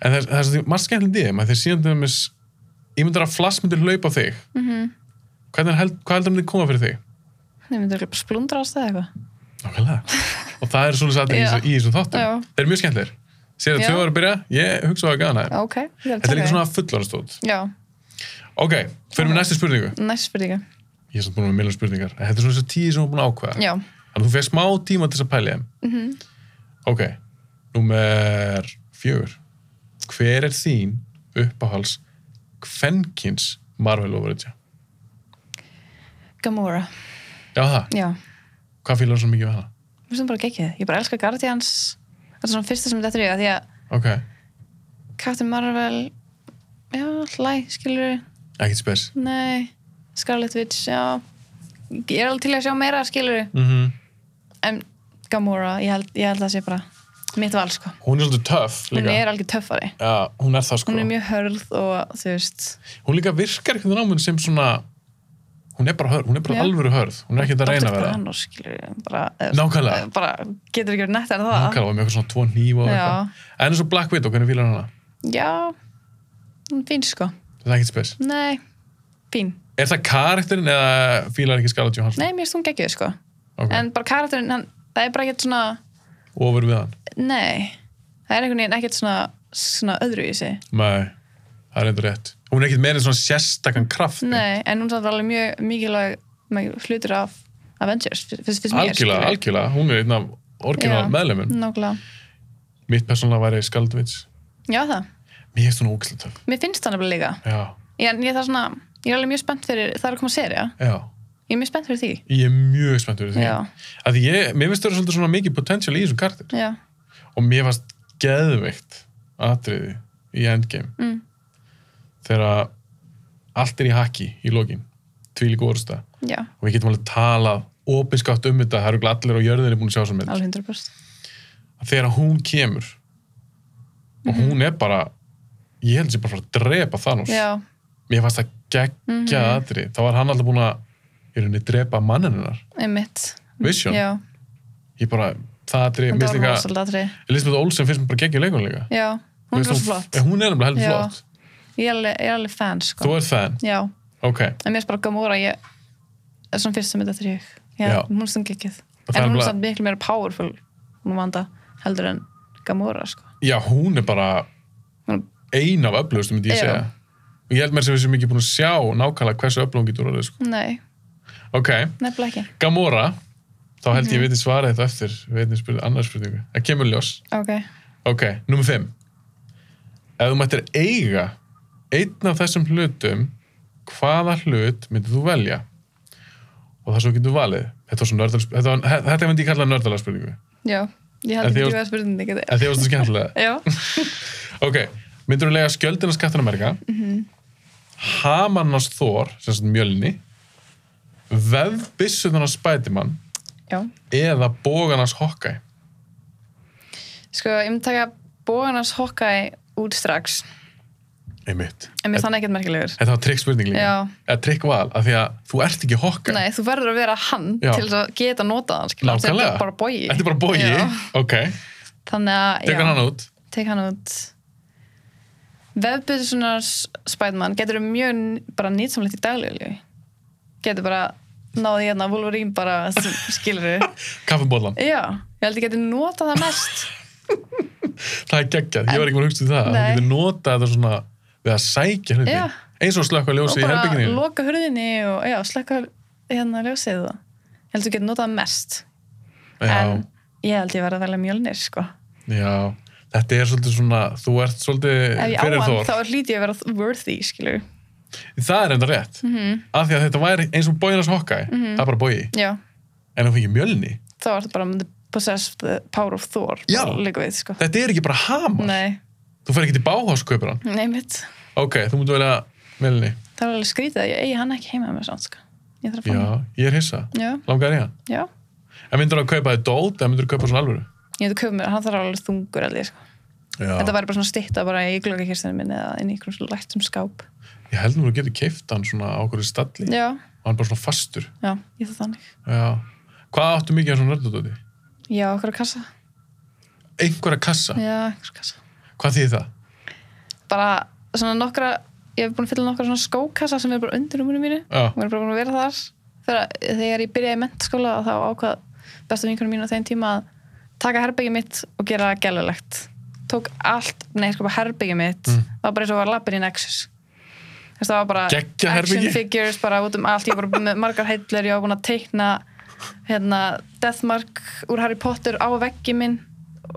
S1: en það er- það er svo því margt skemmtilega í þeim að þeir síðan til dæmis ég myndi að flass myndi hlaupa á þig
S2: mhm
S1: Hvernig held, hvað heldur myndi koma fyrir þig?
S2: Nei, myndir ekki bara splundra ást eða eitthvað.
S1: Nákvæmlega. Og það er svolítið aðeins í,
S2: Já.
S1: þessu- í þessum þáttum.
S2: Já.
S1: Þeir eru mjög skemmtilegir. Sér að
S2: Já.
S1: tvö ára byrja, ég hugsa á að gana þeim.
S2: Ok, ég að
S1: Þetta er
S2: taka
S1: líka
S2: því.
S1: svona fullorðanstótt.
S2: Já,
S1: Ok, fyrir við næstu spurningu.
S2: næst spurninga.
S1: Ég er samt búin með millar spurningar. En Þetta er svona þessar tíu sem við erum búin að ákveða.
S2: Já,
S1: Þannig að þú fyrir smá tíma til þess að pæli þeim.
S2: Mhm.
S1: Ok, númer fjögur. Hver er þín uppáhals kvenkins Marvel overage?
S2: Gamora.
S1: Já það,
S2: Já,
S1: hvað fýlar svo mikið við hana?
S2: mér sem bara gekkið. Ég bara elska Guardians. Þetta er svona fyrsta sem þetta er í að því að
S1: Ok,
S2: Captain Marvel, já, hlæ, skilur,
S1: ekkert spes.
S2: nei, Scarlet Witch, já. Ég er alveg til í að sjá meira, skilur.
S1: Mm
S2: En Gamora, ég held, ég held að það sé bara mitt val, sko.
S1: Hún er svolítið töff
S2: Hún
S1: líka.
S2: er alveg töffari.
S1: Já, hún er það sko.
S2: Hún er mjög hörð og þú veist,
S1: hún líka virkar einhvern veginn á mun sem svona hún er bara hörð, hún er bara
S2: Já.
S1: alvöru hörð hún er ekki að reyna að vera
S2: Thanos, skilur, bara, eh,
S1: Nákvæmlega.
S2: bara getur ekki verið nett en það.
S1: nákvæmlega með eitthvað svona tvo nýf og
S2: Já.
S1: eitthvað en eins og Black Widow, hvernig fílar hana?
S2: Já, hún er fín sko.
S1: það er ekkert spes
S2: Nei, fín.
S1: er það karakterin eða fílar ekki Scarlett Johansson?
S2: Nei, mér finnst hún geggjuð sko.
S1: okay.
S2: En bara karakterinn, hann, það er bara ekkert svona,
S1: ofur við hann?
S2: nei, það er einhvern veginn ekkert svona, svona öðru í sig.
S1: nei, það er eitthvað rétt hún er ekkert með einn svona sérstakann kraft
S2: Nei, en hún samt alveg mjög mikilvæg mjög hlutur af Avengers, fyrst, fyrst mér.
S1: algjörlega, algjörlega, hún er einn af orginal
S2: Já.
S1: meðlefin
S2: Nákvæmlega.
S1: mitt persónulega væri Scarlett Witch
S2: Já, það.
S1: mér er svona ógæslega töff
S2: Mér finnst það nefnilega líka.
S1: já,
S2: Ég, en ég, það er svona, ég er alveg mjög spennt fyrir, það er að koma serja.
S1: já,
S2: Ég er mjög spennt fyrir því.
S1: ég er mjög spennt fyrir því
S2: Já.
S1: að ég, mér finnst það svolítið svona mikið potential í þessum karakter
S2: Já,
S1: og mér varst geðveikt atriði í Endgame
S2: Mm.
S1: þegar allt er í haki í lokin tvílík orðsta
S2: já,
S1: og við getum alveg talað opinskátt um þetta það eru örugglega allir á jörðinni búin að sjá sem mynd
S2: alveg 100%.
S1: Að þegar hún kemur og
S2: Mhm.
S1: hún er bara ég held sér bara að fara að drepa Thanos
S2: Já,
S1: mér fannst það geggja mm
S2: Mhm.
S1: atriði þá var hann alltaf búin að í rauninni drepa manninunar
S2: einmitt.
S1: Vision,
S2: Já,
S1: ég bara það atriði,
S2: þetta
S1: minnst
S2: var
S1: líka
S2: rosalega atrið.
S1: Elisabeth Olsen finnst mér bara geggja leikun líka
S2: Já, hún
S1: Mér
S2: er svo
S1: finnst
S2: flott.
S1: hún er nefnilega heldur
S2: Já.
S1: flott
S2: Ég er alveg, ég er alveg fan, sko.
S1: Þú ert fan,
S2: Já,
S1: ok.
S2: en mér er bara Gamora, ég er svona fyrst sem þetta er ég. Já,
S1: Já.
S2: hún er stund gekkið.
S1: Og það
S2: En
S1: er
S2: hún
S1: bara-
S2: er samt miklu meira powerful, hún vanda, heldur en Gamora sko.
S1: já, hún er bara
S2: Hún-
S1: ein af öflugustu, myndi ég
S2: Já.
S1: segja og ég held mér sem við sem ekki búin að sjá nákvæmlega hversu öflugum hún getur orðið sko.
S2: Nei,
S1: ok,
S2: nefnilega ekki
S1: Gamora þá held ég veitir svarið þetta eftir við einnig spurði annars spurningu, það kemur ljós
S2: Ok,
S1: Ok, nummer 5 Ef þú mættir eiga einn af þessum hlutum hvaða hlut myndir þú velja? Og það svo getur valið Þetta var svo nördal Þetta, var- he- þetta myndi ég kalla nördalega spurningu
S2: já Ég
S1: En
S2: held
S1: þið
S2: ekki
S1: varst-
S2: að spurning ekki
S1: En því var þetta skemmtilega
S2: Já,
S1: Ok, myndir þú lega skjöldina skattanamerika mm -hmm. Hamannars Þór sem sagt mjölni vefbissunarnas Spiderman
S2: já
S1: eða bóganars Hawkeye
S2: Sko, ég myndi taka bóðanars Hawkeye út strax
S1: Einmitt
S2: En mér þannig ekkert merkilegur
S1: Þetta var trikk spurning líka
S2: Já.
S1: Eða trikk val af því að þú ert ekki Hawkeye
S2: Nei, þú verður að vera hann
S1: Já.
S2: til þess að geta notað hann skilur.
S1: Nákvæmlega.
S2: Þetta er bara bogi
S1: Þetta er bara bogi, ok.
S2: Þannig að,
S1: Tekur hann út.
S2: tek hann út Vefbyrðsunars Spiderman getur mjög n- bara nýtsamlegt í daglegu Getur bara náði hérna Wolverine bara sem skilur
S1: Kaffibólan.
S2: Já, ég held ég geti notað það mest
S1: Það er geggjað. Ég var ekki maður að hugsa til það. Nei.
S2: Nei.
S1: Þú getur notað þetta svona við að sækja hluti.
S2: Já.
S1: Eins og slökka
S2: og
S1: ljósi í
S2: bara
S1: herbygginni.
S2: loka hurðinni og já, slekka hérna ljósið og ég held þú getur notað mest en
S1: Já,
S2: ég held ég verið að velja mjölnir sko.
S1: já. Þetta er svolítið svona, þú ert svolítið
S2: ef ég á
S1: fyrir
S2: hann
S1: þór.
S2: þá hlýti ég að vera worthy skilur,
S1: Það er enda rétt. Mm -hmm. Af því að þetta væri eins og bóinas hokkaði.
S2: Mhm.
S1: Það er bara bói.
S2: já,
S1: En þú fengið mjölni.
S2: þá er það bara um the possess the power of Thor
S1: Já.
S2: líka við sko
S1: Þetta er ekki bara hamar.
S2: nei,
S1: Þú fer ekki til báháskaupir hann.
S2: nei mitt
S1: Ok, þú mútu velja mjölni.
S2: það er alveg skrítið að ég eigi hann ekki heima með svona sko. ég þarf að fá hann
S1: Já, ég er hissa.
S2: já,
S1: Langar í hann.
S2: já,
S1: En myndur að kaupa þið dót, en myndur að kaupa svona alvöru?
S2: ég hefði köpum mér hann þarf alveg þungur alveg sko.
S1: Já.
S2: þetta væri bara svona stitta bara í glöggakistinu minni eða inn í einhverjum svona lættum skáp
S1: Ég held nú að þú getur keift hann svona á okkur stalli
S2: já,
S1: og hann bara svona fastur.
S2: já, ég þarf þannig
S1: Já. Hvað áttu mikið af svona nördadóti?
S2: já, okkur að kassa
S1: Einhverja kassa.
S2: Já, einhvers kassa.
S1: Hvað þýðir það?
S2: Bara svona nokkra, ég hef búin að fylla nokkra svona skókassa sem er bara undir rúminu mínu.
S1: Já.
S2: Hún er bara búin að vera þar. Þegar, þegar ég byrjaði í mentaskóla þá ákvað besta vinkunum mínu á þeim tíma að taka herbyggi mitt og gera það gælulegt. Tók allt, nei, sko bara herbyggi mitt.
S1: Mm.
S2: Það var bara eins og var lappin í Nexus. Þess, það var bara
S1: Geggjað
S2: action
S1: herbergi.
S2: figures bara út um allt. Ég var bara með margar heillur, ég var búin að teikna hérna, Deathmark úr Harry Potter á veggi minn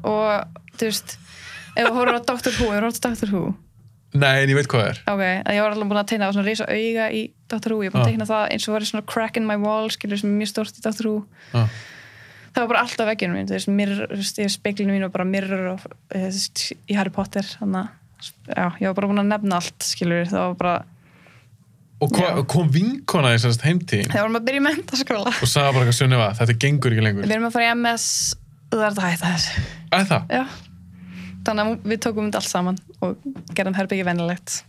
S2: og þú veist, ef þú horfður á Doctor Who, ég horfður á Doctor Who
S1: Nei, en ég veit hvað það er.
S2: ok, en ég var alveg búin að teikna á svona risa auga í Doctor Who, ég var búin
S1: Ah.
S2: að teikna það eins og var svona crack in my wall, skilur sem er mjög stórt í Doctor Who
S1: Ah.
S2: það var bara allt á vegginu mín, þú veist, mirror, þú veist, ég speklinu mín var bara mirror og, eh, þú veist, í Harry Potter, þannig að já, ég var bara búin að nefna allt, skilur það var bara,
S1: Og hva,
S2: Já.
S1: kom vinkona þess að heimtíðin
S2: þegar varum að byrja í mentaskóla
S1: og sagði bara eitthvað sunnifa, þetta gengur ekki lengur.
S2: við erum að fara í MS það er þetta hætta þessu,
S1: Æ, það?
S2: já þannig að við tókum þetta allt saman og gerðum herbyggi venilegt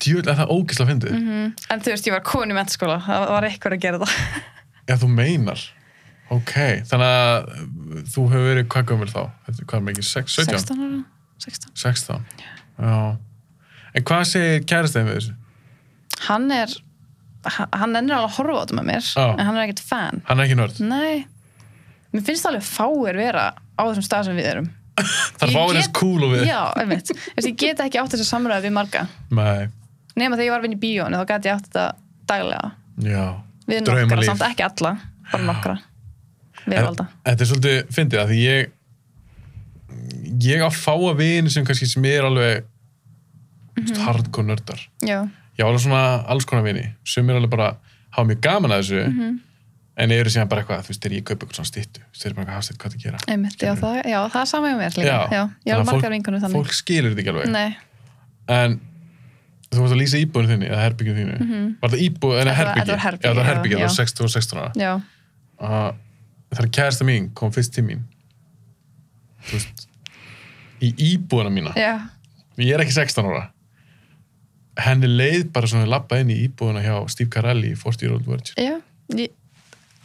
S1: Djúvel, er það ógislega fyndið? Mm
S2: mm. en þú veist, ég var konu í mentaskóla það var eitthvað að gera það
S1: Já, þú meinar. Ok, þannig að þú hefur verið hvað gömul þá? Þetta- Hvað er mikið? 6, 17?
S2: 16 ára, 16
S1: 16. Já. En hvað segir kærastæðin við þessu?
S2: hann er ha- hann ennir alveg að horfa á þetta með mér
S1: Já.
S2: en hann er ekkert fan
S1: Hann er ekki nörd.
S2: Nei, mér finnst alveg fáir vera á þessum stað sem við erum
S1: Það er
S2: Ég
S1: fáið
S2: get-
S1: eins cool og við.
S2: Já, einmitt, Þessi, ég get ekki átt þess að samræða við marga
S1: Nei,
S2: nema þegar ég var að vinna í bíónu þá gæti ég átt þetta daglega
S1: já.
S2: við nokkra,
S1: Draumalíf.
S2: samt ekki alla bara nokkra,
S1: En
S2: viðvalda
S1: Þetta er svolítið fyndið að því ég ég á fáa vini sem kannski sem er alveg mm
S2: Mhm.
S1: -hmm. hardcore nördar.
S2: Já,
S1: Ég á alveg svona alls konar vini sem er alveg bara hafa mjög gaman að þessu
S2: Mhm.
S1: en eru síðan bara eitthvað, þú veist, þegar ég kaupa eitthvað svona stýttu, þú veist, þeir eru bara eitthvað hafstætt hvað það gera.
S2: einmitt, já, það, já, það er sama hjá mér líka Já, ég
S1: þannig
S2: er
S1: að fólk-
S2: margar vinkunum þannig
S1: Fólk skilur þetta ekki alveg.
S2: Nei,
S1: En þú veist að lýsa íbúinu þinni eða herbyggjum þínu. Var þetta íbúinu, en
S2: Mhm. Þetta var-
S1: herbyggi?
S2: þetta var herbergi,
S1: Já, þetta var
S2: já,
S1: herbyggi, það
S2: já.
S1: var 16 og 16 ára.
S2: já,
S1: að það er kærasta mín kom fyrst til mín þú veist í íbúðana mína
S2: já,
S1: ég er ekki 16 ára henni leið bara svona lappa inn í íbúðana hjá Steve Carelli í 40 Year Old Virgin
S2: já ég,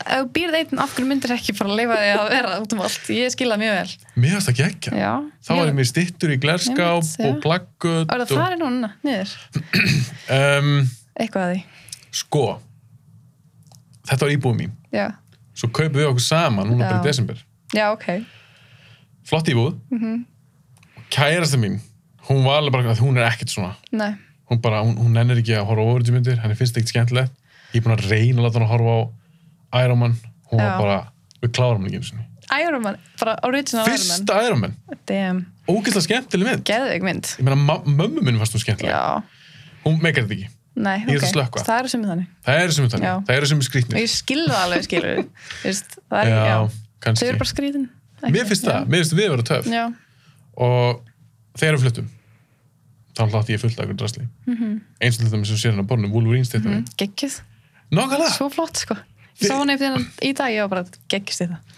S2: Ef þú býrð einn, af hverju myndir ekki bara leifa því að vera út um allt Ég skil það mjög vel
S1: mér varst ekki ekki
S2: Já,
S1: þá
S2: ég-
S1: var ég mér stittur í glerskáp
S2: Einmitt, já.
S1: og plakkut
S2: Var það
S1: og,
S2: farið núna, niður?
S1: um,
S2: Eitthvað að því,
S1: sko þetta var íbúð mín
S2: já.
S1: svo kaupum við okkur saman núna bara í
S2: Já.
S1: desember
S2: Já, ok. Mhm.
S1: flott íbúð kærasta mín, hún var alveg bara að hún er ekkert svona
S2: nei,
S1: hún bara, hún, hún nennir ekki að horfa á overtjumyndir henni finnst ekkert skemmtilegt ég er búin að reyna að láta hann að horfa á Iron Man hún var
S2: Já.
S1: bara, við klárum hann ekki einu sinni.
S2: Iron Man, bara original Iron
S1: fyrsta Iron Man,
S2: Man damn,
S1: ógeðslega skemmtileg mynd
S2: geðveik mynd
S1: ég meina, ma- mömmu minn fannst hún skemmtileg
S2: já,
S1: hún megar þetta ekki,
S2: nei,
S1: Ég er
S2: ok
S1: að slökkva.
S2: það eru sem er þannig
S1: það eru sem
S2: Já.
S1: þannig það eru sem
S2: og
S1: skrýtnir
S2: ég skil það alveg, skilur Vist, það er, já,
S1: já,
S2: þau
S1: kannski
S2: eru bara skrítin
S1: mér finnst það, mér finnst við að vera töf
S2: já,
S1: og þegar við fluttum þá hlátti ég fullt af ykkur drasli
S2: Mhm.
S1: eins og þetta með sem sér hann á borðinu, Wolverine stýttum
S2: mm,
S1: við
S2: geggjuð
S1: nákvæmlega,
S2: svo flott sko ég sá hún eftir hennan í dag ég var bara geggjist í það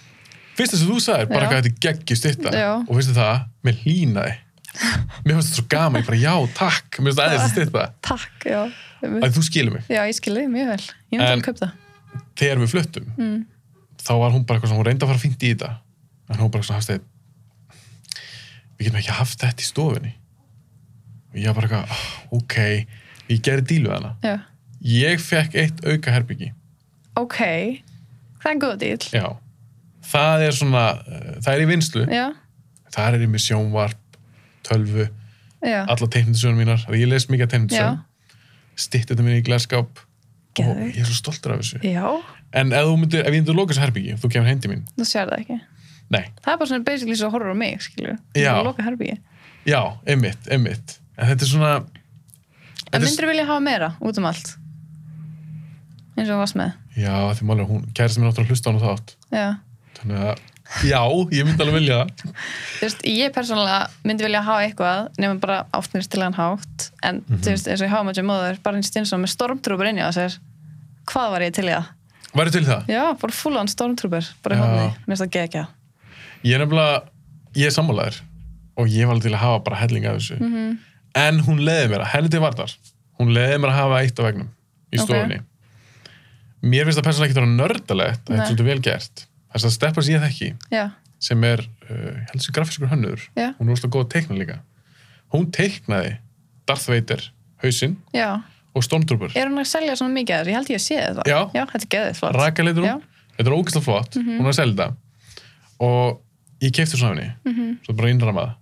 S1: fyrst þess að þú sagðir bara
S2: Já.
S1: hvað þetta geggjur stýtta
S2: Já.
S1: og fyrst það, mér hlýnaði mér finnst þetta svo gaman, ég bara já, takk mér finnst það aðeins að stýtta,
S2: takk, já
S1: að þú skilur mig
S2: já, ég skilði mjög vel, ég myndi
S1: En-
S2: að kaupa það
S1: þegar við fluttum,
S2: Mm.
S1: þá var hún bara eitthvað svona, hún reyndi að fara fínt í þetta en hún bara svona hafst þeir við getum ekki haft þetta í stofunni og ég bara eitthvað, "Ah, ok ég gerði díl við hana
S2: já,
S1: ég fekk eitt auka herbyggi
S2: ok það er góð dýl
S1: Já, það er svona, uh, það er í vinslu,
S2: já,
S1: það er í með sjónvarp, tölvu,
S2: já,
S1: alla teiknindisjónum mínar, því ég les mikið að teiknindisjón, stitt þetta mín í glerskáp og
S2: Geðveikt.
S1: ég er svo stoltur af þessu.
S2: já,
S1: En ef, þú myndir, ef ég myndir loka þessu herbyggi og þú kemur hendi mín,
S2: þú sér það ekki
S1: nei,
S2: það er bara svona basically svo horror á mig, skilur
S1: Já.
S2: Ég loka herbyggi
S1: já, einmitt, einmitt. En þetta er svona,
S2: en
S1: Þetta er-
S2: myndir vilja hafa meira út um allt eins og þú varst með
S1: já, því málega hún, kærist minn áttur að hlusta á hana þátt.
S2: já
S1: Þannig að, já, ég myndi alveg vilja það.
S2: Þú veist, ég persónulega myndi vilja hafa eitthvað nema bara áttnir til hann hátt en þú
S1: Mhm.
S2: veist, eins og ég hafa maður móður bara einn stund með stormtrooper inn í á sér hvað var ég til í það?
S1: Væri til í það?
S2: Já, bara full on stormtrooper bara í
S1: Já.
S2: hóðni, mér finnst það gegja
S1: Ég er nefnilega, ég er sammálaður og ég var alveg til að hafa bara helling af þessu.
S2: Mhm.
S1: En hún leiði mér að, henni til varðar, hún leiði mér að hafa eitt á vegnum í
S2: Ok.
S1: stofunni. Mér finnst það persónulega ekki það nördalegt, það er
S2: Nei.
S1: svolítið vel gert. Þess að steppa sem ég þekki,
S2: Já,
S1: sem er, uh, ég held sem grafiskur hönnur,
S2: Já.
S1: hún er óslega góð að teikna líka. Hún teiknaði Darth Vader, hausinn
S2: já,
S1: og Stormtrooper.
S2: er hún að selja svona mikið af þér? Ég held ég að sé þetta
S1: Já.
S2: þetta er geðið flott Mhm.
S1: Raka leitur hún, þetta er ógæslega flott, hún er að selja þetta. Og ég kefti svona af henni, svo bara innramað.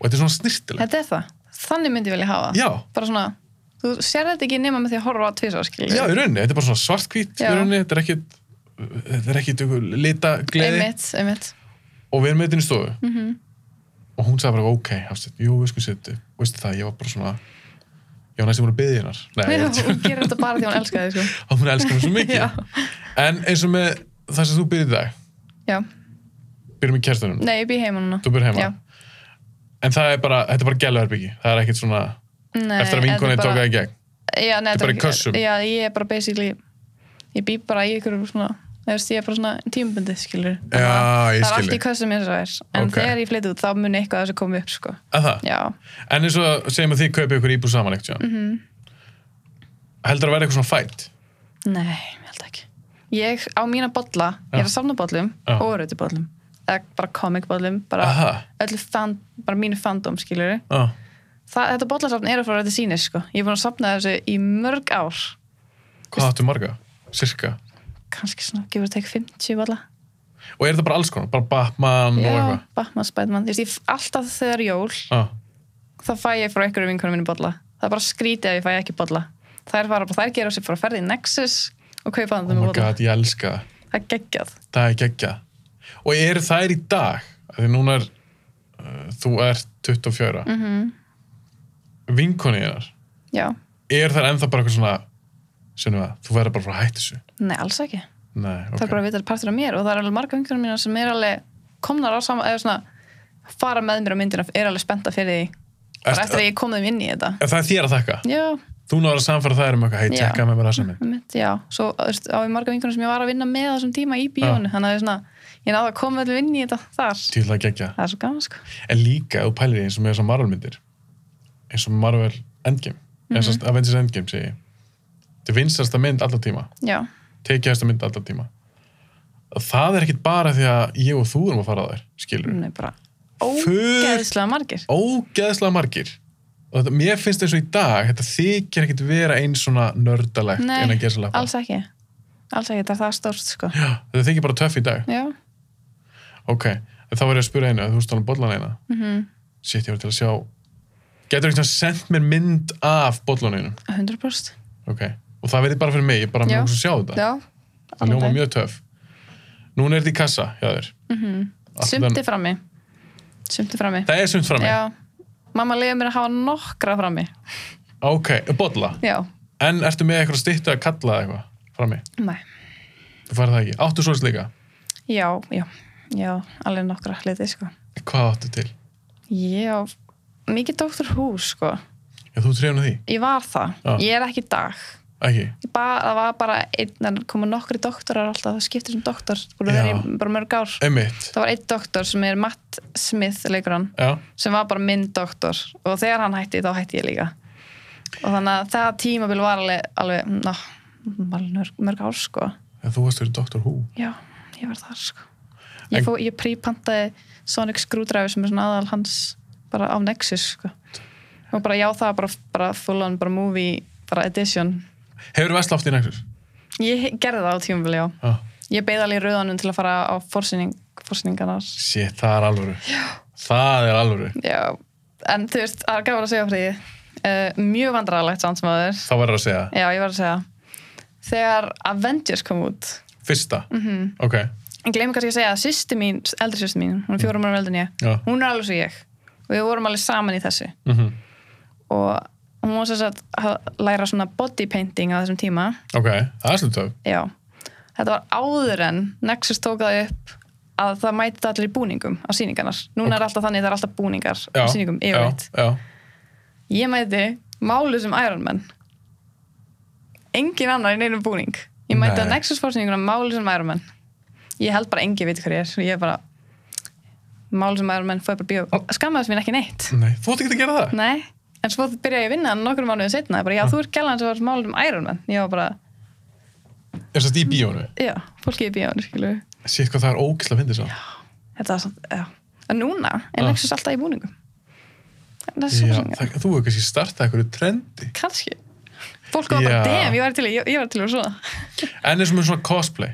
S1: Og þetta er svona snirtilegt.
S2: Mhm. Þetta er það, þannig myndi ég vilja hafa
S1: Já.
S2: bara svona, þú sér þetta ekki nema með því að horfa á tvisar, skilur
S1: Já, í rauninni, þetta er bara svona svartkvít í
S2: Já.
S1: rauninni, þetta er ekkit þetta er ekkit ykkur lita gleði
S2: einmitt, einmitt
S1: og við erum með þetta inn í stofu
S2: mm
S1: og hún sagði bara, ok, hafstætt, jú, við skulum setja þetta." og veistu það, ég var bara svona ég var næstum búin að byggja hennar Nei, ég
S2: Já,
S1: var-
S2: hún gerir þetta bara því hún elskaði sko.
S1: að hún elskar mér svo mikið
S2: Já.
S1: en eins og með það sem þú byrðir í dag
S2: Já,
S1: byrðum í kertunum,
S2: nei, ég býð heima núna
S1: þú byrðir heima
S2: Já.
S1: en það er bara, þetta er bara gæluherbyggi það er ekkit svona, eftir að
S2: Nei, þetta er
S1: vinkonið
S2: bara-
S1: tók það í gegn
S2: já, nei,
S1: Þetta er bara í
S2: ekki-
S1: kössum.
S2: já, ég er bara basically ég býr bara í ykkur svona þú veist, ég er bara svona tímubundið skilur
S1: Já, ég
S2: það er
S1: skil
S2: allt í
S1: þig.
S2: kössum eins og það er en
S1: Ok.
S2: þegar ég flyt út þá mun eitthvað af þessu koma upp sko.
S1: að það,
S2: já,
S1: en eins og segjum að þið kaupið ykkur íbúð saman ekkert mm
S2: Mhm.
S1: -hmm. heldur að vera eitthvað svona fætt
S2: nei, ég held ekki ég á mína bolla, ég er að samna bollum
S1: Já.
S2: og rauti bollum eða bara comic bollum bara,
S1: aha,
S2: öllu fan, bara mínu fandom skilur
S1: á
S2: það, þetta bollasafn er að fara þetta sínis sko. ég er búin að safna þessu í mörg ár
S1: Hvað áttu marga? Cirka?
S2: kannski svona, gefur þetta ekki 50 bolla
S1: Og er þetta bara alls konar? Bara Batman og
S2: já,
S1: eitthvað?
S2: Batman, Spiderman, þú veist, ég- alltaf þegar jól
S1: Ah,
S2: þá fæ ég frá einhverjum vinkunum minni bolla það er bara skrítið að ég fæ ekki bolla þær, fara, þær gera sér frá að ferði í Nexus og kaupa
S1: oh
S2: þannig
S1: my
S2: með bolla
S1: god, ég elska það.
S2: það er geggjað
S1: Það er geggja. Og eru þær í dag? Af Því núna er, uh, þú ert 24. Mm -hmm.
S2: Mhm.
S1: Vinkonið þar.
S2: já,
S1: Er þær ennþá bara eitthvað svona, sem það, þú verður bara frá að hætta þessu?
S2: nei, alls ekki það
S1: Nei, ok.
S2: er bara að vita þetta er partur af mér og það er alveg marga vinkunum mína sem er alveg komnar á sama eða svona fara með mér á myndina er alveg spennta fyrir því bara
S1: Ert-
S2: eftir að ég kom þeim inn í þetta
S1: Ef það er þér að þakka.
S2: já,
S1: Þú náður að samfara þær um eitthvað, hei,
S2: Já.
S1: tjekka með mér það saman.
S2: mitt, já svo þú veist, á ég marga vinkunum sem ég var að vinna með á þessum tíma í
S1: Ah.
S2: bíónu þannig að ég, svona, ég náði að koma öllum inn í þetta þar
S1: Til það geggja.
S2: það er svo gaman sko
S1: En líka, ef þú pælir í eins og með þessar Marvel-myndir eins og Marvel Endgame mm
S2: Mhm.
S1: -hmm. eins og Avengers Endgame segi ég. þetta er vinstasta mynd allar tíma
S2: já,
S1: tekiðasta mynd allar tíma Og það er ekkit bara því að ég og þú erum að fara að þær, skilur
S2: hún er bara
S1: Full-
S2: ógeðslega margir
S1: ógeðslega margir og þetta, mér finnst eins og í dag þetta þykir ekkit vera eins svona nördalegt
S2: Nei,
S1: en að gera svolítið
S2: alls ekki alls ekki, það er það stórt sko
S1: þetta þykir bara töff í dag
S2: já,
S1: ok, en þá var ég að spura einu, þú veist alveg bollan eina
S2: mhm
S1: shit, ég var til að sjá getur einhvern veginn sendt mér mynd af bolluninu,
S2: 100%
S1: ok og það verði bara fyrir mig, ég bara
S2: Já.
S1: mjög svo sjá þetta
S2: Já,
S1: það ljóma
S2: alveg.
S1: mjög töf núna er þetta í kassa, hjá þér
S2: Mhm.
S1: Allt
S2: sumti
S1: þetta-
S2: frammi Sumti frammi
S1: það er sumt frammi,
S2: Já, mamma leiði mér að hafa nokkra frammi
S1: ok, bolla
S2: Já,
S1: en ertu með eitthvað stýttu að kalla eða eitthvað frammi,
S2: næ
S1: þú farið það ekki áttu svoleiðs líka,
S2: Já, já, já, alveg nokkra hluti sko.
S1: hvað áttu til
S2: Ég á mikið Dr. Who sko.
S1: já, þú trefna því,
S2: Ég var það,
S1: Já.
S2: ég er ekki í dag
S1: ekki
S2: Ég bara, það var bara einn en komu nokkri doktorar alltaf, það skiptir um doktor búin að vera
S1: Já.
S2: í bara mörg ár
S1: emitt,
S2: Það var einn doktor sem er Matt Smith leikur hann,
S1: já,
S2: sem var bara minn doktor og þegar hann hætti þá hætti ég líka og þannig að það tímabil var alveg, alveg, ná, alveg mörg, mörg ár sko.
S1: en þú varst fyrir Dr. Who
S2: Já, ég var þar sko. Ég,
S1: En-
S2: fó, ég prípantaði Sonic Screwdriver sem er svona aðal hans bara á Nexus sko. og bara já það var bara, bara full on bara movie, bara edition
S1: hefur verið vesla oft í nexus
S2: Ég gerði það á tímabili, já.
S1: já,
S2: Ég beigði alveg í rauðanum til að fara á forsýning, forsýningarnar.
S1: shit, það er alvöru já. það er alvöru
S2: Já, en þú veist, það er gafur að segja fríði. Uh, mjög vandræðalegt samt sem aður.
S1: þá verður að segja,
S2: Já, ég var að segja. Þegar Avengers kom út,
S1: fyrsta
S2: Mhm.
S1: ok,
S2: ég gleymi kannski að segja að sýsti mín, eldri sýsti mín, hún er fjórum ára eldin ég,
S1: já
S2: hún er alveg svo ég og við vorum alveg saman í þessu
S1: mm
S2: og hún var sem sagt að læra svona body painting á þessum tíma
S1: ok, það er svolítið töf
S2: já, þetta var áður en Nexus tók það upp að það mæti allir í búningum á sýningarnar núna er alltaf þannig, það er alltaf búningar
S1: já,
S2: á sýningum
S1: já,
S2: yfirleitt
S1: já,
S2: ég mæti málu sem Iron Man engin annar í neinum búning ég mæti
S1: Nei.
S2: að Nexus fórsýninguna málu sem Iron Man ég held bara engin veit hver ég er ég er bara málu sem Iron Man fóði bara bíó skammaðist mín ekki neitt
S1: nei, þú ætti ekki að gera það
S2: Nei, en svo byrjaði ég að vinna hann nokkrum mánuðum setna,
S1: Ah.
S2: bara já, þú ert gælan sem var málum Iron Man, ég var bara,
S1: er svolítið í bíónu,
S2: já, fólki í bíónu, skilu
S1: shit hvað það er ógislega að finna svo
S2: þetta var samt, já, en núna er
S1: Ah.
S2: Nexus alltaf í búningum það er
S1: já,
S2: svo sem,
S1: það, þú hefur kannski startað eitthvað trendi
S2: kannski fólk var bara,
S1: Já.
S2: damn, ég var til í, ég, ég var til í svona
S1: en eins og með svona cosplay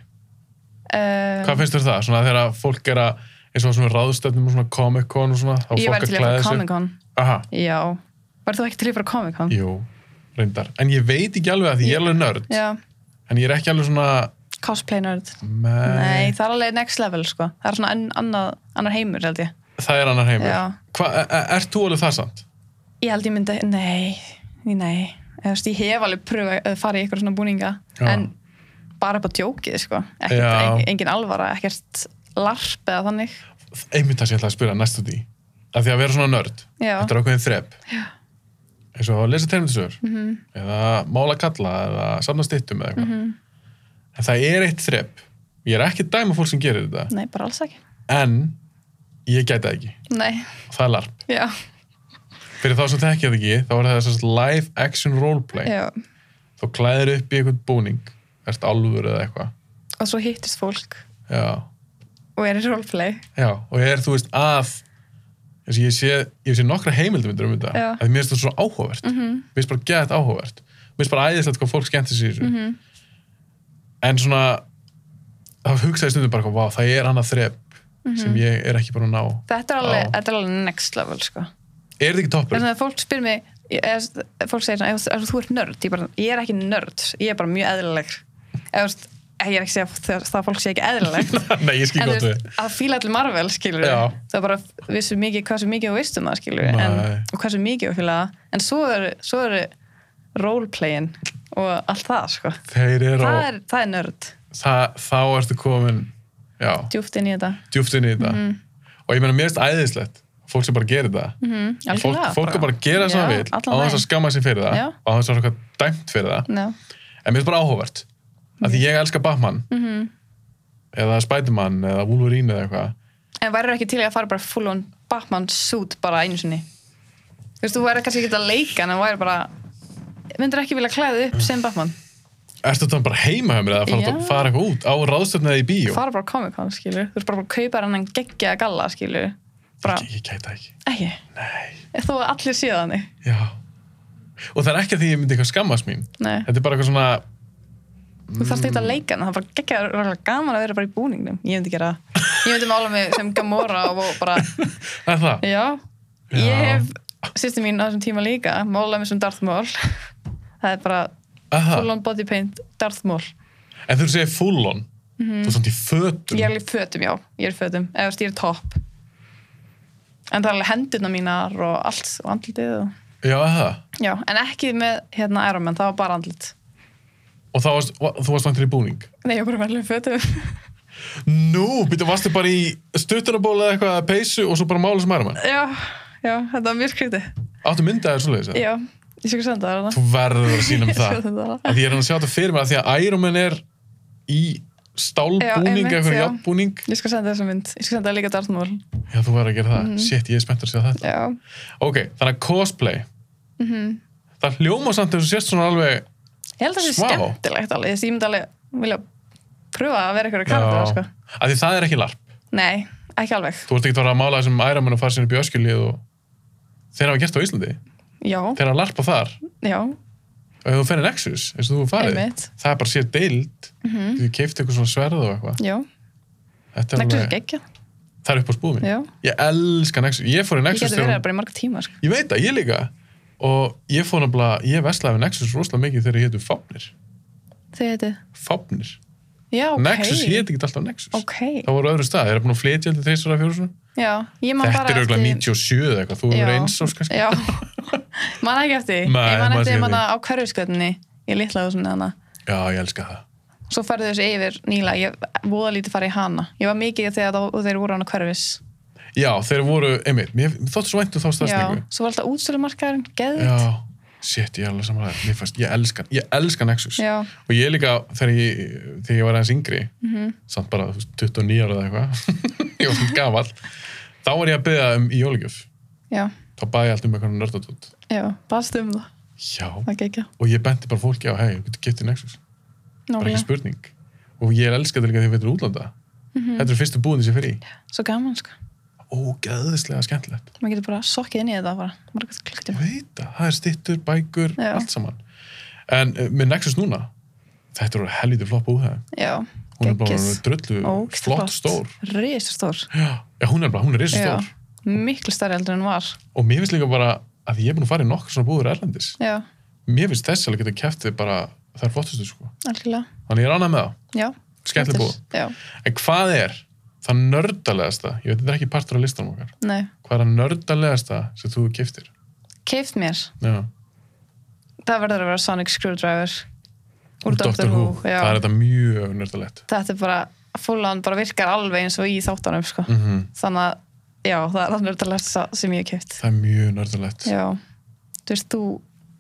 S2: uh,
S1: Hvað finnst þér um það? Svona þegar fólk er að eins og á svona ráðstöfnum og svona Comic-Con og svona, þá
S2: ég var
S1: fólk
S2: til í að fara Comic-Con,
S1: Aha,
S2: já var þú ekki til í að fara Comic-Con?
S1: jú, reyndar. En ég veit ekki alveg að því ég er alveg nörd.
S2: já,
S1: En ég er ekki alveg svona...
S2: cosplay nerd
S1: Nei.
S2: nei, það er alveg next level, sko það er svona enn- annað, annar heimur, held ég
S1: Það er annar heimur.
S2: Já.
S1: Hva, e- e- ert þú alveg það samt?
S2: Ég held ég myndi, nei, nei, nei. Eða, þú veist, ég hef alveg pröfa að fara í eitthvað svona búninga
S1: Já.
S2: en bara upp á tjókið sko. Ekkert,
S1: Já.
S2: en, engin alvara, ekkert larp eða þannig
S1: Einmitt það sem ég ætlaði að spyrja næstu því. Af því að vera svona nörd.
S2: Já. Mhm.
S1: Þetta er ákveðin þrepp. Já. Eins og að lesa terminsögur. Mm -hmm. Eða mála kalla eða safna stittum eða eitthvað.
S2: Mhm.
S1: En það er eitt þrepp. Ég er ekki að dæma fólk sem gerir þetta.
S2: Nei, bara alls ekki
S1: En ég gæti það ekki.
S2: Nei,
S1: Og það er larp.
S2: já,
S1: Fyrir þá sem þekkja það ekki, þá er það þessast live action roleplay.
S2: já
S1: Þú klæðir upp í einhvern búning, ert alvöru eða eitthvað.
S2: Og svo hittist fólk
S1: Já,
S2: og er í roleplay
S1: já, og er þú veist að, eins og ég sé, ég sé nokkra heimildumyndir um þetta,
S2: Já. Mhm.
S1: að mér finnst það svo áhugavert. Mm -hmm. Mér finnst bara gett áhugavert. Mér finnst bara æðislegt hvað fólk skemmtir sér í þessu.
S2: Mhm.
S1: En svona, þá hugsaði ég stundum bara, hvað, vá, það er annað þrepp
S2: Mhm.
S1: sem ég er ekki bara að ná.
S2: Þetta er alveg,
S1: Já.
S2: þetta er alveg next level sko.
S1: Er þetta ekki toppur?
S2: Þannig að fólk spyr mig eða, fólk segir svona, "Ef- ef þú ert nörd ég, bara, ég er ekki nörd, ég er bara mjög eðlileg eða, þú veist, ég er ekki að segja að það fólk sé ekki eðlilegt
S1: Nei, ég skil
S2: en þú
S1: gott við.
S2: veist, að fíla allir Marvel skilur
S1: Já.
S2: það er bara vissu mikið, hversu mikið þú veist um það skilur en,
S1: Nei.
S2: og hversu mikið þú fíla það. en svo eru, svo eru roleplayin og allt það sko
S1: Þeir eru
S2: það
S1: á,
S2: er, það er nörd,
S1: það, þá ertu komin, já.
S2: djúft inn í þetta
S1: djúft inn í þetta
S2: Mhm.
S1: og ég meina mér finnst æðislegt fólk sem bara gerir það
S2: mm,
S1: fólk, fólk er bara að gera það sem það vil á þess að skamma sér fyrir það
S2: Já.
S1: og á þess að vera eitthvað dæmt fyrir það
S2: no.
S1: en mér finnst bara áhugavert að því ég elska Batman
S2: Mhm.
S1: eða Spiderman eða Wolverine eða eitthvað
S2: en værið ekki til í að fara bara full on Batman suit bara einu sinni þú veist, þú værið kannski ekki að leika en það værið bara myndir ekki vilja klæða þig upp sem Batman
S1: Ertu þetta bara heima hjá mér eða fara,
S2: Já.
S1: fara eitthvað út á ráðstöfni eða í bíó?
S2: fara bara á Comic-Con skilur þú veist bara bara að kaupa hennan geggja galla skilur bara,
S1: Ég, ég gæta ekki.
S2: ekki
S1: Nei.
S2: Þú að allir séu þannig.
S1: Já. Og það er ekki að því ég myndi eitthvað skammast mín.
S2: Nei,
S1: Þetta er bara eitthvað svona,
S2: þú þarfst eitthvað að leika hana, það er bara geggja, það er gaman að vera bara í búningnum. Ég myndi gera það. Ég myndi mála mig sem Gamora og og bara,
S1: það er það.
S2: já, Ég
S1: Já.
S2: hef sýstir mín á þessum tíma líka málað með sem Darth Maul það er bara
S1: Aha.
S2: full on body paint Darth Maul
S1: En þú segir full on Þú er svona í fötum
S2: Mhm. ég er alveg í fötum, já, ég er í fötum eða þú veist, ég er í topp en það er alveg hendurna mínar og allt og andlitið og...
S1: Já, það
S2: já, en ekki með hérna Iron Man, það var bara andlit
S1: Og þá varst, va- þú varst langt í búning
S2: nei, ég var bara með alveg í fötum
S1: Nú, býttu, varstu bara í stuttunabóla eða eitthvað peysu og svo bara mála sem ærum
S2: já, já, þetta var mjög skrítið
S1: Áttu myndaðið svoleiðis eða?
S2: já, ég sé ekki senda það þarna.
S1: Þú verður að sína
S2: Ég
S1: um
S2: skal
S1: það
S2: senda þarna.
S1: Af Því ég er hann að sjá þetta fyrir mér af Því að Iron Man er í stálbúning
S2: Já,
S1: eða
S2: einmitt,
S1: eitthvað
S2: já.
S1: játbúning
S2: ég skal senda þessa mynd, ég skal senda það líka Darth Maul
S1: Já, þú verður að gera það
S2: Mhm.
S1: Shit, ég er spenntur að sjá þetta
S2: já,
S1: Ok, þannig að cosplay
S2: Mhm.
S1: Það hljóma samt þess að sést svona alveg
S2: ég held að það sé
S1: Svá.
S2: skemmtilegt alveg, þessi ég myndi alveg vilja pröfa að vera ykkur karakter, sko
S1: Af Því það er ekki larp
S2: Nei, ekki alveg.
S1: Þú ert ekki að mála þessum Iron Man og fara sinni upp í öskjulið og þeir hafa gert það á Íslandi
S2: Já,
S1: þeir hafa larpa þar
S2: já,
S1: og ef þú fennir Nexus eins og þú hefur farið
S2: Einmitt. Mhm.
S1: það er bara sér deild þú keift eitthvað svona sverð og eitthvað
S2: já.
S1: Þetta er
S2: Nexus er
S1: alveg-
S2: geggja.
S1: það er upp á spúðum
S2: Já.
S1: ég elska Nexus ég fór í
S2: Ég
S1: Nexus
S2: geti verið
S1: þegar
S2: það bara í marga tíma, sko.
S1: ég veit það, ég líka og ég fór nefnilega, ég veslaði við Nexus rosalega mikið þegar ég hétu Fáfnir
S2: Þið heitið.
S1: Fáfnir,
S2: Já, ok.
S1: Nexus hét ekki alltaf Nexus
S2: Ok.
S1: það voru á öðru stað, þeir eru búin að flytja til þessar að fjóru
S2: Já, ég man
S1: þetta
S2: bara
S1: er auðvitað 97 eða eitthvað, þú hefur
S2: Já.
S1: eins og kannski
S2: Já, man ekki eftir.
S1: Nei,
S2: því.
S1: man
S2: ég
S1: ekki
S2: man eftir
S1: eftir
S2: manna á hverjuskvöldinni í litla húsinni hana.
S1: já, ég elska það
S2: Svo færðu þessu yfir nýla, ég voða lítið farið í hana. Ég var mikið þegar þá, þeir voru hana hverfis.
S1: já, þeir voru, einmitt, mér mér þótti svo vænt um þá
S2: Já,
S1: stafsningu
S2: svo var alltaf útsölumarkaðurinn, geðvitt.
S1: Já, shit, ég er alveg samanlega Mér fannst, ég elska, ég elska Nexus
S2: Já.
S1: Og ég líka, þegar ég, þegar ég var aðeins yngri
S2: Mhm.
S1: Samt bara þú veist, 29 ára eða eitthvað Ég var svona gamall Þá var ég að byrja um í jólugjöf
S2: Já,
S1: Þá baði ég allt um eitthvað nördatótt
S2: já, baðst um það.
S1: Já,
S2: Það geggja.
S1: og ég benti bara fólki á Hei, þú getur getið Nexus, bara ekki
S2: Nákvæmlega.
S1: spurning Og ég elska þetta líka þegar við erum útlanda
S2: Mhm.
S1: Þetta er fyrstu búin sem ég fer í
S2: Svo gaman, sko.
S1: Ógeðislega skemmtilegt
S2: maður getur bara sokkið inn í þetta bara margast
S1: Ég
S2: klukkutíma
S1: veit það, það er stittur, bækur,
S2: Já.
S1: allt saman En uh, með Nexus núna Þetta eru helviti floppa úðhæðum
S2: já,
S1: hún er bara dröllu flott stór
S2: risastór
S1: já, já, hún er bara, hún er reysa
S2: já,
S1: stór
S2: miklu stærri heldur en hún var
S1: og mér finnst líka bara að ég er búin að fara í nokkur svona búður erlendis
S2: já,
S1: mér finnst þess að geta kæft þið bara það er flottustu sko,
S2: algjörlega
S1: þannig ég er annað með það
S2: já,
S1: skemmtileg búð,
S2: þetta er- já,
S1: en hvað er það nördalegasta, ég veit þetta er ekki partur af listanum okkar,
S2: nei,
S1: hvað er það nördalegasta sem þú kæftir
S2: keift mér
S1: já,
S2: það verður að vera Sonic Screwdriver úr
S1: Úr
S2: Doctor Who, já
S1: það er þetta mjög nördalegt
S2: þetta er bara, fullan bara virkar alveg eins og í þáttanum sko.
S1: mm
S2: þannig að, já, það er alveg að lesa sem ég hef keift
S1: það er mjög nördalegt
S2: já, þú veist, þú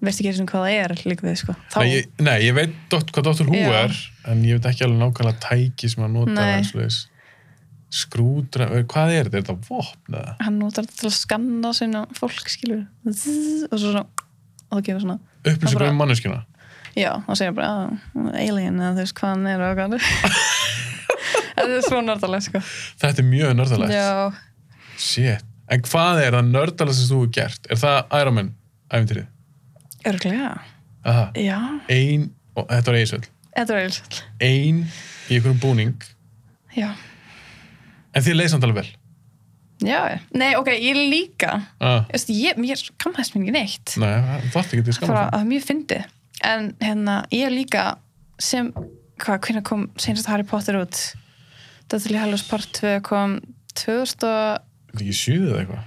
S2: veist ekki eins og hvað það er líka við, sko þá,
S1: Nei, ég, nei, ég veit dott, hvað Dr. Who
S2: Já.
S1: er en ég veit ekki alveg nákvæmlega tæki sem að nota
S2: Nei.
S1: eins og þess skrúdra, eh, hvað er þetta? Er þetta vopn eða?
S2: hann notar þetta til að skanna sinna fólk skilur Zzz, og svo svona og það gefur svona, Það
S1: Upplýsingar
S2: bara-
S1: um manneskjuna?
S2: já, og segir bara "Ah, alien eða þú veist hvað hann er og hvað hann er þetta er svo nördalega sko.
S1: Þetta er mjög nördalegt.
S2: já,
S1: Shit. En hvað er það nördalegt sem þú hefur gert? Er það Iron Man æfintýrið?
S2: örglega
S1: Aha.
S2: já,
S1: Ein, og þetta var eigisöld,
S2: þetta er eiginlega
S1: ein í einhverjum búning
S2: já,
S1: en þið leið samt alveg vel.
S2: já, já. nei, ok, ég líka
S1: Ah.
S2: Þú veist, ég, mér kammast mér ekki neitt
S1: Nei, það þarf ekki til að
S2: bara
S1: skamma það.
S2: að mjög fyndi en hérna, ég líka sem, hvað, hvernig kom senast Harry Potter út Döðli Hallows Part 2 kom 2000 og
S1: Þetta ekki sjöðu eða eitthvað?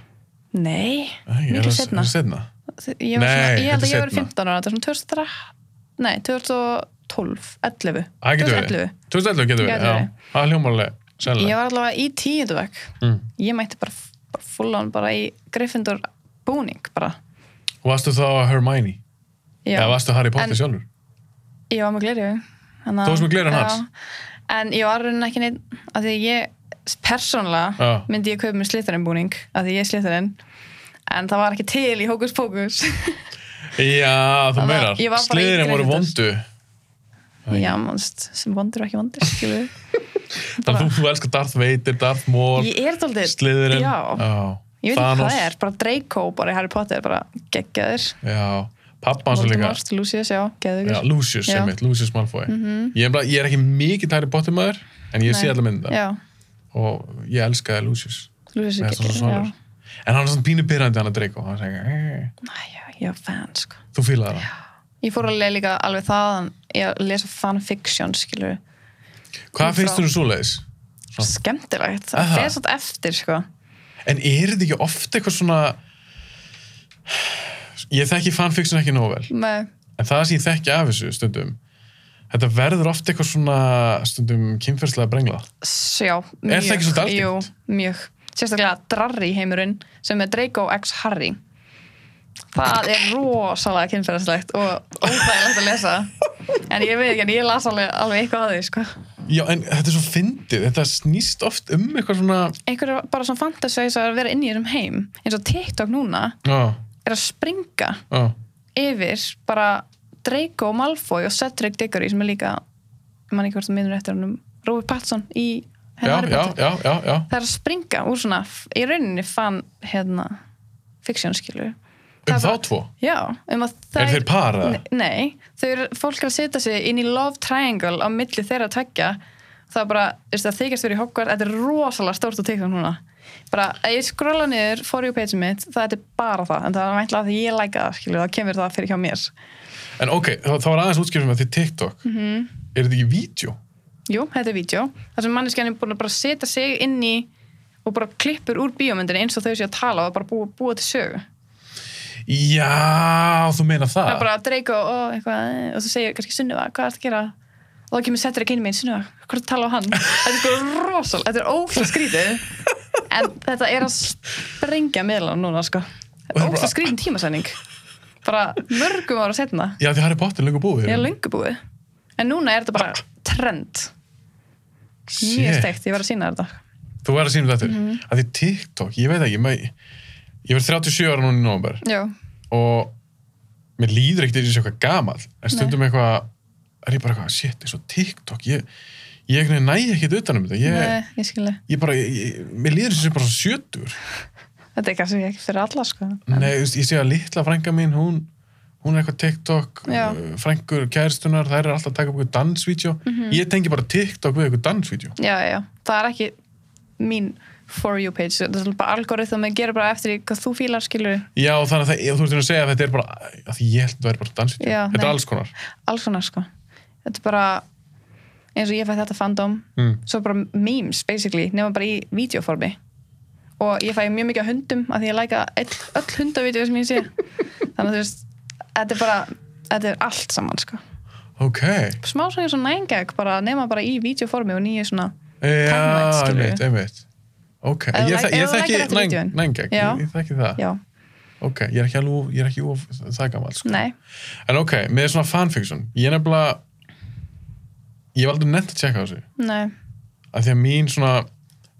S2: Nei,
S1: Nei, er
S2: miklu
S1: það-
S2: setna.
S1: er það Setna.
S2: Ég, var svona,
S1: Nei,
S2: ég held
S1: þetta
S2: að ég
S1: er
S2: verið
S1: seinna.
S2: 15 ára, þetta er svona 2003, nei, 2012, 11.
S1: Það getur verið.
S2: 2011.
S1: 2011 getur
S2: Gæti
S1: verið, já.
S2: verið.
S1: Það er hljómarlega,
S2: Ég
S1: sennilega.
S2: var allavega í tíundu vekk.
S1: Mm.
S2: Ég mætti bara, bara full on bara í Gryffindor búning bara.
S1: Varstu þá Hermione?
S2: Já,
S1: Eða varstu Harry Potter
S2: En-
S1: sjálfur?
S2: ég var með glerju. Þú
S1: Þú varst með gleraugun hans?
S2: En ég var raunin ekki neitt, af því að ég persónlega
S1: Já.
S2: myndi ég kaupa með slittarinn búning, af því ég er slittarinn. En það var ekki til í Hókus Pókus.
S1: Já, þú
S2: Þannig að ég
S1: meinar.
S2: var bara í
S1: Sliðurinn voru vondu.
S2: Gryffindor. Já, mannst, sem vondur og ekki vondur, skilur
S1: Þannig að þú elskar Darth Vader, Darth Maul,
S2: Ég er daldið
S1: Sliðurinn.
S2: Já, ég veit ekki hvað það er, bara Draco bara í Harry Potter, bara geggjaður
S1: Já, pappa hans er líka.
S2: Voldemort, Lucius, já,
S1: Já,
S2: geggjaður
S1: Lucius,
S2: Já. Mhm.
S1: einmitt, Lucius Malfoy. ég, er bara, ég er ekki mikið Harry Potter maður, en ég sé
S2: Nei.
S1: allar mynda.
S2: Já,
S1: Og ég elskaði Lucius.
S2: Lucius
S1: Mér
S2: er
S1: finnst hann svo
S2: geggjaður já.
S1: svalur. en hann er svona pínu pyrrandi hann að dreika og hann segir, "Eh,
S2: Næja, ég er fan, sko.
S1: þú fílaði það
S2: Ég fór alveg líka alveg þaðan, ég að lesa fanfiction, skilur.
S1: hvað
S2: Kom
S1: finnst
S2: frá-
S1: þú svoleiðis? Já.
S2: Skemmtilegt. Það
S1: Aha.
S2: fer svolítið eftir, sko.
S1: en er þetta ekki oft eitthvað svona ég þekki fanfiction ekki nógu vel
S2: Með,
S1: en það sem ég þekki af þessu stundum þetta verður oft eitthvað svona stundum kynferðslega brengla
S2: sjá, mjög.
S1: Er það ekki svolítið
S2: Jú,
S1: algengt?
S2: mjög. Sérstaklega Drarry heimurinn sem er Draco x Harry. Það er rosalega kynferðarslegt og óþægilegt að lesa. En ég veit ekki, en ég las alveg, alveg eitthvað að því, sko.
S1: já en þetta er svo fyndið þetta snýst oft um eitthvað svona
S2: Einhverju bara svona fantasæs að vera inn í þessum heim. Eins og TikTok núna
S1: já,
S2: er að springa
S1: já,
S2: yfir bara Draco Malfoy og Cedric Diggory sem er líka, ég man ekki hvort það minnur eftir hann Robert Pattinson í
S1: já,
S2: Harry
S1: já,
S2: Potter.
S1: já, já, já. Um
S2: Það er að springa úr svona f- í rauninni fann hérna fiksjón skilur Það
S1: um
S2: er
S1: þá
S2: bara-
S1: tvo
S2: Já, um að þær
S1: er þeir par eða?
S2: Nei, nei, þau eru fólk er að setja sig inn í love triangle á milli þeirra tveggja það er bara, veist það þykjast verið í Hogwarts þetta er rosalega stórt og tiktum núna bara, ef ég skrolla niður, for you page mitt það þetta er bara það, en það er mætla að því ég læka það, skilur, þá kemur það fyrir hjá mér
S1: En ok, þá, þá var aðeins útskjöfum að því TikTok,
S2: Mhm.
S1: er þetta ekki vídeo?
S2: Jú, þetta er vídeo, þar sem manneskjarnir búin að bara setja sig inn í og bara klippur úr bíómyndinni eins og þau séu að tala og bara búa, búa til sögu
S1: Já, þú meina það?
S2: það er bara að dreika og, og eitthvað eh, og þú segir kannski Sunniva, hvað er það að gera og þá kemur settur ekki inn meginn Sunniva, hvað er að tala á hann þetta er sko rosal, þetta er óslega skrítið en þetta er að sprengja miðlan núna sko
S1: Og það er
S2: þetta er
S1: bara-
S2: óslega skrítin tímasæning bara mörgum ára setna
S1: Já, því Harry Potter er lengur búið.
S2: ég er löngu búið en núna er þetta bara trend mjög Mhm.
S1: Shit.
S2: steikt, ég var að sína þetta
S1: Þú verður að sýna þetta. Mm -hmm. Að því TikTok, ég veit ekki, maður, ég verð 37 ára núna í november
S2: já,
S1: og mér líður ekkert eins og eitthvað gamall, en stundum eitthvað, er ég bara eitthvað, shit, eins og TikTok, ég, ég einhvern veginn næ ekkert utanum þetta, ég,
S2: yeah. ég skilja
S1: ég bara, ég, ég, mér líður eins og ég sé bara svo sjötur.
S2: þetta er kannski ekki fyrir alla sko en,
S1: Nei, þú veist, ég sé að litla frænga mín, hún, hún er eitthvað TikTok,
S2: Já.
S1: uh, frængur, kæristunar, þær eru alltaf að taka upp eitthvað dansvídeó.
S2: Mhm.
S1: Ég tengi bara TikTok við eitthvað dansvídeó.
S2: já, já, það er ekki mín for you page, þetta er bara algoritm að gera bara eftir því hvað þú fílar skilur
S1: Já, þannig að það, þú ert að segja að þetta er bara, að því ég held að það er bara dansvídeó.
S2: Já,
S1: Þetta er
S2: nei.
S1: alls konar.
S2: alls konar sko þetta er bara eins og ég fæ þetta fandom
S1: Mm.
S2: svo bara memes basically nema bara í videoformi og ég fæ mjög mikið af hundum af því ég læka öll, öll hundavídeó sem ég sé þannig að þú veist þetta er bara, þetta er allt saman sko
S1: Ok.
S2: smá svona eins og nængag bara nema bara í videoformi og nýju svona Timeline,
S1: Já,
S2: skilur við.
S1: einmitt, einmitt. Ok,
S2: Ef þú
S1: ég,
S2: læk-
S1: þek-
S2: ef
S1: ég
S2: þú lækir
S1: þekki
S2: eftir vídeóin.
S1: næng- nængegg,
S2: Já.
S1: ég, ég þekki það.
S2: já,
S1: Ok, ég er ekki alveg, of- ég er ekki of, það er gammal, sko.
S2: nei,
S1: En ok, með svona fanfiction, ég er nefnilega, ég var aldrei nefnt að tjekka á þessu.
S2: nei
S1: að því að mín svona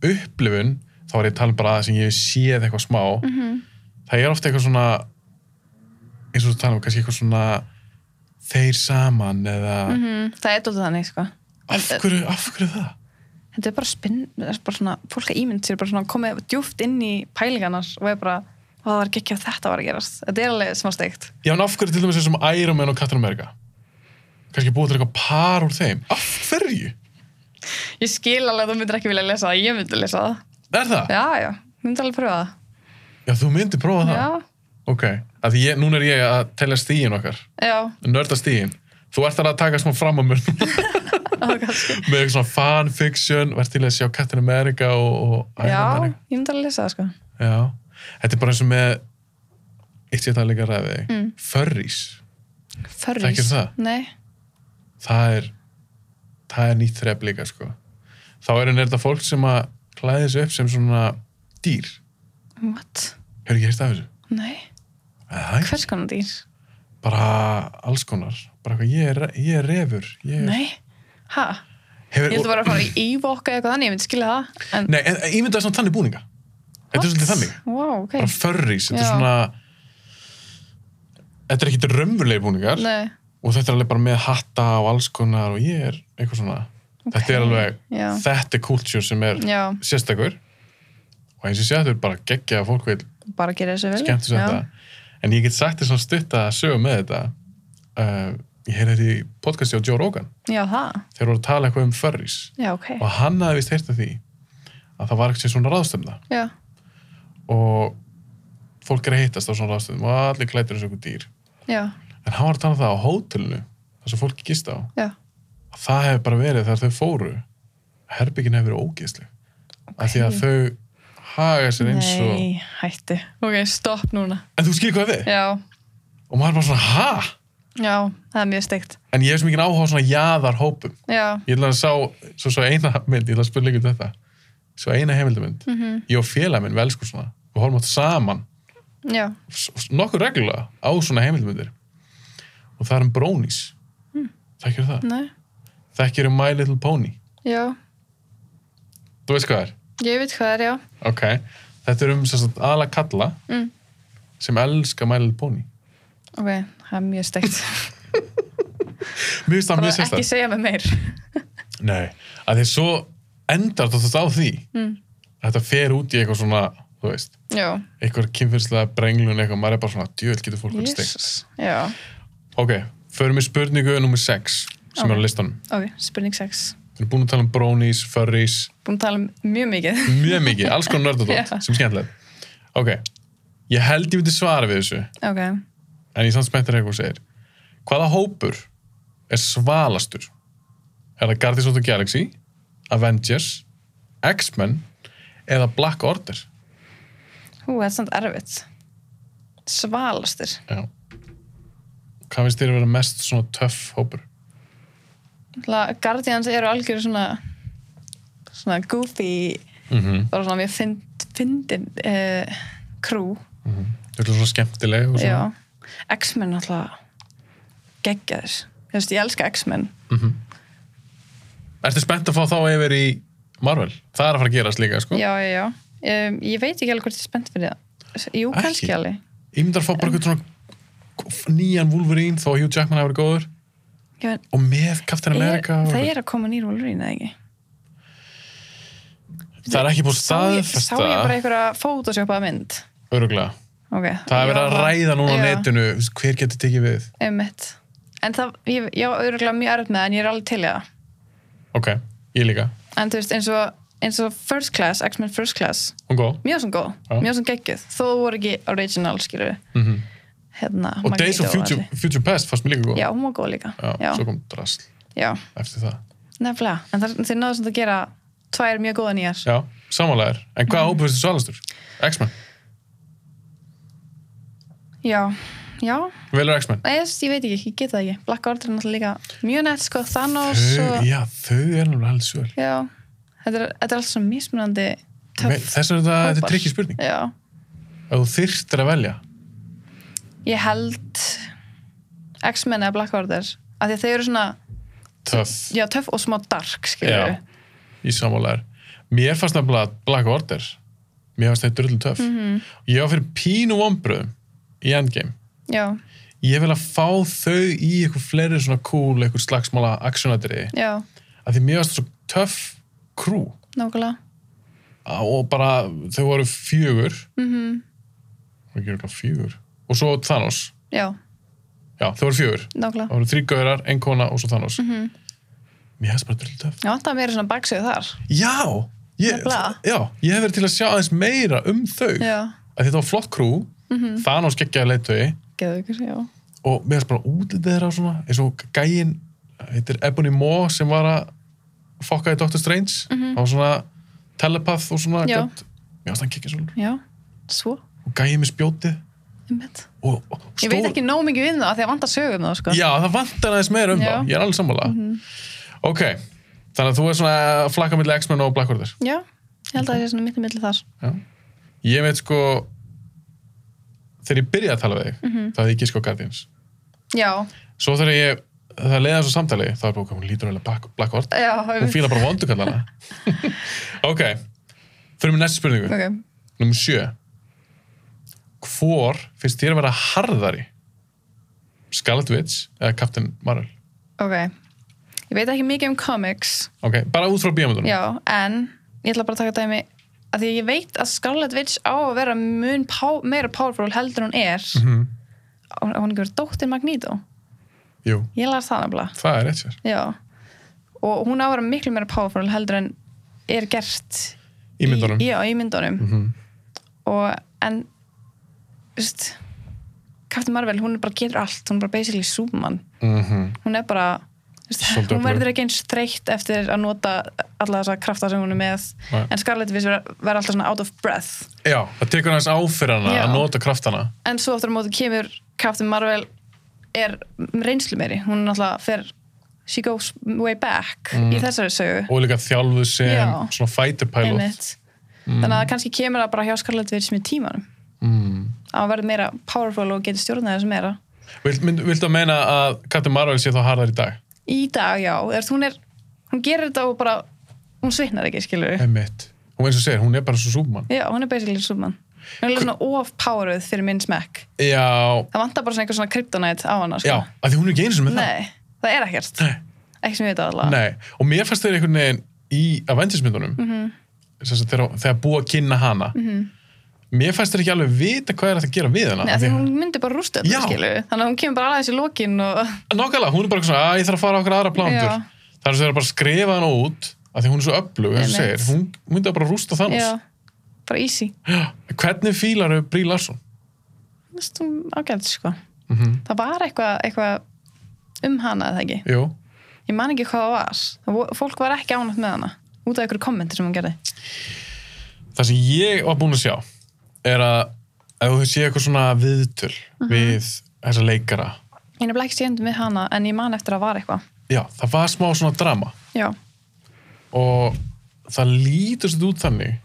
S1: upplifun þá er ég að tala bara að það sem ég hef séð eitthvað smá
S2: Mhm.
S1: það er ofta eitthvað svona eins og þú tala um kannski eitthvað svona þeir saman eða
S2: mm, það er dóttu þannig sko
S1: af, hverju, af hverju það?
S2: þetta er bara spinn, þetta er bara svona fólk að ímynd sér bara svona komið djúft inn í pælingarnas og er bara, "Ó, það var ekki að þetta var að gerast þetta er alveg smá steikt
S1: Já, en af hverju til dæmis eins og Iron Man og Captain America kannski búið til eitthvað par úr þeim af hverju?
S2: ég skil alveg að þú myndir ekki vilja lesa það, ég myndi lesa það
S1: Er það?
S2: já, já, ég myndi alveg pröfa
S1: Já, þú myndir prófa
S2: það
S1: það?
S2: já,
S1: Ok, að því ég, núna er ég að telja stíin okkar
S2: já,
S1: nörda stíin Þú ert þar að taka smá fram á mér núna
S2: á, kannski
S1: með eitthvað svona fanfiction vært til að sjá Captain America og, og
S2: já,
S1: Iron Man
S2: ég myndi alveg lesa það sko
S1: já. þetta er bara eins og með eitt sér það líka að ræði mm. furries, Þekkir
S2: förrís,
S1: það?
S2: nei,
S1: það er það er nýtt þrepp líka sko þá eru nefnda fólk sem að klæði sig upp sem svona dýr
S2: what,
S1: hefur ekki hérst af þessu?
S2: nei
S1: Æ,
S2: hvers konar dýr,
S1: bara alls konar bara eitthvað, ég er, ég er refur ég er,
S2: nei ha,
S1: hefur,
S2: ég myndi bara að fara í ívoka eitthvað þannig, ég myndi skilja það en,
S1: nei, en, en ég myndi að þannig búninga þetta er
S2: what?
S1: svolítið þannig
S2: wow, ok,
S1: bara furries, þetta er
S2: Já.
S1: svona þetta er ekkit raunverulegir búningar
S2: nei
S1: og þetta er alveg bara með hatta og alls konar og ég er eitthvað svona þetta er alveg,
S2: já.
S1: þetta er kultúr sem er
S2: Já,
S1: sérstakur og eins og sé þetta er bara geggja að fólk vil
S2: bara gera þessu vel
S1: skemmt þessu
S2: Já.
S1: þetta en ég get sagt þess að stutta að sögum með þetta uh, ég heyrði þetta í podcasti á Joe Rogan
S2: Já, það.
S1: þegar voru að tala eitthvað um furries
S2: Já, ok.
S1: og hann hafði vist heyrt af því að það var eitthvað svona ráðstöfna
S2: Já,
S1: og fólk er að hittast á svona ráðstöðum og allir klættir eins og einhver dýr
S2: já,
S1: en hann var að tala um það á hótelinu þar sem fólki gist á
S2: já,
S1: að það hefur bara verið þegar þau fóru herbyggin hefur verið ógeðsleg af því að þau haga sér eins og
S2: nei, hættu ok, stopp núna,
S1: en þú skilur hvað þið?
S2: já
S1: og maður er bara svona ha?
S2: já, það er mjög steikt
S1: en ég hef svo mikið áhuga á svona jaðarhópum
S2: já,
S1: ég ætla að sá, svo, svo eina mynd ég ætla að spurninga um þetta svo eina heimildamynd, ég og félag minn velsku svona, við horfum átt saman
S2: já,
S1: s- s- nokkuð reglulega á svona heimildamyndir og það er um brónis
S2: Hmm.
S1: þekkir það,
S2: nei,
S1: þekkir um My Little Pony
S2: já
S1: þú veist hvað það er,
S2: ég veit hvað er, já
S1: ok þetta er um sem sagt, aðla kalla
S2: Mm.
S1: sem elska My Little Pony
S2: ok, það er mjög steikt
S1: mér finnst það
S2: bara
S1: mjög
S2: ekki
S1: sérstæð
S2: segja mig meir
S1: nei, að því svo endar þetta á því
S2: Mm.
S1: að þetta fer út í eitthvað svona þú veist
S2: já,
S1: einhver kynfyrslega brenglun eitthvað, maður er bara svona, djöðl getur fólk verið steikt.
S2: Jesus. já,
S1: Ok, förum við spurningu nummer 6 sem
S2: Ok.
S1: er á listanum.
S2: ok, spurning 6
S1: Við erum búin að tala um bronies, furries,
S2: búin að tala um mjög mikið
S1: mjög mikið, alls konar nördadótt
S2: Já.
S1: sem er skemmtilegt. Ok, ég held ég myndi svara við þessu,
S2: ok,
S1: en ég er samt spenntur eitthvað og segir. Hvaða hópur er svalastur? Er það Guardians of the Galaxy, Avengers, X-Men eða Black Order?
S2: hú, það er samt erfitt svalastur
S1: Já. Hvað finnst þér að vera mest svona töff hópur?
S2: Náttúrulega, Guardians eru algjör svona svona goofy
S1: Mm -hmm.
S2: bara svona mjög fynd, fyndin uh, crew
S1: Þú ert svona skemmtileg og svona.
S2: já. X-Men alltaf geggjaðir Þú veist, ég elska X-Men
S1: Ertu spennt að fá þá yfir í Marvel? Það er að fara að gerast líka, sko.
S2: já, já, já um, ég veit ekki alveg hvort ég er spennt fyrir það jú,
S1: Ekki?
S2: kannski alveg
S1: Ég myndi að fá bara eitthvað svona nýjan Wolverine þó að Hugh Jackman hafi verið góður
S2: já, en
S1: og með Captain
S2: er,
S1: America og...
S2: það er að koma nýr Wolverine, eða ekki
S1: það er ekki búin
S2: sá ég, sá ég bara
S1: staðfesta
S2: einhverja photoshopaða mynd
S1: öruglega.
S2: okay.
S1: Það er verið að ræða núna á
S2: já,
S1: netinu hver getur tekið við.
S2: einmitt. en það, ég, ég var öruglega mjög erfitt með það, en ég er alveg til í það
S1: Ok, ég líka.
S2: en þú veist, eins og, eins og First Class, X-Men First Class
S1: Hún góð.
S2: mjög sem góð,
S1: Já.
S2: mjög sem geggjuð þó þú voru ekki original, skilur
S1: Mm
S2: hérna,
S1: Og Days
S2: Magneto
S1: of Future,
S2: allir.
S1: Future Past fannst mér líka góð.
S2: já, hún var góð líka
S1: sko. Já,
S2: já,
S1: Svo kom drasl
S2: já.
S1: eftir það.
S2: nefnilega, en það, þeir náðu samt að gera tvær mjög góða nýjar
S1: Já, samanlegar. En hvað
S2: Mhm.
S1: mm. ábyrðist svalastur? X-Men.
S2: já, já,
S1: Velur X-Men.
S2: ég, ég veit ekki, ég get það ekki Black Order er náttúrulega líka mjög nett sko, Thanos
S1: Þau,
S2: og,
S1: já, þau er náttúrulega alveg svöl.
S2: já, þetta er, þetta er allt svo mismunandi
S1: Me-
S2: töff
S1: Þess vegna er þetta, þetta
S2: hópar.
S1: er trikki spurning.
S2: já,
S1: Ef þú þyrftir að velja,
S2: ég held X-Men eða Black Order af því að þeir eru svona,
S1: töff,
S2: já, töff og smá dark skilur
S1: Já. í samálegar. Mér fannst nefnilega Black Order, mér fannst þetta drullu töff.
S2: Mhm.
S1: Ég var fyrir pínu vombröðum í Endgame.
S2: já,
S1: Ég vil að fá þau í eitthvað fleiri svona cool, eitthvað slagsmála aksjónatriði.
S2: já,
S1: Af því mér fannst þetta svo töff krú
S2: nákvæmlega
S1: og bara þau voru fjögur,
S2: mhm,
S1: það gerur ekki fjögur, og svo Thanos.
S2: já,
S1: Já, þau voru fjögur.
S2: nákvæmlega
S1: Það voru þrý gaurar, ein kona og svo Thanos.
S2: Mhm.
S1: Mér fannst bara drullu töff.
S2: Já, það er meira svona baksöðu þar
S1: Já, ég,
S2: Nefnilega.
S1: já, ég hef verið til að sjá aðeins meira um þau.
S2: Já,
S1: Að þetta var flott krú,
S2: Mhm.
S1: Thanos geggjaði leittögi
S2: geðu ykkur, já
S1: og mér finnst bara útlitið þeirra svona, eins og gæinn, heitir Ebony Maw sem var að fokka í Doctor Strange, mm hann var svona telepath og svona,
S2: Mhm. Já.
S1: gat- mér finnst hann geggja svolítið
S2: Já, svo,
S1: og gæinn með spjótið
S2: einmitt
S1: og, og stór.
S2: Ég veit ekki nóg mikið við það, af því að vantar sögum það, sko
S1: Já, það vantar aðeins meira um
S2: Já. Mhm.
S1: þá, ég er alveg sammála. Ok, þannig að þú er svona að flakka milli X-Men og Black Order.
S2: Já, ég held að það sé svona mitt í milli þar
S1: Já. Ég veit sko þegar ég byrjaði að tala við þig mm
S2: Mhm.
S1: -hmm. þá hefði ég gísk á Guardians
S2: Já,
S1: svo þegar ég, það leiði þessu samtali þá er bara, ok, hún lítur alveg Black, black Order
S2: já,
S1: hún fíla bara vondukallana ok, þurfum við næstu spurningu
S2: Ok,
S1: nummer sjö hvor finnst þér að vera harðari Scarlet Witch eða Captain Marvel
S2: ok Ég veit ekki mikið um comics
S1: ok, bara út frá bíamöndunum
S2: Já, en ég ætla bara að taka dæmi að því að ég veit að Scarlet Witch á að vera mun pá, meira powerful heldur en hún er mm
S1: Mhm.
S2: Hún hún ekki verið dóttir Magneto
S1: jú,
S2: Ég las það nefnilega
S1: það er rétt sér
S2: Já, og hún á að vera miklu meira powerful heldur en er gert
S1: í myndunum
S2: í, já, í myndunum
S1: Mhm.
S2: og en þú veist Captain Marvel, hún er bara getur allt hún er bara basically Superman
S1: mm
S2: hún er bara þú veist,
S1: Svolítið
S2: hún verður
S1: öflug.
S2: ekki eins þreytt eftir að nota alla þessa krafta sem hún er með
S1: Nei.
S2: en Scarlett Witch verður verður alltaf svona out of breath
S1: Já, það tekur hans áfyrrana
S2: Já.
S1: að nota kraftana.
S2: en svo aftur á móti kemur Captain Marvel er reynslu meiri hún er náttúrulega fer she goes way back
S1: Mhm.
S2: í þessari sögu
S1: Og líka þjálfuð sem
S2: Já.
S1: svona fighter pilot.
S2: Einmitt. þannig að kannski kemur það bara hjá Scarlett Witch með tímanum
S1: Mm.
S2: að hún verður meira powerful og getur stjórnað þessu meira
S1: Vilt, mynd, viltu að meina að Captain Marvel sé þá harðar í dag?
S2: í dag já, er, hún, er, hún gerir þetta og bara hún svitnar ekki skilur
S1: Emmitt. Hún eins og segir, hún er bara svo súpmann.
S2: já, hún er basically Superman hún er alveg svona off-poweruð fyrir minn smekk
S1: Já,
S2: það vantar bara svona einhver svona kryptonite á hana
S1: já,
S2: sko.
S1: af því hún er ekki eins og með það.
S2: nei, það er ekkert
S1: Nei.
S2: ekki sem ég veit allavega
S1: Nei, og mér fannst þeir einhvern veginn í Avengers-myndunum mm
S2: Mhm.
S1: -hmm. þegar, þegar búið að kynna hana mér fannst þeir ekki alveg vita hvað er hægt að gera við hana
S2: Nei,
S1: af
S2: því
S1: því-
S2: hún myndi bara rústa
S1: Já.
S2: þetta, skilu. Þannig að hún kemur bara aðeins í lokin og...
S1: Nákvæmlega, hún er bara eitthvað svona að ég þarf að fara á okkur aðra plándur
S2: Já.
S1: þar sem þeir eru bara að skrifa hana út af því hún er svo öflug, þess að
S2: Einmitt.
S1: segir hún myndi bara að rústa þannig
S2: Já, bara easy.
S1: Hvernig fílar þau Brí Larsson?
S2: Þú veist, hún ágælt, sko.
S1: Mm -hmm.
S2: Það var eitthvað eitthva um hana, eða ekki?
S1: Jú,
S2: Ég man ekki hvað það var. Það vo- Fólk var ekki ánægt með hana. Út af einhverju kommenti sem hún gerði.
S1: það sem ég var búin að sjá er að ef þú sé eitthvað svona viðtöl
S2: Mhm.
S1: við þessa leikara
S2: Ég er nefnilega ekki séndum við hana, en ég man eftir að var eitthvað.
S1: já, það var smá svona drama
S2: Já,
S1: og það lítur sér út þannig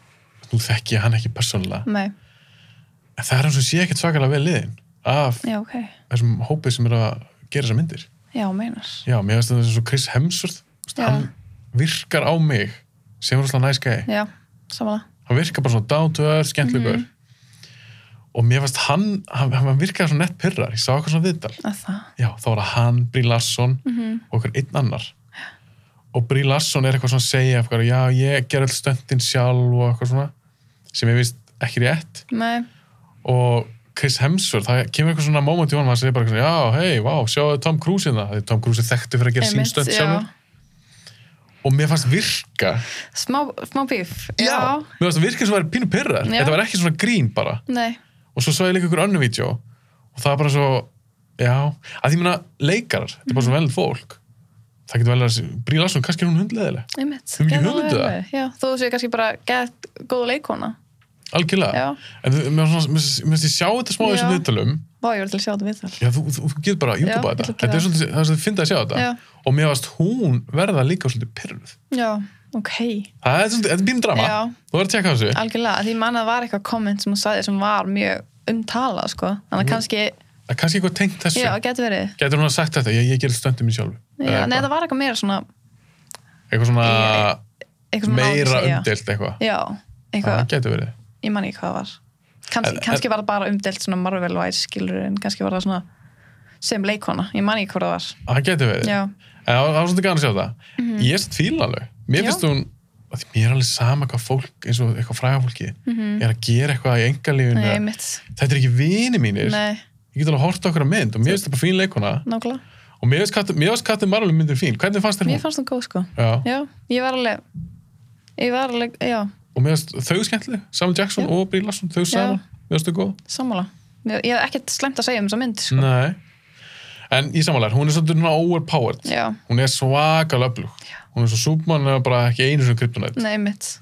S1: nú þekki ég hann ekki persónulega
S2: nei,
S1: en það er eins og sé ekkert svakalega vel liðin af
S2: já, ok.
S1: þessum hópið sem er að gera þessar myndir
S2: Já, meinar.
S1: já, mér finnst þetta eins og Chris Hemsworth þú veist,
S2: Já.
S1: hann virkar á mig sem er alltaf næskæði
S2: Já, samanlega.
S1: hann virkar bara svona down to earth, skemmtlugur
S2: Mhm.
S1: og mér finnst hann hann, hann virkaði svona nett pyrrar, ég sá eitthvað svona viðtal
S2: Að það.
S1: já, þá var það hann, Brí Larsson og okkur einn annar og Brí Larsson er eitthvað svona að segja eitthvað, já, ég ger all stöndin sjálf og eitthvað svona, sem ég vist ekki rétt
S2: Nei,
S1: og Chris Hemsworth, það kemur eitthvað svona moment í honum, hann segir bara eitthvað, svona, já, hei, vá, sjáðu Tom Cruise hérna, því Tom Cruise er þekktu fyrir að gera sín stönd sjálfur og mér fannst virka
S2: Smá, smá bíf.
S1: mér fannst virka sem var pínu pyrrar,
S2: Já.
S1: þetta var ekki svona grín bara
S2: Nei,
S1: og svo svo ég líka ykkur önnu vídeo og það er bara svo já, að því meina leikarar þetta er bara
S2: Mhm.
S1: svo vel fólk það getur vel verið að sé- Brie Larson, kannski er hún hundleðileg
S2: einmitt.
S1: Þú hefur ekki
S2: Gerðu það
S1: hugmynd
S2: vel
S1: um það?
S2: við. Já, þú séu kannski bara gett góð leikona.
S1: algjörlega,
S2: Já.
S1: en þú- mér finnst svona- mér finnst- mér finnst ég sjá þetta smá í þessum
S2: Já.
S1: viðtölum
S2: Vá, ég var til að sjá þetta við þar.
S1: já, þú, þú, þú getur bara að
S2: Já,
S1: YouTube
S2: ég ætla
S1: þetta
S2: að gera
S1: þetta er svolítið, það er svolítið fyndið að sjá þetta
S2: Já.
S1: og mér varst hún verða líka svolítið pyrruð
S2: Já, ok.
S1: það er svolítið, þetta er bínu drama
S2: Já.
S1: þú verður að tjekka á þessu
S2: Algjörlega, því manna var eitthvað komment sem hún sagði sem var mjög umtalað, sko. Þannig að kannski,
S1: það er kannski eitthvað tengt þessu
S2: já, getur verið.
S1: getur hún að sagt þetta, ég, ég gerir stöndum í sjálfu
S2: Já,
S1: Eða
S2: nei,
S1: eitthvað.
S2: það var eitthvað meira svona,
S1: eitthvað svona
S2: Ég- eitthvað svona
S1: meira
S2: ávísi, já.
S1: umdelt eitthvað
S2: Já,
S1: það
S2: eitthvað,
S1: getur verið
S2: ég man ekki hvað það var. Kannski,
S1: En-
S2: kannski var það bara umdelt svona Marvel-væs, skilur, en kannski var það svona sem leikona, ég man ekki hvað það var.
S1: Það getur verið.
S2: Já,
S1: En það var- það var svolítið gaman að sjá það. Ég er svolítið fíla alveg. Mér
S2: Mhm. Já.
S1: finnst hún, af því mér er alveg sama hvað fólk, eins og eitthvað fræga fólki, er að gera eitthvað í engalífinu.
S2: Mhm. nei, mitt.
S1: Þetta er ekki vini mínir.
S2: Nei,
S1: Ég get alveg að horta okkur að mynd og mér finnst það bara fín leikuna.
S2: nákvæmlega.
S1: Og mér finnst Katin- mér finnst Kattin Marvel myndin fín. Hvernig fannst þér hún?
S2: Mér fannst það góð, sko.
S1: Já.
S2: Já, ég var alveg ég var alveg, já,
S1: Og mér finnst þau skemmtileg, Sam Jackson
S2: Já.
S1: og Brie Larson, þau saman. Mér finnst þau góð.
S2: sammála ég, ég hef ekkert slemt að segja um þessa mynd sko.
S1: Nei. En í samanlega, hún er svolítið svona overpowered.
S2: Já,
S1: Hún er svakalega öflug. Hún er svo súpmann eða bara ekki einu svona kryptonætt.
S2: nei, mitt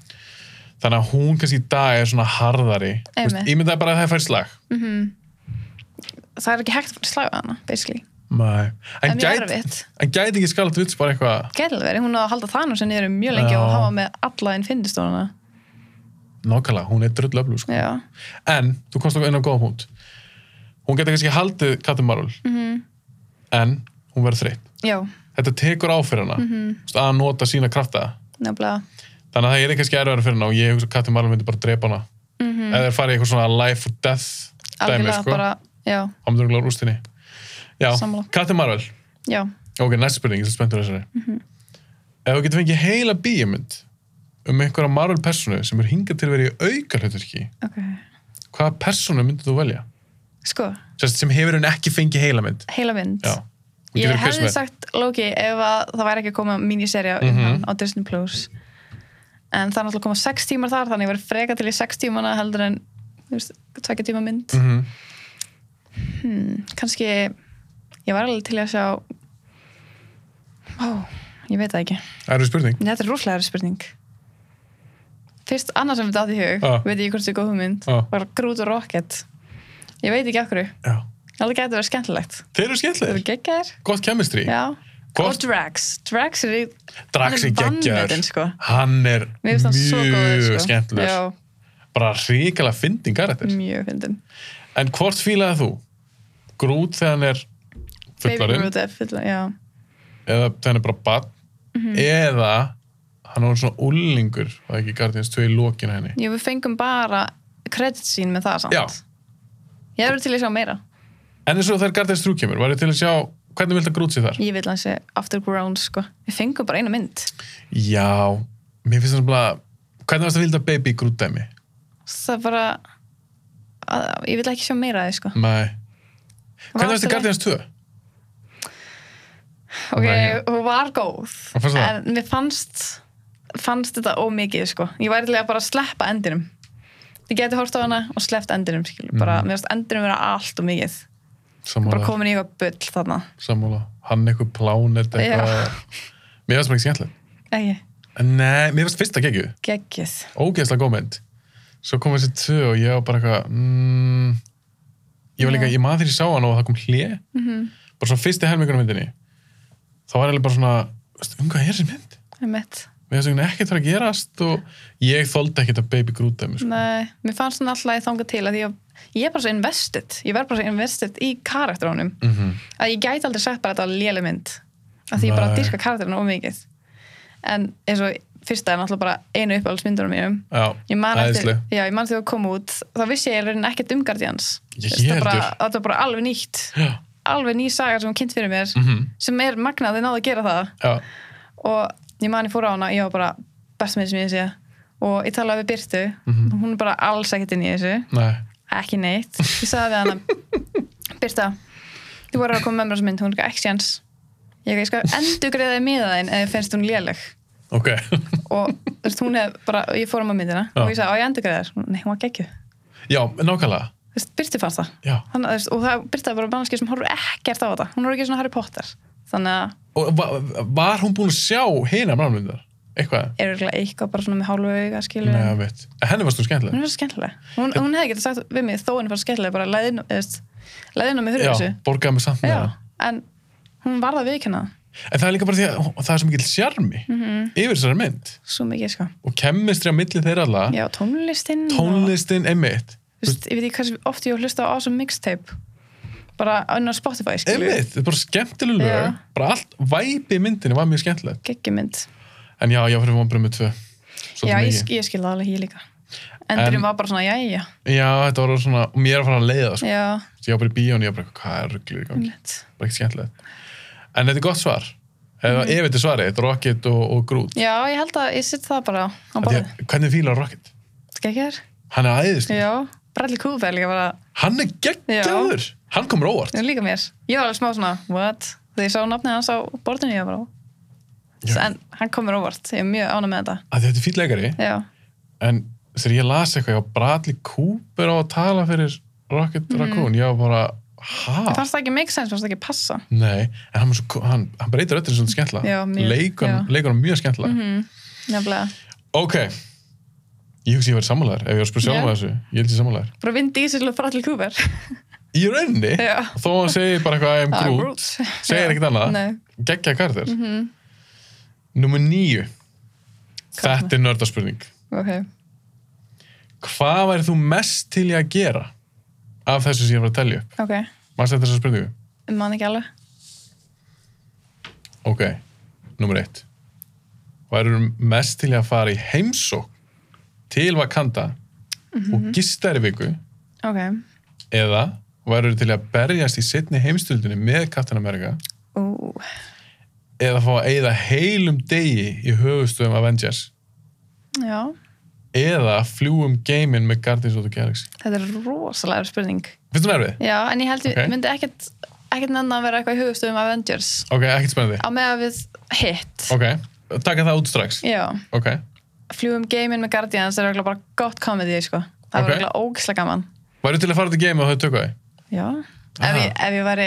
S1: þannig að hún kannski í dag er svona harðari Þú
S2: Einmitt.
S1: veist, ímyndaði bara að það fær slag
S2: Það er ekki hægt að fara að slaga hana, basically
S1: Nei. en
S2: En mjög
S1: gæti
S2: erfitt.
S1: gæt ekki skalt vits bara eitthvað
S2: Gætilega verið, hún á að halda það nú sem niður um mjög lengi
S1: Já.
S2: og hafa með alla inn fyndistónuna
S1: nákvæmlega, hún er drullöflug sko.
S2: Já,
S1: en þú komst okkur inn á góða punkt hún getur kannski haldið Katin Marvel
S2: Mhm.
S1: en hún verður þreytt
S2: já,
S1: þetta tekur á fyrir hana mm
S2: Mhm.
S1: að nota sína krafta
S2: nefnilega
S1: þannig að það er kannski erfæri fyrir hana og ég hugsa að Katin Marvel myndi bara drepa hana mm -hmm. eða farið í eitthvað svona life or death dæmi
S2: Mhm. Algjörlega
S1: sko,
S2: bara, já,
S1: ámduruglega rústinni já,
S2: Sammála.
S1: Katin Marvel
S2: já
S1: Ok, næsta spurning, ég er spenntur á þessari.
S2: Mhm.
S1: Ef þú getur fengið heila bíjamynd um einhverja Marvel personu sem er hingað til að vera í aukarhauturki,
S2: Ok
S1: hvaða personu myndir þú velja?
S2: Sko,
S1: Sest, sem hefur hún ekki fengið heila mynd.
S2: heila mynd
S1: Já. Þú
S2: Ég
S1: getur hvers
S2: hefði
S1: með.
S2: sagt Loki ef að það væri ekki að koma míniserja um
S1: Mhm.
S2: hann á Disney Plus en það er náttúrulega að koma sex tímar þar þannig ég verið freka til í sex tímana heldur en þú veist, tvekja tíma mynd
S1: mm
S2: hmm, kannski ég var alveg til að sjá ó, ég veit það ekki
S1: Það eru spurning.
S2: Nei, þetta er rúflegaður spurning fyrst annars sem við dátt í hug
S1: Ah.
S2: veit ég hvort þetta er góð hugmynd
S1: Ah.
S2: var grút og rocket ég veit ekki okkur,
S1: Já.
S2: alveg gæti að vera skemmtilegt
S1: Þeir eru
S2: það
S1: skemmtilegir.
S2: eru geggjaðir
S1: Gott chemistry.
S2: já, og
S1: Gott.
S2: Drax Drax er í
S1: Draxi
S2: hann er
S1: geggjar.
S2: vanmetinn, sko.
S1: Hann er
S2: mér finnst hann svo góður
S1: mjög
S2: sko.
S1: skemmtilegur.
S2: já, Mm.
S1: Bara ríkala fyndin karakter.
S2: mjög fyndin
S1: En hvort fílaði þú? Grút þegar hann er
S2: Baby
S1: fullarinn
S2: Groot er fullarinn, já
S1: eða þegar hann er bara bann
S2: Mhm.
S1: eða hann var svona ullingur var ekki Guardians 2 í lokin á henni.
S2: Jú, við fengum bara credit sín með það samt.
S1: Já.
S2: Ég er verið til að sjá meira.
S1: En eins og þegar Guardians 3 kemur, var ég til að sjá hvernig vilt að Grút sér þar?
S2: Ég vil hann sé Afterground, sko. Við fengum bara eina mynd.
S1: Já, mér finnst það bara hvernig varst að vilja Baby Groot dæmi?
S2: Það er bara... Að, ég vil ekki sjá meira af því, sko.
S1: Nei.
S2: Var
S1: Hvernig varst
S2: alltaf-
S1: að Guardians 2?
S2: Ok,
S1: Nei.
S2: hún var góð.
S1: Hvað fannst þér?
S2: En mér fannst, fannst þetta ómikið, sko. Ég væri til að bara sleppa endinum. Ég geti hort á hana og sleppt endinum, skilur.
S1: Mhm.
S2: Bara, mér finnst endinum vera allt og mikið. Bara
S1: Sammála,
S2: komin í eitthvað bull þarna.
S1: sammála. Hann eitthvað plánet
S2: Já.
S1: eitthvað. Mér finnst það ekki skemmtilegt.
S2: Ekki,
S1: Nei, mér finnst fyrsta geggju.
S2: geggið.
S1: Ógeðslega góð mynd. Svo kom þessi tvö og ég var bara eitthvað, mm, ég var líka,
S2: Já. Mhm.
S1: ég maður þegar ég sá hann og það kom hlið. Bara svona fyrsti helmingunum myndinni. Þá var ég bara svona, veistu, um hvað er þessi mynd?
S2: Það er mitt.
S1: Við þessum ekkert var að gerast og ég þóldi ekkert að Baby Groot dæmi, sko.
S2: Nei, mér fannst hann alltaf að þanga til að ég, ég er bara svo invested ég verð bara svo invested í karakterónum
S1: Mhm.
S2: að ég gæti aldrei sett bara þetta var léleg mynd að því ég bara
S1: Nei.
S2: dyrka karakterinu ómikið en eins og fyrsta er náttúrulega bara einu uppáhaldsmyndunum mínum
S1: Já,
S2: ég man eftir,
S1: æðisleg.
S2: já, ég man þegar það kom út þá vissi ég í rauninni ekkert um Guardians
S1: Ég
S2: Þú veist, það
S1: heldur.
S2: bara- þetta var bara alveg nýtt
S1: Já.
S2: alveg ný saga sem hún kynnt fyrir mér
S1: Mm
S2: sem er magnaði náðu að gera það
S1: Já.
S2: og ég man ég fór á hana ég var bara best með sem ég sé og ég talaði við Byrtu
S1: Mhm.
S2: hún er bara alls ekkert inn í þessu
S1: Nei.
S2: ekki neitt ég sagði við hana Birta, þú voru að koma með mér á þessu mynd hún er ekki ekki sjans ég, ég skal endur greiða miða þeim ef þér finnst hún léleg
S1: Ok.
S2: og þú veist, hún hef bara, ég fór um á myndina
S1: Já.
S2: og ég sagði, á ég endur greiða þér nei, hún var geggju,
S1: Já, nákvæmlega.
S2: þú veist, Birta fannst það
S1: Já.
S2: Þannig, að, þú veist, og það, Birta er bara mannskið sem horfur ekkert á þetta hún er ekki svona Harry Potter þannig að
S1: Og va var hún búin að sjá hina mannlundar? Eitthvað?
S2: er örugglega eitthvað bara svona með hálfu auga skilur
S1: Nei, ég veit. En henni varst þú
S2: hún
S1: skemmtileg.
S2: er svo skemmtileg hún, hún hefði getið sagt við mig, þó henni var skemmtileg bara leiðinu með hurfu þessu
S1: Já, borgaði mig samt með
S2: Já,
S1: það.
S2: en hún varð að viðkynna það
S1: En það er líka bara því að ó, það er svo mikill sjarmi
S2: Mhm.
S1: yfir þessari mynd.
S2: svo mikið sko
S1: Og kemmistri á milli þeirra alla,
S2: já, tónlistinn og,
S1: tónlistin einmitt.
S2: þú veist, ég veit ekki hversu oft ég hef hlusta á awesome mixtape bara inn á Spotify skilju,
S1: Einmitt, þetta er bara skemmtileg lög.
S2: Já.
S1: Bara allt væpi myndinni var mjög skemmtilegt.
S2: geggjumynd
S1: En já, ég fyrir vonbröð með tvö. Svolítið
S2: já, ég,
S1: mikið.
S2: sk- ég skil það alveg hér líka endurinn
S1: En-
S2: var bara svona, jæja
S1: Já, þetta var svona, og mér er að fara að leiða það, sko.
S2: já, Mm.
S1: Ég var bara í bíón, ég var bara, hvað er rugglir í gangi?
S2: mitt
S1: bara ekki skemmtilegt en þetta er gott svar eða
S2: Mhm.
S1: ef þetta er svarið, Rocket og, og Groot
S2: já, ég held að ég sitt það bara á
S1: Af því
S2: borðið,
S1: að- hvernig fílar Rocket?
S2: geggjur
S1: hann er æðist,
S2: já, Bradley Cooper líka bara
S1: hann er geggjaður hann komur óvart
S2: líka mér, ég var alveg smá svona what, þegar ég sá nafnið hans á borðinu ég var bara,
S1: Já.
S2: en hann komur óvart ég er mjög ánum með þetta
S1: að þetta er fín leikari
S2: já,
S1: en þegar ég las eitthvað, ég var Bradley Cooper á að tala fyrir Rocket Raccoon ég var bara, ha?
S2: Mm. fannst það ekki make sense, fannst það ekki passa
S1: Nei, en hann, er svo, hann, hann breytir öllum svona skemmtilega
S2: Já, Mhm. mjög,
S1: leikunum leikunum mjög skemmtilega
S2: nefnilega
S1: ok, ég hugsi ég verið sammálaður ef ég var að spyrja sjálf
S2: Já.
S1: að þessu, ég held ég sammálaður
S2: bara Vin Diesel og Bradley Cooper
S1: í rauninni,
S2: Já.
S1: þó að hann segir bara eitthvað I am
S2: Ah,
S1: Groot, segir ekkert annað
S2: Nei.
S1: geggja kardir mm -hmm.
S2: Mhm.
S1: Númer nýju
S2: Hvað
S1: Þetta er nördaspurning
S2: ok,
S1: Hvað væri þú mest til í að gera af þessu sem ég var að telja upp?
S2: ok,
S1: Mæst þetta þessar spurningu?
S2: mann ekki alveg
S1: Ok, númer eitt Væri mest til í að fara í heimsók til Vakanda og gista er í viku
S2: ok,
S1: eða væri til í að berjast í setni heimstöldinni með Captain America
S2: ú,
S1: eða fá að eyða heilum degi í höfustöðum Avengers
S2: já
S1: eða fljúum geiminn með Guardians of the Galaxy
S2: þetta er rosalega spurning
S1: Finnst þú nervið?
S2: já, en ég held ég
S1: Ok.
S2: myndi ekkert ekkert nennan að vera eitthvað í höfustöðum Avengers
S1: Ok, ekkert spennandi.
S2: á meða við hit
S1: Ok, taka það út strax.
S2: já,
S1: Ok,
S2: fljúum geiminn með Guardians er örugglega bara gott komedi sko. það
S1: Ok.
S2: okay. var ógislega gaman
S1: Væri til að fara til game og þau tökka þig?
S2: já, ef ég,
S1: Ah.
S2: ef ég væri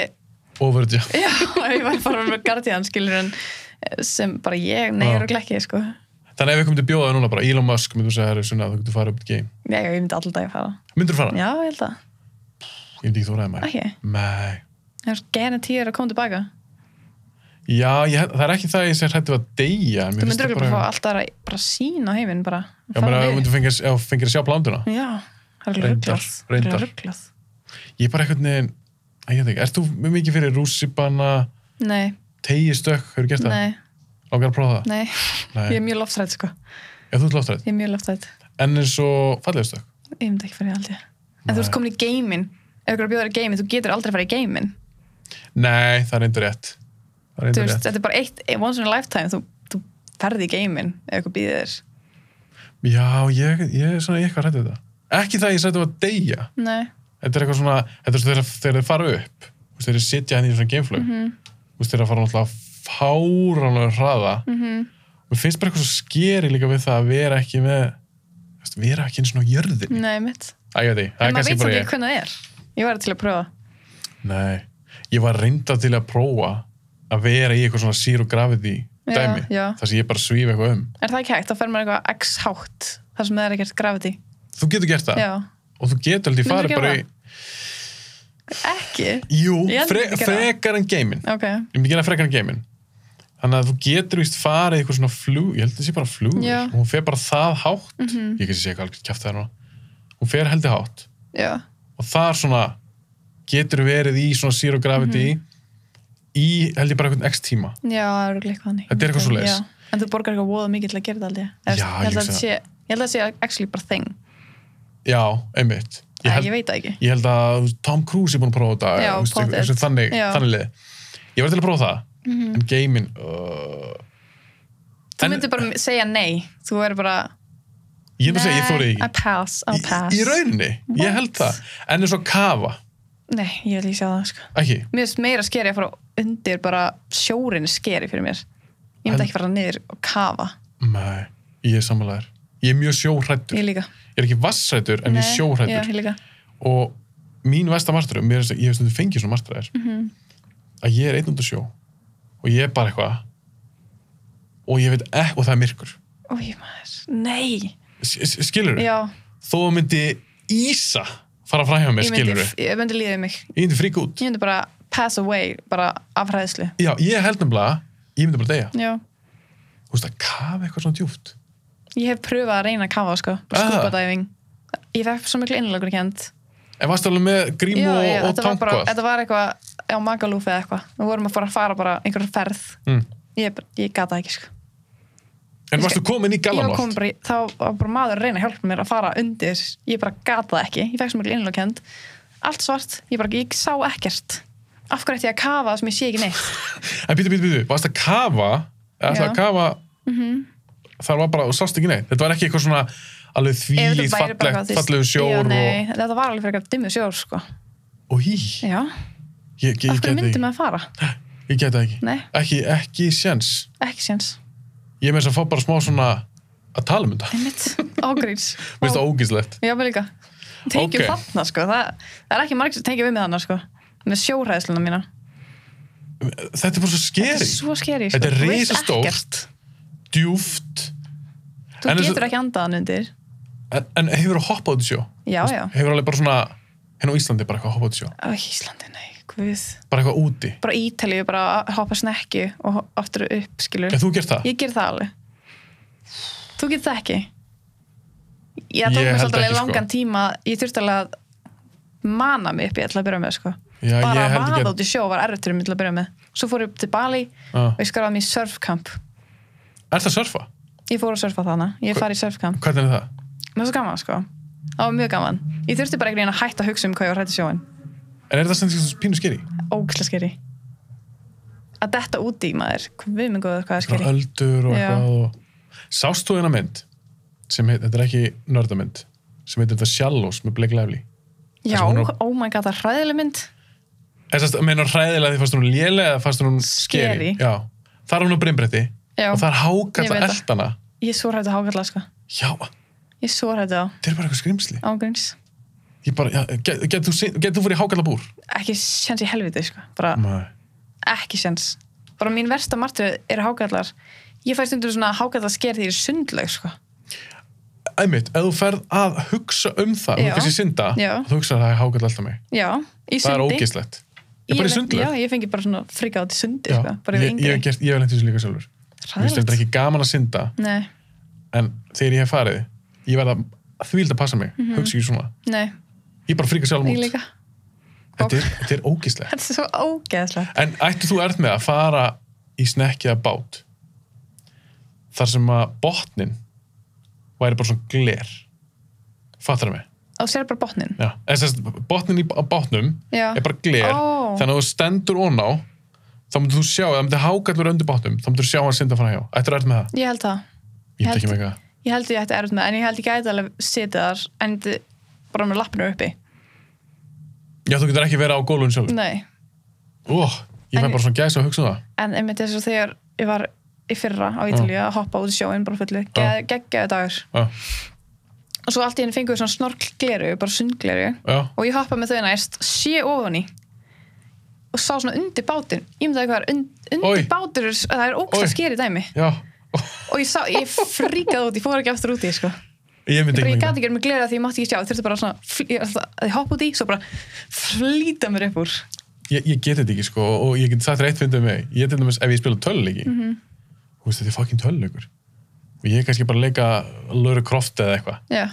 S1: Overja.
S2: já, ef ég væri bara með Guardian skilur en eh, sem bara ég, nei,
S1: Já.
S2: ég er ekki sko.
S1: Þannig ef við komum til að bjóða þig núna bara Elon Musk myndur segja herri svona þú getur farið upp til game.
S2: já, ég myndi alltaf að fara
S1: Myndur þú fara?
S2: já, ég held að,
S1: Ég myndi ekki þóraði maður.
S2: ekki
S1: Nei.
S2: það er genetýr að koma tilbaka
S1: Já, ég, held- það er ekki það ég sem hrætti að deyja. en mér
S2: þú
S1: finnst
S2: myndir
S1: það
S2: örugglega bara fá alltaf að bara sín á heiminn bara
S1: Já, menn að þú myndir fengir, ef þú fengir að sjá plánduna.
S2: já, það er
S1: Reyndar,
S2: rugglað það er
S1: reyndar.
S2: rugglað
S1: Ég er bara einhvern veginn, að ég veit ekki, ert þú mjög mikið fyrir rússipanna,
S2: nei,
S1: tegistökk, hefur gert það?
S2: nei,
S1: Langar að prófa það?
S2: nei,
S1: Nei.
S2: ég er mjög loftrætt sko
S1: Ef þú ert loftrætt.
S2: ég er mjög loftrætt,
S1: En eins og fallegstökk.
S2: ég myndi ekki fara í það, held ég en þú
S1: Nei.
S2: ert komin í geiminn ef ykkur er að bjóða þér í geiminn, þú getur aldrei að fara í geiminn
S1: Nei, það er endur rétt. Það er
S2: þú
S1: endur
S2: veist,
S1: rétt.
S2: þetta er bara eitt, once in a lifetime þú, þú ferði í geiminn ef ykkur býðir þér
S1: Já, ég, ég er svona ég er eitthvað hrættið þetta. Ekki það ég sætti að deyja.
S2: nei,
S1: Þetta er eitthvað svona, þetta er svona þegar- þegar þeir fara upp, þú veist, þeir sitja henni í svona gameflug, mm
S2: Mhm.
S1: -hmm. þeir að fara náttúrulega fáránlega hraða. Mm
S2: Mhm.
S1: -hmm. Mér finnst bara eitthvað svo skeri líka við það að vera ekki með, þú veist, vera ekki eins og jörðin.
S2: nei mitt
S1: Æ, ég veit ekki, það
S2: en
S1: er
S2: maður
S1: kannski
S2: veit samt
S1: bara
S2: ekki
S1: ég.
S2: hvernig það er ég var til að prófa
S1: Nei, ég var reynda til að prófa að vera í eitthvað svona zero gravity
S2: Já,
S1: dæmi,
S2: já.
S1: þar sem ég bara svíf eitthvað um.
S2: er það ekki hægt, þá fer maður eitthvað x hátt þar sem það er ekkert gravity
S1: Þú getur gert það
S2: já,
S1: og þú getur aldrei
S2: Myndirðu
S1: farið
S2: gera
S1: bara í,
S2: ekki
S1: jú,
S2: Ég held ég
S1: fre,
S2: myndi gera það.
S1: frekar en geimin.
S2: ok,
S1: ég myndi gera frekar en geiminn þannig að þú getur víst farið í eitthvað svona flug, ég held að það sé bara flug
S2: Já. Mhm.
S1: og hún fer bara það hátt ég kannski sé eitthvað alveg kjæft það núna hún fer heldur hátt
S2: já
S1: og þar svona getur verið í svona zero gravity
S2: Mhm.
S1: í held ég bara einhvern x tíma
S2: Já, það eru eitthvað þannig.
S1: Þetta er eitthvað svoleiðis.
S2: Já, En þú borgar eitthvað voða mikið til að gera þetta aldrei.
S1: Já,
S2: ég held
S1: ég
S2: að þetta
S1: hugsa
S2: sé, ég held að þetta sé actually bara thing.
S1: já, einmitt
S2: Ég,
S1: ég held,
S2: ég veit það ekki.
S1: ég held að Tom Cruise er búin að prófa þetta
S2: Já,
S1: þú veist,
S2: pottet.
S1: eitthvað- þannig,
S2: Já. Mhm.
S1: þannig lið ég var til að prófa það en geiminn uh,
S2: Þú
S1: en-
S2: myndir bara segja nei. Þú verður bara,
S1: ég myndi segja, ég þórið
S2: I pass, I'll pass.
S1: ekki í, í rauninni, ég
S2: What?
S1: held það en eins og kafa,
S2: Nei, ég vil ekki sjá það, sko.
S1: ekki
S2: Mér finnst meira skeri að fara undir bara sjórin er skeri fyrir mér. Ég myndi
S1: En-
S2: ekki fara niður og kafa.
S1: Nei, ég er samanlegar. Ég er mjög sjóhrættur.
S2: Ég
S1: Ég,
S2: líka.
S1: er ekki vassrættur, en ég er
S2: Nei, Já,
S1: sjóhrættur.
S2: ég líka.
S1: Og mín versta martröð, mér, er- ég hef stundum fengið svona martröðar,
S2: Mhm.
S1: að ég er einn undir sjó og ég er bara eitthvað og ég veit ekki, og það er myrkur.
S2: Új, maður. Nei.
S1: S- s- Skilurðu?
S2: Já,
S1: Þó að myndi Ísa fara fram hjá mér,
S2: ég myndi,
S1: skilurðu?
S2: ég myndi líðið mig.
S1: Ég myndi frík út.
S2: Ég myndi bara pass away, bara af hræðslu.
S1: Já, ég held nefnilega, ég myndi bara deyja.
S2: Já.
S1: Þú veist, að kafa eitthvað svona djúft.
S2: Ég hef pröfað að reyna að kafa sko,
S1: Ah.
S2: scuba diving Ég fekk svo miklu innlögur kent
S1: En varstu alveg með grímu
S2: Já,
S1: og,
S2: já,
S1: og
S2: þetta, var bara,
S1: tankvað?
S2: þetta var eitthvað á magalúfi eða eitthvað Við vorum að fara að fara bara einhverja ferð
S1: Mm.
S2: Ég, ég gata ekki sko
S1: En varstu komin í
S2: Ég var komin
S1: galanótt?
S2: bara, í- þá var bara maður að reyna að hjálpa mér að fara undir Ég bara gata ekki, ég fekk svo miklu innlögur kent Allt svart, ég bara, ég sá ekkert Af hverju ætti ég að kafa það sem ég sé ekki neitt
S1: En býtu, býtu, býtu, varst að kafa eða það
S2: Já. Mhm.
S1: að kafa þar var bara, þú sást ekki neitt þetta var ekki eitthvað svona alveg
S2: Ef
S1: þvílið
S2: þetta væri bara eitthvað,
S1: fallegt,
S2: þú veist-
S1: fallegu
S2: já,
S1: sjór
S2: nei,
S1: og,
S2: Þetta var alveg fyrir eitthvað dimmu sjór sko
S1: og hí,
S2: Já,
S1: ég, ég,
S2: af
S1: ég
S2: hverju
S1: geti
S2: myndi
S1: ekki
S2: maður að fara?
S1: ég geti ekki,
S2: Nei,
S1: ekki, ekki sjens
S2: ekki séns
S1: ég með þess að fá bara smá svona að tala um þetta,
S2: Einmitt, ágríns.
S1: mér finnst það ógíslegt
S2: Já, mér líka. Tengjum
S1: Ok.
S2: þarna, sko. Það, það er ekki margir sem tengjum við með hana, sko. Með sjóræðsluna mína.
S1: þetta er bara svo
S2: Þetta
S1: skeri,
S2: er svo skeri, sko.
S1: þetta er
S2: Þú veist ekkert.
S1: risastórt djúft,
S2: Þú
S1: En eins og-
S2: getur ekki andaðan undir.
S1: en, en hefur þú hoppað út í sjó
S2: Já, já.
S1: hefur alveg bara svona henn á Íslandi bara eitthvað hoppað út í sjó
S2: Á Íslandi, nei, guð.
S1: bara eitthvað úti,
S2: Bara ítalið, bara að hoppa snekki og ho- aftur upp, skilur.
S1: en þú gert það
S2: Ég ger það alveg. Þú getur það ekki. Ég tók
S1: Ég
S2: mér
S1: held
S2: svolítið
S1: ekki,
S2: alveg
S1: sko.
S2: langan tíma. Ég þurfti alveg að mana mig upp í ætla að byrja með, sko.
S1: Já, ég
S2: Bara að
S1: held
S2: vaða
S1: ekki
S2: út í sjó var erfitt fyrir mig til að byrja með. Svo fór ég upp til Bali
S1: að
S2: og ég skráði mig í surfkamp
S1: Ah. Er það að surfa?
S2: ég fór að surfa þarna, ég fari í surfkamp
S1: Hvernig er það?
S2: það var svo gaman sko, það var mjög gaman ég þurfti bara einhvern veginn að hætta að hugsa um hvað ég var hrætt í sjóin
S1: En er það sem þessi pínu skeri?
S2: ógislega skeri að detta úti í maður, við minn góður hvað er
S1: Bara
S2: skeri
S1: öldur og
S2: Já.
S1: eitthvað og... Sást þú eina mynd sem heit, þetta er ekki nördamynd sem heitir þetta Shallows með Blake Lively
S2: já,
S1: sem hún er-
S2: oh my god, það er hræðileg mynd
S1: En það meinar hræðilega því fannst hún lélega eða fannst hún skeri?
S2: Skeri.
S1: Já, það er hún á brimbretti
S2: já,
S1: og það er
S2: Ég
S1: hákalla
S2: veit það.
S1: eldana
S2: ég er svo hrætt að hákalla sko
S1: Já,
S2: ég svo hrætti á
S1: þetta er bara eitthvað skrimsli
S2: ángríns
S1: ég bara, já, get, get, þú, syn- get þú fyrir hákallabúr
S2: ekki séns í helviti sko. bara
S1: Nei.
S2: ekki séns bara mín versta martröð eru hákallar ég fæ stundur svona hákallar sker því ég er sundleg sko.
S1: einmitt, ef þú ferð að hugsa um það
S2: Já.
S1: þú kannski synda,
S2: Já.
S1: þú hugsa að það er hákall alltaf mig
S2: já, í
S1: það er
S2: sundi
S1: ógislegt ég er bara í sundlaug.
S2: já, ég fengi bara svona frika át í sundi
S1: Já.
S2: sko. bara
S1: ég, ég, hef gert- ég hef lent í þessu líka sjálfur Mér finnst þetta
S2: Hræðilegt.
S1: ekki gaman að synda
S2: nei,
S1: en þegar ég hef farið, ég verða þvíld að passa mig, hugsa ekki svona
S2: nei,
S1: ég bara fríka sjálf
S2: Mhm. ég
S1: út,
S2: líka
S1: þetta er, þetta er ógislegt
S2: þetta er svo ógeðslegt
S1: en ættu þú ert með að fara í snekkiða bát þar sem að botnin væri bara svona gler fattar það mig?
S2: og sér bara botnin
S1: Já. Eða sem sagt, botnin í, á bátnum
S2: Já.
S1: er bara gler,
S2: Ó.
S1: þannig að þú stendur oná þá myndir þú sjá, það myndir hákallur undir bátnum, þá myndir þú sjá hann synda fara hjá ættu þú ert með það?
S2: ég held það
S1: Ég held
S2: Held-
S1: ekki með eitthvað
S2: Ég held ég ætti erfitt með, en ég held ég gæti alveg setið þar, en ég myndi bara með lappinu uppi.
S1: Já, þú getur ekki verið á gólun sjálf.
S2: Nei,
S1: Ó, ég fæ
S2: En-
S1: bara svona gæsa að hugsa um það.
S2: en einmitt eins og þegar ég var í fyrra á Ítalíu að hoppa út í sjóin bara fullu,
S1: Já.
S2: geggjaði dagur.
S1: Já,
S2: Og svo allt í henni fengið við svona snorkgleru, bara sundgleru,
S1: já,
S2: og ég hoppaði með þau næst, sé ofan í, og sá svona undir bátinn. Ég myndi að hvað er und, undir
S1: Oj.
S2: bátur, er- það er ógst
S1: Oj.
S2: að skeri dæmi.
S1: já. Ó,
S2: Og ég, sá, ég fríkaði út, ég fór ekki aftur út í, sko.
S1: Ég myndi
S2: Bara
S1: ekki
S2: ég
S1: með
S2: gæti
S1: það.
S2: ekki verið með glera því ég mátti ekki sjá, þurfti bara svona, fl- ég, að ég hoppa út í, svo bara flýta mér upp úr.
S1: Ég, ég get þetta ekki, sko, og ég get sagt reitt fyndið mig. Ég til dæmis, ef ég spila töluleiki, mm
S2: Mhm.
S1: -hmm. þú veist, þetta er fucking töluleikur. Og ég er kannski bara að leika Laura Croft eða eitthvað.
S2: Já,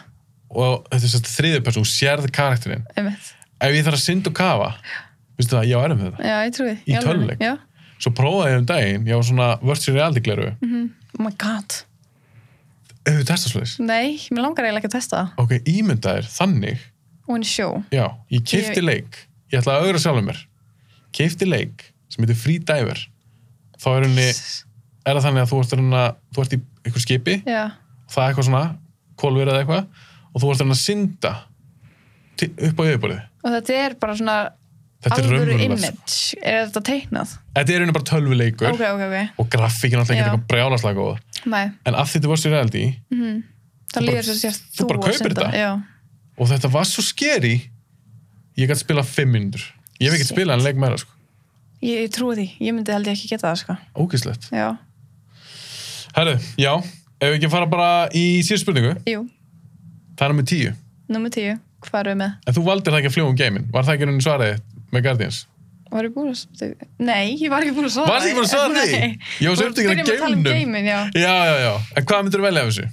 S1: Og þetta er sérst þriðið person, þú sérð karakterinn.
S2: einmitt.
S1: Ef ég þarf að synda og kafa, veistu það, ég á erum með þetta.
S2: Já, ég trúi.
S1: Í
S2: Í alvöru.
S1: tölvuleik?
S2: Já.
S1: Svo prófaði ég um daginn, ég á svona virtual reality gleru, mm -hmm.
S2: Oh my god.
S1: ef þú testa svolítið.
S2: Nei, mér langar eiginlega ekki að testa það.
S1: Ok, ímyndaðir þannig
S2: Og henni sjó.
S1: Já, ég keipti
S2: Ég-
S1: leik Ég ætla að augra sjálfum mér Keipti leik sem heitir Free Diver Þá er henni, er það þannig að þú ert, henni, þú ert í einhver skipi
S2: Já,
S1: Það er eitthvað svona, kólverið eða eitthvað Og þú ert henni að synda til, upp á yfirborðið
S2: og þetta er bara svona
S1: Þetta er
S2: alvöru
S1: raunverulegt
S2: image. Er þetta teiknað?
S1: Þetta er henni bara tölvuleikur
S2: Ok, ok, ok.
S1: Og grafíkinn alltaf ekki
S2: Já.
S1: eitthvað brjálaslega góð
S2: Nei,
S1: En af því þetta var sér reality
S2: það
S1: Þú bara-
S2: líður svo sér
S1: þú bara
S2: að
S1: kaupir
S2: synda.
S1: þetta?
S2: Já,
S1: Og þetta var svo scary Ég gæti spilað 5 minnur Ég hef ekki
S2: Shit.
S1: spilað en leik meira sko
S2: ég, ég trúi því. Ég myndi held ég ekki geta það, sko.
S1: Ógislegt
S2: Já,
S1: Herru, já, ef við ekki fara bara í síðan spurningu
S2: jú,
S1: Það er með tíu.
S2: nummer tíu. Hvað erum við með?
S1: En þú valdir það ekki að fljúa um geiminn. Var það ekki raunin svarið þitt með Guardians?
S2: Var ég búin að svara? Nei, ég var ekki búin að svara.
S1: Varstu ekki búin að svara því?
S2: Nei.
S1: Ég var svo upptekinn af
S2: Byrjum að tala um
S1: geimnum.
S2: geimin, já.
S1: Já, já, já. En hvað myndir þú velja af þessu?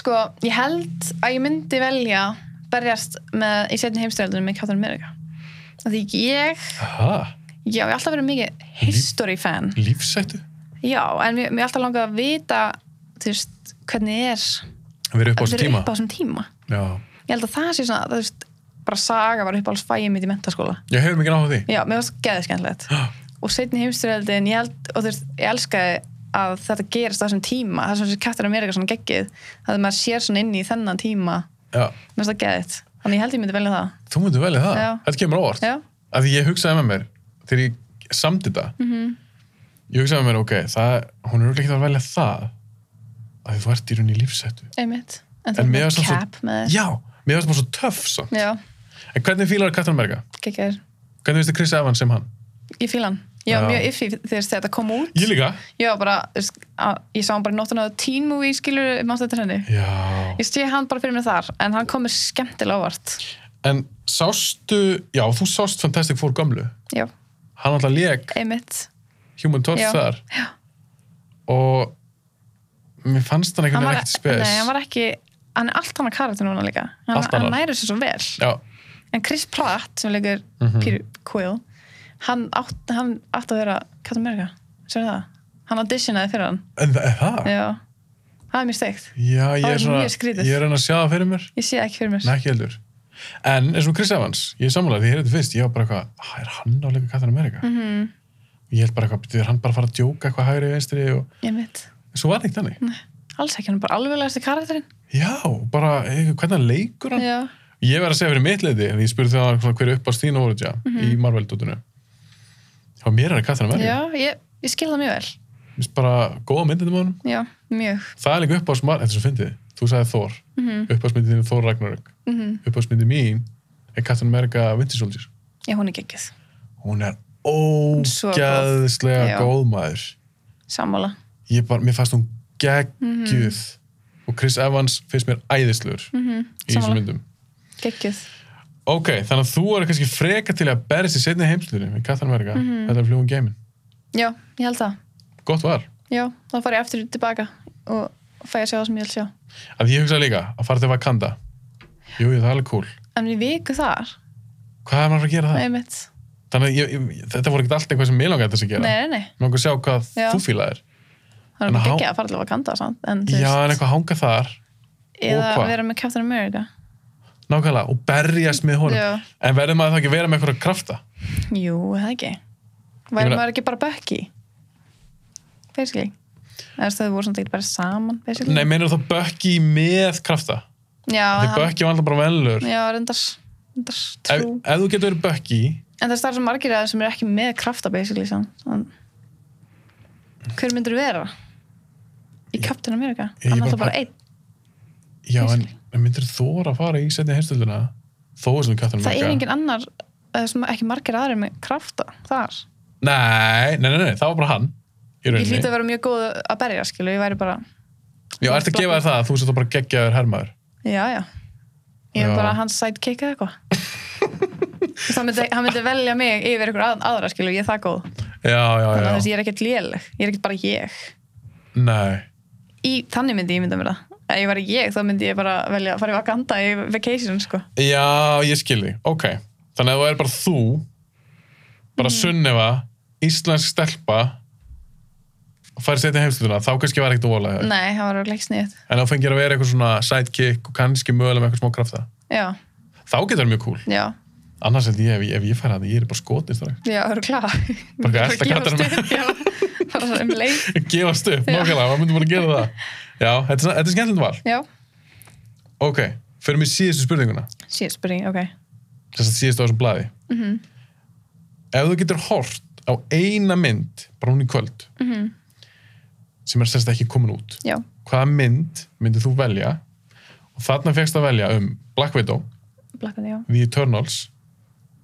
S2: Sko, ég held að ég myndi velja berjast með, í setni heimstyrjöldunum með Captain America. Af Því ég,
S1: Aha,
S2: já, ég hef alltaf verið mikið
S1: Mhm.
S2: history fan.
S1: lífsættu?
S2: Já, en mér mér hef alltaf langað að vita, þú veist, hvernig er
S1: Við erum upp á
S2: að
S1: þessu
S2: vera
S1: tíma.
S2: upp á þessum tíma.
S1: Já.
S2: Ég held að það sé svona, þú veist, bara saga var upp á alls fæið mitt í mentaskóla.
S1: Ég hefur mikið náttúrulega því.
S2: Já, mér varst geðiskennilegt.
S1: Ah,
S2: Og setni heimstyrjöldin, ég held, og þú veist, ég elskaði að þetta gerist á þessum tíma, það sem þessi Captain America svona geggið, að maður sér svona inn í þennan tíma,
S1: Já,
S2: mér finnst það geðið. Þannig ég held ég myndi velja það.
S1: þú myndir velja það.
S2: Já.
S1: Þetta kemur á óvart.
S2: Já,
S1: Af því ég hugsaði með mér, þegar ég samdi þetta,
S2: Mhm.
S1: ég hugsaði með mér, ok, það, hún er örugglega ekki að velja það. Af því þú ert í rauninni í lífsættu.
S2: einmitt. En
S1: En
S2: það er
S1: mér
S2: með
S1: varst það svo-
S2: cap með
S1: Já, mér finnst það bara svo töff samt.
S2: Já,
S1: En hvernig fílar Katrin Berga?
S2: geggjær.
S1: Hvernig finnst þið Chris Evans sem hann?
S2: Ég fíla hann. Ég var
S1: Já.
S2: mjög iffi þegar þetta kom út.
S1: Ég líka.
S2: Ég var bara, þú veist, að- ég sá hann bara í nóttan á teen movie, skilur, mást þetta henni.
S1: Já.
S2: Ég sé hann bara fyrir mér þar, en hann komur skemmtilega ávart.
S1: En sástu, já, þú sást Fantastic Four gamlu.
S2: Já,
S1: Hann alltaf leik
S2: einmitt.
S1: Human Torch
S2: Já,
S1: þar. Já. Og mér fannst hann
S2: Hann
S1: einhvern
S2: var, e-
S1: veginn ekkert spes.
S2: nei, hann var ekki, hann er allt hann að karakter núna líka. Hann,
S1: Allt
S2: hann
S1: annar.
S2: næri sér svo vel.
S1: Já,
S2: En Chris Pratt, sem leikur
S1: Mhm.
S2: Peter Quill, hann átt, hann átt að vera Captain America. Sér það? Hann auditionaði fyrir hann.
S1: en það, er það?
S2: Já, það er mjög steikt.
S1: Já, ég
S2: Það
S1: er
S2: var
S1: svona,
S2: mjög skrítið.
S1: ég er hann að sjá það fyrir mér.
S2: Ég sé það ekki fyrir mér.
S1: Nei, ekki heldur. En eins og Chris Evans, ég er sammálaðið, ég heyrði þetta fyrst, ég var bara eitthvað, "Ah, er hann á leika Katrin Amerika? Mm -hmm.
S2: Mhm,
S1: Ég held bara eitthvað, er hann bara að fara að djóka eitthvað hægri vinstri og
S2: Ég veit.
S1: svo var það ekki þannig.
S2: Alls ekki, hann er bara alveglegasti karakterinn.
S1: Já, bara, eh, hvernig hann leikur hann?
S2: Já.
S1: Ég verð að segja fyrir mitt leiti, en ég spurði það svona hverju upp á Stína Orja í Marvel-dótinu. Og mér er það Katrin Amerika.
S2: Mhm. Já, ég, ég skil það mjög vel.
S1: Mér finnst bara góða myndin um honum.
S2: Já, mjög.
S1: Það er líka upp á smar, þetta er svo fyndið. þú sagði Thor mm -hmm.
S2: Mhm.
S1: uppáðsmyndin þín er Thor Ragnarök mm -hmm. uppáðsmyndin mín er Captain America Winter Soldier
S2: já, hún er geggjöð,
S1: hún er
S2: Svo góð. Já.
S1: ógæðslega góð maður
S2: sammála
S1: ég bara, mér fannst hún geggjuð
S2: Mhm.
S1: og Chris Evans finnst mér æðislegur í þessum
S2: sammála.
S1: myndum
S2: geggjöð,
S1: ok, þannig að þú er kannski freka til að berist í setni heimsluðinu með Captain America
S2: Mhm.
S1: þetta er flugum geimin,
S2: já, ég held það
S1: gott var
S2: já, þá far ég aftur tilbaka og fæ að sjá það sem ég vil sjá
S1: að ég hugsaði líka að fara til Wakanda jú, jú, það er alveg cool
S2: en við viku þar,
S1: hvað er maður að fara að gera það?
S2: einmitt
S1: þannig að ég, ég, þetta voru ekkert allt eitthvað sem ég langaði þess að gera
S2: nei, nei, nei,
S1: mér langaði að sjá hvað
S2: Já.
S1: þú fílaðir
S2: það
S1: En
S2: er
S1: há-
S2: geggjað að fara til að kanda samt, en þú
S1: já, en
S2: veist,
S1: eitthvað hanga þar
S2: eða
S1: og hvað?
S2: vera með Captain America
S1: nákvæmlega, og berjast með honum
S2: Já.
S1: en verður maður þá ekki að vera með eitthvað krafta
S2: Jú, er það ekki
S1: Ég
S2: Væri
S1: meina-
S2: maður ekki bara Bucky Basically Eða þau voru samt ekki bara saman Basically
S1: nei, meinar þá Bucky með krafta
S2: Já,
S1: því
S2: hann-
S1: Bucky var alltaf bara velur ef,
S2: já, reyndar, reyndar
S1: ef
S2: trú
S1: þú getur verið Bucky
S2: En það er starf sem margir aðeins sem er ekki með krafta Basically samt Þann... Hver myndir vera? Í Captain America
S1: Ég- ég
S2: Hann er
S1: bara
S2: alltaf bara
S1: pæ-
S2: einn
S1: já, en, en myndir þóra að fara í setni heimstölduna þó er sem kattan
S2: Það er engin annar eða sem ekki margir aðrir með krafta þar.
S1: nei, nei, nei, nei, það var bara hann í
S2: Ég hlýtti
S1: rauninni,
S2: að vera mjög góð að berja, skilu, ég væri bara,
S1: já, ertu að gefa þér það að þú sér þá bara geggjaður hermaður
S2: já, já. Ég er
S1: Já.
S2: bara hans sidekick eða eitthvað. Þú veist, hann myndi, hann myndi velja mig yfir ykkur að, aðra skilu, ég er það góð
S1: já, já,
S2: þannig að
S1: já,
S2: þessi ég er ekkert léleg, ég er ekkert bara ég
S1: nei
S2: í, þannig myndi ég mynda mér það ef ég var ég þá myndi ég bara velja að fara í Vakanda í vacation sko
S1: Já, ég skilji, ok Þannig að þú er bara þú bara Sunnefa, íslensk stelpa og farið setja heimstunduna þá kannski var ekkert ólega Nei.
S2: nei, það var örugglega ekki sniðið
S1: en þá fengir að vera eitthvað svona sidekick og kannski mögulega með eitthvað smá krafta
S2: já,
S1: þá getur það mjög cool
S2: já,
S1: annars held ég ef, ég- ef ég færi að það, ég er bara skotist þar
S2: já, eru klá
S1: Bara eitthvað elta kattar með-
S2: bara um leið
S1: gefast upp,
S2: Já.
S1: nákvæmlega, maður myndi bara að gera það Já, þetta er, svona- þetta er skemmtilegt val
S2: já,
S1: Ok, fyrir mig síðustu spurninguna
S2: síðan spurning, ok
S1: þess að síðustu á þessum blaði
S2: Mhm.
S1: Ef þú getur hort á eina mynd bara hún í kvöld
S2: Mhm.
S1: sem er sérst ekki komin út
S2: já,
S1: hvaða mynd myndir þú velja og þarna fegst að velja um Black Widow,
S2: blakkaði, já,
S1: The Eternals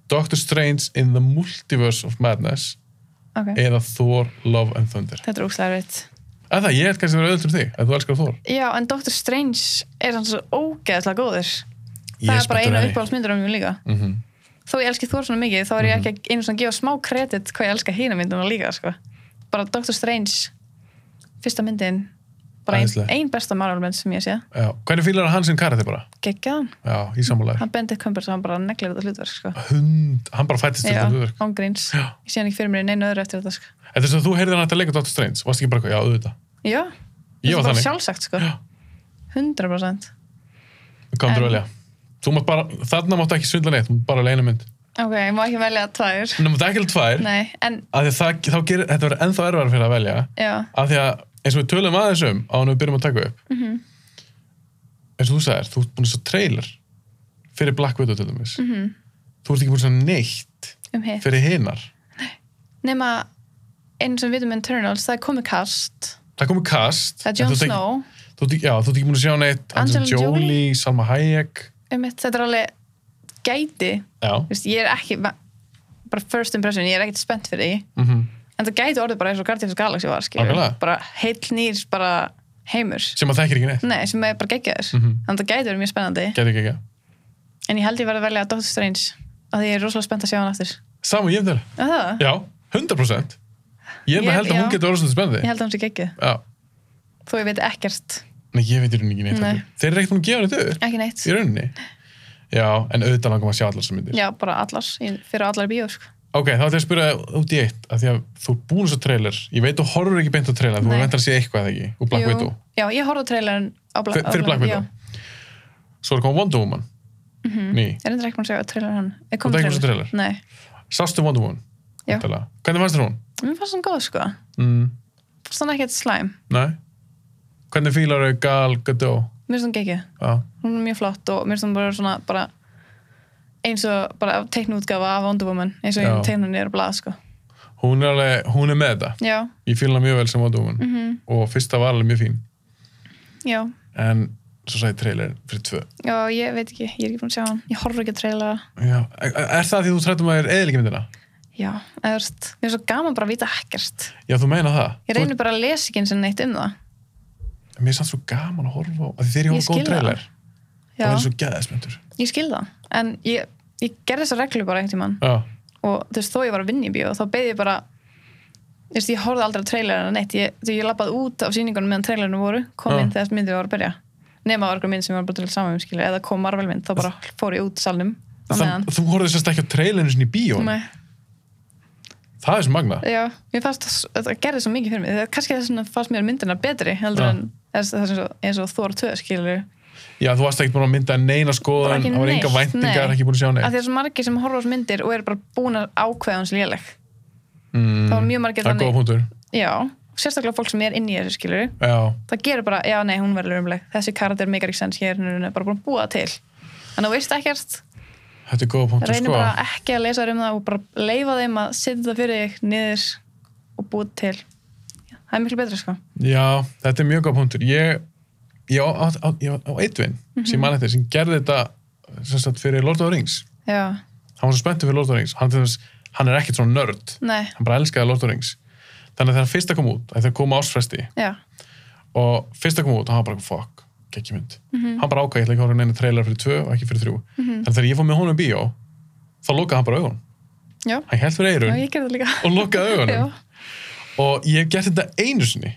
S1: Doctor Strange in the Multiverse of Madness
S2: ok
S1: eða Thor, Love and Thunder
S2: þetta er úkslega erfitt
S1: eða ég held kannski að vera öðvöld fyrir þig að þú elskar Thor
S2: já, en Doctor Strange er hann svo ógeðslega góður
S1: Ég
S2: það er bara
S1: spenntur
S2: eina
S1: henni.
S2: uppáhaldsmyndur á mjög líka
S1: Mhm.
S2: þó ég elski Thor svona mikið, þá er ég ekki einu svona að gefa smá kredit hvað ég elska hína myndina líka sko. bara Doctor Strange fyrsta myndin bara ein,
S1: Æðisleg.
S2: ein besta Marvel mynd sem ég sé
S1: Já, hvernig fílar hann sem karate bara?
S2: geggjaðan,
S1: Já, í sammálaði
S2: hann Benedict Cumberbatch hann bara neglir þetta hlutverk sko.
S1: Hund, hann bara fættist til
S2: já,
S1: þetta hlutverk
S2: ángríns,
S1: Já.
S2: ég sé hann ekki fyrir mér í neina öðru eftir þetta sko.
S1: Þetta er sem þú heyrðir hann að leika Doctor Strange, varst ekki bara eitthvað, já, auðvitað
S2: já,
S1: Ég
S2: þetta
S1: var
S2: er bara
S1: þannig.
S2: sjálfsagt sko.
S1: Já.
S2: 100%
S1: Við komum til
S2: En-
S1: að velja Þú mátt bara, þarna máttu ekki svindla neitt, þú mátt bara leina mynd
S2: ok, ég má ekki velja tvær
S1: En þú mátt ekki alveg tvær
S2: nei, en
S1: af því að það, þá gerir, þetta verður ennþá erfara fyrir að velja
S2: já,
S1: af því að eins og við tölum aðeins um á hann við byrjum að taka upp
S2: Mhm.
S1: eins og þú sagðir, þú ert búin að sjá trailer fyrir Black Widow til dæmis -hmm.
S2: Mhm.
S1: þú ert ekki búin að sjá neitt
S2: um hitt
S1: fyrir hinar
S2: nema einu sem við vitum um Eternals, það er komið kast
S1: það komið kast
S2: það er
S1: en
S2: Jon
S1: þú ert ekki-
S2: Snow
S1: þú ert ekki- já, þú ert ekki búin að sjá neitt
S2: Angelina Jolie.
S1: Salma Hayek
S2: um hitt, þetta er alveg gæti,
S1: já,
S2: þú veist, ég er ekki bara first impression, ég er ekkert spennt fyrir því
S1: mm
S2: en það gæti orðið bara eins og Guardians of the Galaxy var skilur,
S1: Nákvæmlega.
S2: bara heill nýr bara heimur,
S1: sem að þekkir ekki neitt
S2: nei, sem er bara geggjaður
S1: Mhm.
S2: þannig að það gæti verið mjög spennandi
S1: getur ekki ekki
S2: en ég held ég verið að velja Doctor Strange af því ég er rosalega spennt að sjá hann aftur
S1: saman ég þeirra,
S2: Er það?
S1: já, 100% ég er með
S2: Ég-
S1: að held að hún
S2: já.
S1: getur orðið svolítið
S2: ég
S1: spennandi
S2: held að hann sé geggjuð,
S1: já,
S2: þó ég veit ekkert
S1: nei, ég veit í rauninni ekki neitt
S2: Nei.
S1: heldur. þeir eru ekkert búin að gefa þetta upp
S2: ekki neitt,
S1: í rauninni já, en auðvitað langar maður að sjá allar sem myndir
S2: já, bara allar ég- fyrir allar í bíó, sko
S1: ok, þá ætlum ég að spyrja þig út í eitt af því að þú er búin svo trailer ég veit þú horfur ekki beint á trailer, þú
S2: Nei.
S1: verður að sé eitthvað eða ekki og Black
S2: Jú.
S1: Widow,
S2: já, ég horfði á trailerin á Bla-
S1: Fyr-
S2: á
S1: fyrir Black
S2: já.
S1: Widow svo er komið Wonder Woman ný,
S2: Ég er reyndar ekki búin að segja trailer hann. Er
S1: Þú
S2: komið
S1: ert ekki búin að sjá
S2: trailer? Nei.
S1: sástu Wonder Woman
S2: Já.
S1: væntanlega. hvernig fannst þér hún?
S2: Mér fannst hann góð, sko.
S1: Mm,
S2: Fannst hann ekkert slæm.
S1: nei hvernig fílar þau Gal Gadot?
S2: Mér finnst hann gekkið.
S1: Já.
S2: Hún er mjög flott og mér finnst hann bara svona, bara eins og bara teiknútgafa af Wonder Woman eins og
S1: Já.
S2: einu teiknunni er blað, sko.
S1: hún er alveg, hún er með þetta
S2: Já, Mm.
S1: ég fíla hana mjög vel sem Wonder Woman
S2: mhm,
S1: og fyrsta var alveg mjög fín
S2: já.
S1: en svo sagði trailerin fyrir tvö
S2: Já, ég veit ekki, ég er ekki búin að sjá hann. Ég horf ekki að treyla.
S1: Já, er er það því þú trættum að það er eðilegja myndina?
S2: Já, eða þú veist, mér er svo gaman bara að vita ekkert.
S1: Já, þú meina það?
S2: Ég reynir bara að lesa ekki eins og neitt um það.
S1: Þú, mér er samt svo gaman að horfa á, af því þegar ég
S2: Ég
S1: horfa á góð
S2: skil það.
S1: trailer,
S2: Já,
S1: það verður svo gæðismyndur.
S2: ég skil það. En ég, ég gerði þessa reglu bara einhvern tímann.
S1: Já,
S2: Og þú veist, þó ég var að vinna í bíó, þá beði ég bara, þú veist, ég horfði aldrei að treyla neitt. Ég, þú veist, ég labbaði út af síningunum meðan treylarinu voru, kom
S1: Já.
S2: inn þegar myndið var að byrja. Nema var okkur mynd sem ég var bara til saman um, skilur, eða kom Marvel mynd, þá bara fór ég út salnum á meðan.
S1: Þann, þú horfður sérst ekki á trailerinu sinni í bíó.
S2: Nei.
S1: Það er sem magna.
S2: Já, mér fannst það- það gerði svo mikið fyrir mig það, kannski þess vegna fannst mér myndina betri heldur
S1: Já.
S2: en þess, þess eins, og, eins og Thor 2 skilur
S1: Já, þú varst ekki búin að mynda neina
S2: Bara
S1: skoðan,
S2: ekki
S1: það var enga
S2: neitt,
S1: væntingar,
S2: nei.
S1: ekki búin að sjá
S2: af
S1: neitt.
S2: því að svo margir sem horfa á þessu myndir og eru bara búin að ákveða hans léleg
S1: Mm,
S2: það var mjög margir
S1: það er
S2: þannig.
S1: góða punktur.
S2: já, sérstaklega fólk sem er inn í þessu skilur
S1: Já,
S2: það gerur bara, já nei, hún verður umleg þessi karakter megar ekki sens hér, hún er bara búin að búa það til þannig að þú veist ekkert
S1: þetta er góða punktur,
S2: reynir
S1: sko.
S2: bara ekki að lesa um það og bara leifa þeim að setja það fyrir þig niður og búa til Já, það er miklu betra sko
S1: Já, þetta er mjög góð punktur. Ég, ég, á, á, á, ég á, á eitvin sem mann eftir, sem gerði þetta sem sagt, fyrir Lord of the Rings.
S2: já,
S1: Hann var svo spenntur fyrir Lord of the Rings. Hann, til dæmis- hann er ekkert svona nörd.
S2: nei,
S1: Hann bara elskaði Lord of the Rings. Þannig að þegar fyrsta kom út, þegar kom ásfresti
S2: já,
S1: og fyrsta kom út, hann var bara fuck, ekki mynd. Hann bara ákvæði, ég ætla ekki að horfa á neina trailer fyrir tvö og ekki fyrir þrjú. Þannig að þegar ég fór með honum í bíó, þá lokaði hann bara augun.
S2: já,
S1: Hann held fyrir eirun
S2: já ég gerði það líka
S1: og lokaði augunum.
S2: Já,
S1: og ég hef gert þetta einu sinni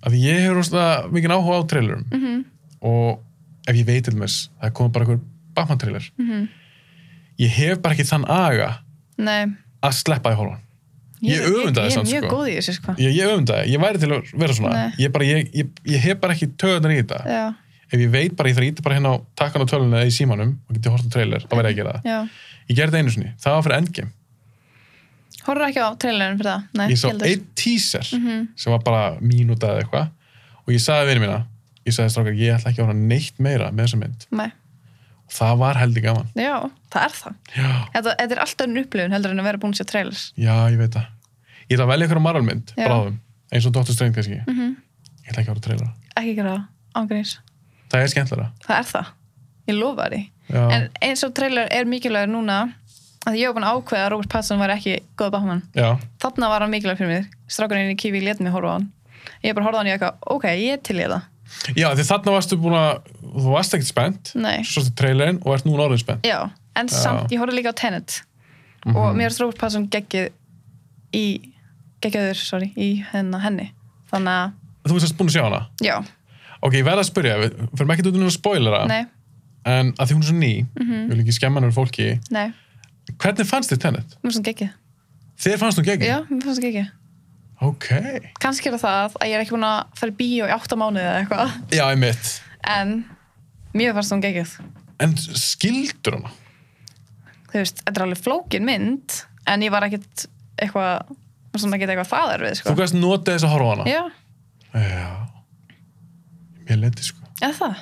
S1: af því ég hefur rosalega mikið áhuga á trailerum
S2: Mhm.
S1: og ef ég veit til þess það kom bara einhver Batman trailer
S2: Mhm.
S1: ég hef bara ekki þann aga
S2: nei
S1: að sleppa því horfan Ég öfunda þér
S2: Ég
S1: samt,
S2: er mjög
S1: sko.
S2: góð í þessu sko
S1: ég, ég öfum það, ég væri til að vera svona
S2: Nei.
S1: ég, bara, ég, ég, ég hef bara ekki töðunar í þetta
S2: Já,
S1: ef ég veit bara, ég þarf að íta bara hérna á takkan á tölunni eða í símanum og geti hort á trailer, þá væri ég að gera það
S2: já
S1: ég gerði þetta einu sinni, það var fyrir Endgame
S2: Horfðu ekki á trailerin fyrir það Nei,
S1: ég sá
S2: heldur. Mhm.
S1: einn teaser sem var bara mínúta eða eitthvað og ég sagði vinnu mína, ég sagði strákar ég ætla ekki að horfa á neitt meira með þessa mynd
S2: Nei,
S1: og það var heldig gaman
S2: já, það er það
S1: já,
S2: Þetta, þetta er alltaf enn upplifun heldur en að vera búin að sjá trailers
S1: já, ég veit það ég ætla að velja ykkur á maralmynd,
S2: Já.
S1: bráðum eins og Dr. Strange kannski,
S2: Mhm.
S1: ég ætla ekki að horfa á trailer
S2: Ekki gera það ángríns
S1: það er skemmtlara
S2: Það er það, ég lofa því
S1: já,
S2: En eins og trailer er mikilvægur núna að því ég hef búin að ákveða að Robert Pattinson var ekki góð Batman
S1: já,
S2: Þarna var hann mikilvægur fyrir mér Strákurinn í Kiwi let mig horfa á hann Ég bara horfði á hann í eitthvað, ok, ég er til ég það
S1: já því þarna varstu búin að þú varst ekkert spennt,
S2: Nei.
S1: svo stu trailerinn og ert núna orðin spennt
S2: Já, en samt, ég horfði líka á Tenet og mér er Robert Pattinson geggið í, geggiður, sorry, í hennar henni. Þannig að,
S1: þú veist að búin að sjá hana
S2: já,
S1: ok, ég verð að spyrja, við fyrir ekki út um að spoilera
S2: nei, Mhm.
S1: en að því hún er svo ný, ég vil ekki skemma hennar fólki
S2: nei,
S1: hvernig fannst þið Tenet?
S2: mér finnst hann geggið.
S1: Þér fannst hún gegn?
S2: Já, mér finnst hann geggið.
S1: Ok.
S2: Kannski er það að ég er ekki búin að fara í bíó í átta mánuði eða eitthvað,
S1: Já, ég mitt.
S2: en mér fannst hann geggið.
S1: En skildur hana?
S2: Þú veist, þetta er alveg flókin mynd, en ég var ekkit eitthvað, var svona ekkit eitthvað það erfið,
S1: Þú
S2: sko.
S1: gæst nota þess að horfa á hana?
S2: Já,
S1: Já. Mér lendi sko.
S2: eða það.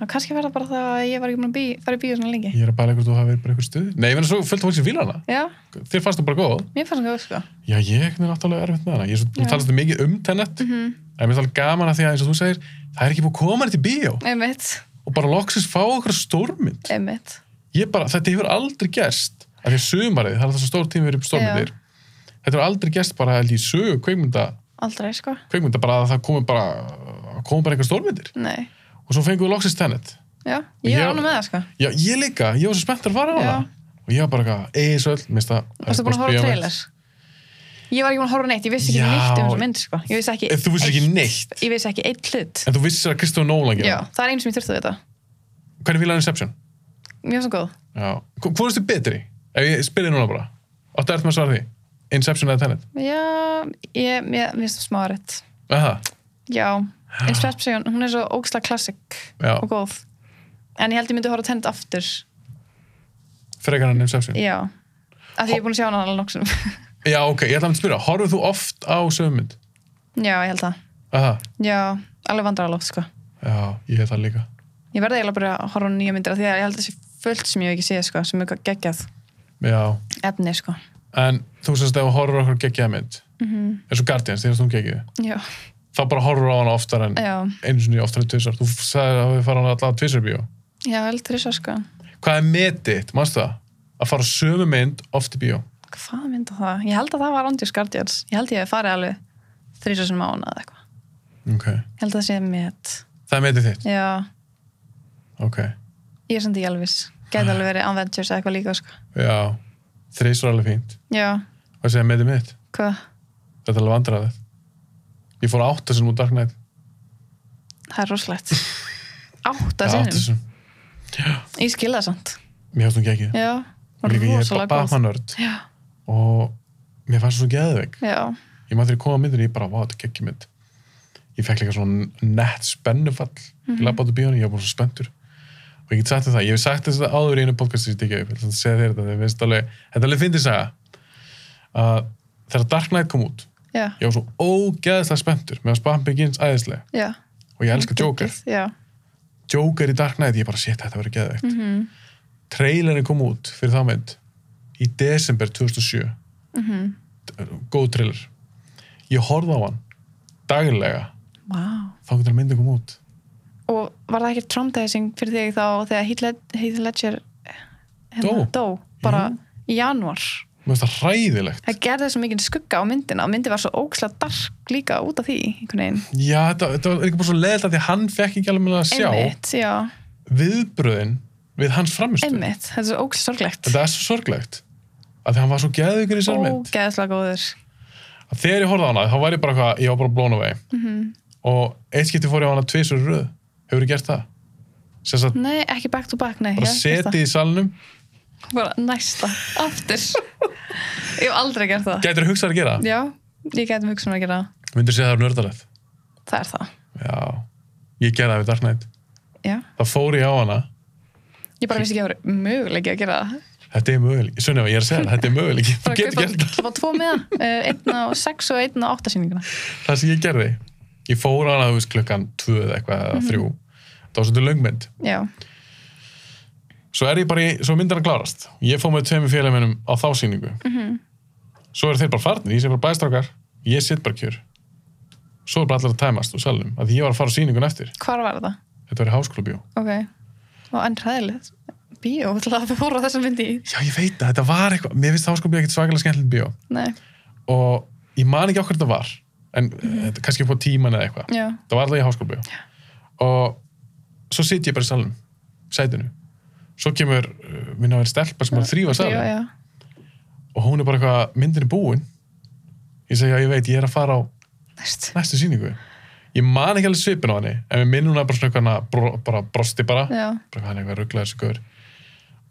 S2: Já. Kannski verða bara það að ég var ekki búin að bí, fara í bíó svona lengi.
S1: Ég er að bæla ykkur þú hafi verið bara ykkur stuð. Nei, ég menn svo fullt fólk sem fíla hana.
S2: Já,
S1: Þér fannst hún bara góð.
S2: mér fannst hann góð, sko.
S1: Já, ég er náttúrulega erfitt með hana. Ég er svo, þú
S2: Já. Mhm.
S1: talast þú mikið um tennet. Mm -hmm. En mér er alltaf gaman að því að eins og þú segir, það er ekki búið að koma þetta í bíó
S2: Einmitt,
S1: og bara loksins fá okkur stórmynd.
S2: einmitt.
S1: Ég bara, þetta hefur aldrei gerst. Af því að sumarið, það er alltaf svo stór tími fyrir stórmyndir. Þetta hefur aldrei gerst bara held ég, í sögu kveikmynda
S2: Aldrei, sko.
S1: kveikmynda bara að það komi bara komi bara einhver stórmyndir
S2: Nei.
S1: og svo fengum við loksins Tenet
S2: Já, ég
S1: Já.
S2: er ánum með það, sko.
S1: já, ég líka, ég var svo spennt að fara á
S2: Já.
S1: hana og ég var bara eitthvað, eigi svo öll minnst að
S2: Varstu búin að horfa á trailers? Ég var ekki búin að horfa á neitt, ég vissi ekki
S1: Já.
S2: neitt um þessa mynd, sko. Ég vissi ekki,
S1: En þú vissir ekki
S2: eitt-
S1: neitt?
S2: Ég vissi ekki eitt hlut.
S1: en þú vissir að Kristofur Nólan
S2: Já,
S1: gera
S2: það er einu sem ég þurfti þetta.
S1: það. hvernig fílaði Inception?
S2: Mjög svo góð.
S1: já, Hvo- hvað er þetta betri? ef ég spyrir núna bara, áttu eftir með að svara því Inception eða Tenet?
S2: Já, ég, ég finnst það smá rétt.
S1: Aha.
S2: Já, Inception, hún er svo ógslag klassik
S1: Já.
S2: og góð. En ég held ég myndi horfa á Tenet aftur.
S1: frekar en Inception
S2: Já. Af því ég er búin að sjá hana alveg nokksum.
S1: já, ok, ég ætla að spyrja, horfðu þú oft á sögmynd?
S2: Já, ég held það.
S1: Aha.
S2: Já, alveg vandrarlóft, sko.
S1: já, ég hef það líka
S2: Ég verði eiginlega bara að horfa á nýja myndir af því að ég held að þessi fullt sem ég hef ekki séð sko, sem er geggjað
S1: já,
S2: efni sko. Mhm.
S1: en þú sérst ef þú horfur okkur geggjaða mynd mm -hmm. eins og Guardians, þér erst þú geggið
S2: Já.
S1: þá bara horfur á hana oftar en
S2: já,
S1: einu sinni oftar en tvisar þú sagði að við fara hana allavega tvisar í bíó
S2: já, heldur þess að sko
S1: hvað er metið, mannstu það? að fara á sömu mynd oft í bíó
S2: hvað mynda það? Ég held að það var Andjós Guardians ég held ég hef farið alveg þrísa sem mánu eða eitthvað,
S1: okay.
S2: ég held að það sé mitt
S1: það er metið þitt
S2: já,
S1: okay.
S2: ég er samt í Elvis gæti alveg verið Avengers eða eitthvað líka sko
S1: já, þreys var alveg fínt
S2: já,
S1: hvað segja metið mitt?
S2: hvað,
S1: þetta er alveg vandræðið ég fór átta sem úr Dark Knight
S2: það er rosalegt átta
S1: Já, átta
S2: sinnum,
S1: sinnum.
S2: ég skil það samt
S1: mér hættum ekki ekki
S2: já,
S1: líka ég er
S2: rosalega góð
S1: Batman-nörd
S2: já,
S1: og mér fannst svo geðveik
S2: já,
S1: ég maður þegar ég kom að myndir ég bara, vá, þetta er ekki mynd ég fekk líka svona nett spennufall mm -hmm. labbaðu bíónu, ég var bara svo spenntur og ég get sagt þér það, ég hef sagt þess að áður í einu podcasti sem ég tekja upp, ég ætla að segja þér þetta þegar finnst alveg, þetta er alveg fyndið saga að þegar Dark Knight kom út
S2: já,
S1: ég var svo ógeðslega spenntur með að Spam Begins æðislega
S2: já
S1: og ég elska Joker,
S2: já,
S1: Joker í Dark Knight ég bara, shit, þetta verður geðveikt
S2: mhm
S1: trailerin kom út fyrir þá mynd í desember 2007
S2: Mhm.
S1: góð trailer ég horfði á hann daglega
S2: Vá.
S1: þá getur myndin kom út
S2: Og var það ekki traumatizing fyrir þig þá þegar Heath Led- Heath Ledger hérna,
S1: Dó. Mhm.
S2: dó bara í janúar.
S1: mér finnst það hræðilegt
S2: Það gerði svo mikið skugga á myndina og myndi var svo ókslega dark líka út af því einhvern veginn.
S1: já, þetta, þetta var líka bara svo leðilt að því að hann fekk ekki alveg að sjá
S2: Einmitt, já,
S1: viðbröðin við hans framistu
S2: einmitt. Þetta er svo ókslega sorglegt.
S1: þetta er svo sorglegt að því hann var svo geðugur í sér mynd
S2: Ógeðslega góður.
S1: að þegar ég horfði á hana þá var ég bara hvað, ég var bara blown away
S2: Mhm.
S1: og eitt skipti fór ég á hana tvisur röð hefur ég gert það sem sagt,
S2: Nei, ekki back to back, nei.
S1: bara
S2: ég hef ekki
S1: setið í salnum
S2: gert það. Bara næsta, aftur. ég hef aldrei gert það.
S1: gætur hugsað að gera það?
S2: Já, ég gæti mig hugsað um að gera það.
S1: myndir segja það er nördalegt
S2: Það er það.
S1: Já, ég gerði það við Dark Knight.
S2: Já.
S1: Það fór ég á hana.
S2: Ég bara vissi ekki að það voru möguleiki að gera það.
S1: Þetta er möguleik. Sunnum, ég er að segja það, þetta er möguleik. Þú
S2: bara
S1: getur
S2: kaupa,
S1: gert það.
S2: kaupa tvo miða, eh, einn á sex og einn á átta síninguna
S1: Það sem ég gerði. Ég fór á hana, þú veist, klukkan tvö eða eitthvað eða þrjú. Það var svolítið löngmynd.
S2: já,
S1: Svo er ég bara í, svo myndar að klárast. Ég fór með tveimur félagmennum á þá sýningu. Svo eru þeir bara farnir, ég sé bara bæstrákar, ég sitt bara kjör. Svo er bara allir að tæmast úr salnum, að því ég var að fara á sýningun eftir.
S2: hvar var það?
S1: Þetta var í háskólabjó.
S2: ok, og enn ræðilegt bíó, til að við fóru á þessa myndi í
S1: Já, ég veit að þetta var eitthvað, mér finnst háskólabjó ekkert svakalega skemmtilegt bjó.
S2: nei,
S1: og ég man ekki okkur þetta var en mm. kannski upp á tíman eða eitthvað
S2: já,
S1: það var alveg í háskóla og svo sit ég bara í salnum sætinu svo kemur uh, minna að vera stelpa sem var að þrýfa
S2: já,
S1: salin
S2: já,
S1: og hún er bara eitthvað, myndin er búin ég segi, já ég veit, ég er að fara á
S2: næst
S1: næstu sýningu ég man ekki alveg svipin á henni en við minnum hún að bara svona eitthvað hana bro, bara brosti bara,
S2: já,
S1: bara hann er eitthvað rugglaði þessu gaur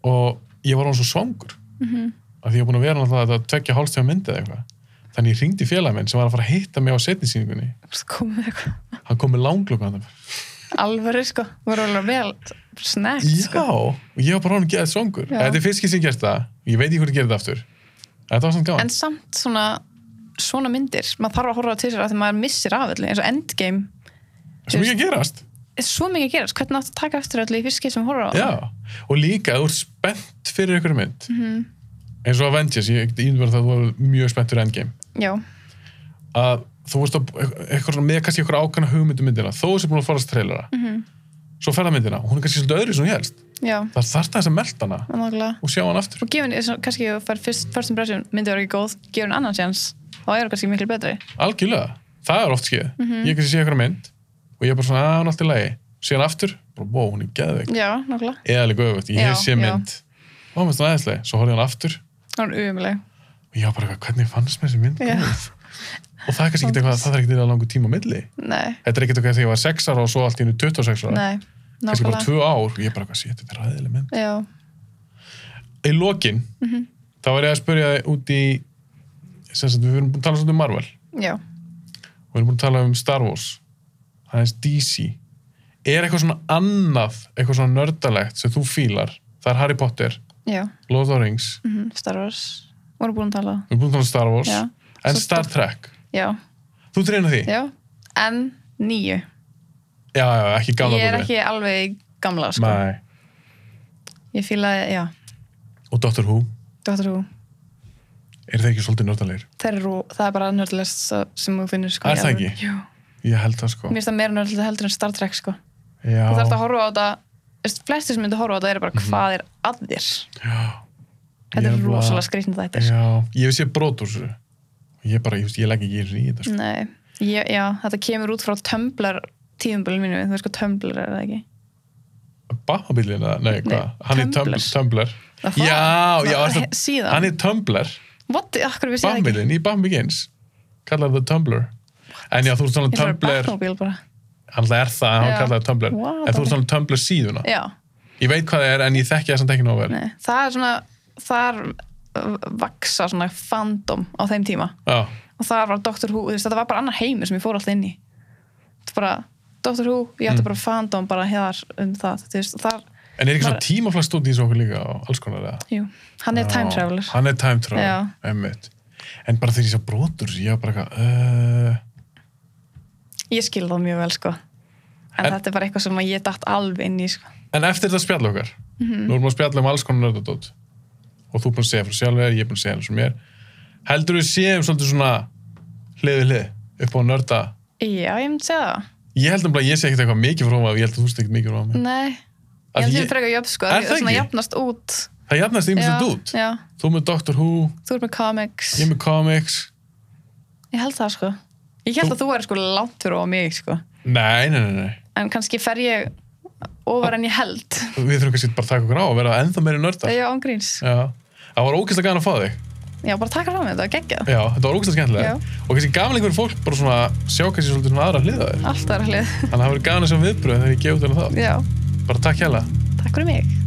S1: og ég var hann svo svangur
S2: mhm,
S1: af því ég var búin að vera náttúrulega að þetta tvekja hálfstíma myndið eða eitthvað. Þannig ég ringdi félag minn sem var að fara að hitta mig á setnisýningunni.
S2: svo komið eitthvað
S1: Hann kom með langlokum hann.
S2: alvöru sko, voru alveg vel snægt
S1: Já,
S2: sko
S1: og ég var bara honum geðað svongur.
S2: Já.
S1: Þetta er fyrst ekki sem gert það. Ég veit ekki hvort ég gerði það aftur. En Þetta var samt
S2: en
S1: gaman.
S2: samt svona svona myndir, maður þarf að horfa á til sér að því maður missir af öllu, eins og Endgame
S1: Svo mikið að gerast.
S2: er svo mikið að gerast, hvernig áttu að taka eftir öllu í fyrst skil sem horfa á það?
S1: Já. Og líka, þú ert spennt fyrir einhverju mynd.
S2: Mhm.
S1: Eins og Avengers, ég get ímyndverð það að þú var mjög spennt fyrir Endgame.
S2: já,
S1: Að þú veist að eitthvað svona með kannski eitthvað ákvæmna hugmyndu um myndina. Þó þessi búin að farast trailera. Mm
S2: Mhm.
S1: -hmm. Svo ferða myndina. og Hún er kannski svolítið öðru sem helst.
S2: já,
S1: Það þarf það að melta hana
S2: nákvæmlega
S1: og sjá hana aftur.
S2: og gefin, kannski ef þú fær fyrst, first impression myndi vera ekki góð, gefur hann annan sjans þá er það kannski miklu betri
S1: algjörlega, það er oft skeið
S2: Mhm.
S1: ég kannski sé eitthvað mynd og ég er bara svona, að hún er allt í lagi síðan aftur, bara, bó, hún er geðveik
S2: já, nákvæmlega,
S1: eða líka öfugt, ég hef
S2: Já,
S1: sé
S2: já.
S1: mynd og hún er svona aðeinslega, svo horfði ég hann aftur
S2: það er umuleg
S1: og ég var bara, eitthvað, hvernig fannst mér þessi mynd
S2: Já.
S1: góð? og það er kannski ekki eitthvað, það þarf ekki eitthvað langur tíma á milli,
S2: nei,
S1: þetta er ekki eitthvað þegar ég var 6 ára og svo allt í hennu 26 ára
S2: nei,
S1: kannski bara
S2: nákvæmlega
S1: 2 ár, ég er bara, hvað sé, þetta er ræðileg mynd
S2: já,
S1: í lokin,
S2: Mhm.
S1: þá var ég að spyrja þig út í sem sagt, við erum búin að tala svolítið um Marvel
S2: já,
S1: og við erum búin að tala um Star Wars aðeins DC er eitthvað svona annað eitthvað svona nördalegt sem þú fílar það er Harry Potter,
S2: já
S1: Lord of the Rings
S2: mm Star Wars, voru búin að tala
S1: við erum búin að tala um Star Wars
S2: Já.
S1: en
S2: Svo
S1: Star Trek,
S2: já,
S1: þú treyna því já,
S2: já, en nýju
S1: já, ekki gamla
S2: ég er
S1: góði.
S2: ekki alveg gamla sko.
S1: Nei.
S2: ég fíla, já,
S1: og Doctor Who,
S2: Dr. Who
S1: er það ekki svolítið nördalegir
S2: það er, rú, það er bara nördlist sem þú finnir sko,
S1: Er
S2: í
S1: það
S2: alvöru.
S1: ekki?
S2: Jú.
S1: ég held það sko
S2: mér finnst það meira nörðilegt heldur en Star Trek sko.
S1: já, Mhm.
S2: þú þarfst að horfa á þetta þú veist, flestir sem myndu horfa á þetta eru bara hvað er að þér
S1: já
S2: þetta
S1: Ég
S2: er
S1: bara-
S2: rosalega skrýtnum þetta sko.
S1: já, ég hef séð brot úr þessu ég bara, ég, veist, ég legg ekki í þetta sko.
S2: Nei, ég, já, þetta kemur út frá Tumblr tíðumbölu mínu, þú veist hvað Tumblr er það ekki
S1: Bábílin, nei, hvað,
S2: Nei,
S1: hann er Tumblr,
S2: Tumblr.
S1: Tumblr.
S2: Það
S1: já,
S2: var-
S1: já,
S2: það-
S1: það,
S2: síðan,
S1: hann er Tumblr
S2: what, akkur við séð ekki
S1: Bambilin, í Bambi Games kallar það Tumblr en já, þú ert svona
S2: ég þarf
S1: Tumblr
S2: Batmobile bara
S1: hann alltaf er það, en hann
S2: Já.
S1: kallar það Tumblr
S2: What?
S1: en þú ert svona Tumblr síðuna
S2: já,
S1: ég veit hvað það er, en ég þekki þessan tekinu áver
S2: nei, það er svona þar uh, vaksa svona fandom á þeim tíma
S1: já,
S2: og þar var Doctor Who, þú veist, þetta var bara annar heimur sem ég fór alltaf inn í þetta bara, Doctor Who, ég
S1: Mm.
S2: ætti bara fandom bara hér um það, þú veist, þar
S1: en er ekki
S2: Bara-
S1: svona tímaflast út í þessu okkur líka og alls konar það
S2: jú, hann er time traveler
S1: hann er time traveler,
S2: Já.
S1: emmitt en bara þegar ég sá brotur, ég var bara eitthvað uh,
S2: ég skil það mjög vel, sko en,
S1: En-
S2: þetta er bara eitthvað sem að ég datt alveg inn í, sko
S1: en eftir þetta spjall okkar
S2: Mhm.
S1: nú erum við að spjalla um alls konar nördadót og þú er búin að segja frá sjálf þér, ég er búin að segja frá mér heldur við séum svolítið svona hliði hlið upp á nörda
S2: já, ég myndi segja það,
S1: Ég held um að ég sé ekkert eitthvað mikið frá maður og ég held að þú sé ekkert mikið frá maður.
S2: nei
S1: Af
S2: Mm, ég
S1: því
S2: held ég
S1: ég-
S2: frekar jöfn, sko,
S1: Er
S2: það
S1: það
S2: er svona
S1: ekki?
S2: jafnast út
S1: Það jafnast
S2: já,
S1: ymsið út.
S2: já,
S1: Þú með Doctor Who,
S2: þú er með
S1: ég
S2: comics ég,
S1: með comics.
S2: held það, sko ég held að þú er sko langt fyrir á mig, sko
S1: Nei, nei, nei, nei.
S2: en kannski fer ég ofar en ég held
S1: Við þurfum kannski bara að taka okkur á og vera ennþá meiri nördar.
S2: þegar ég ángríns
S1: Já. Það var ógeðslega gaman að fá þig.
S2: Já, bara taka fram þetta, geggja
S1: Já, þetta var ógeðslega skemmtilega.
S2: Já.
S1: Og kannski gaman líka fyrir fólk bara svona að sjá kannski svolítið svona aðra hliða þér.
S2: Alltaf er hlið,
S1: Þannig að það verður gaman að sjá viðbröð þegar ég gefur þérna það.
S2: já,
S1: Bara takk hjá
S2: takk fyrir mig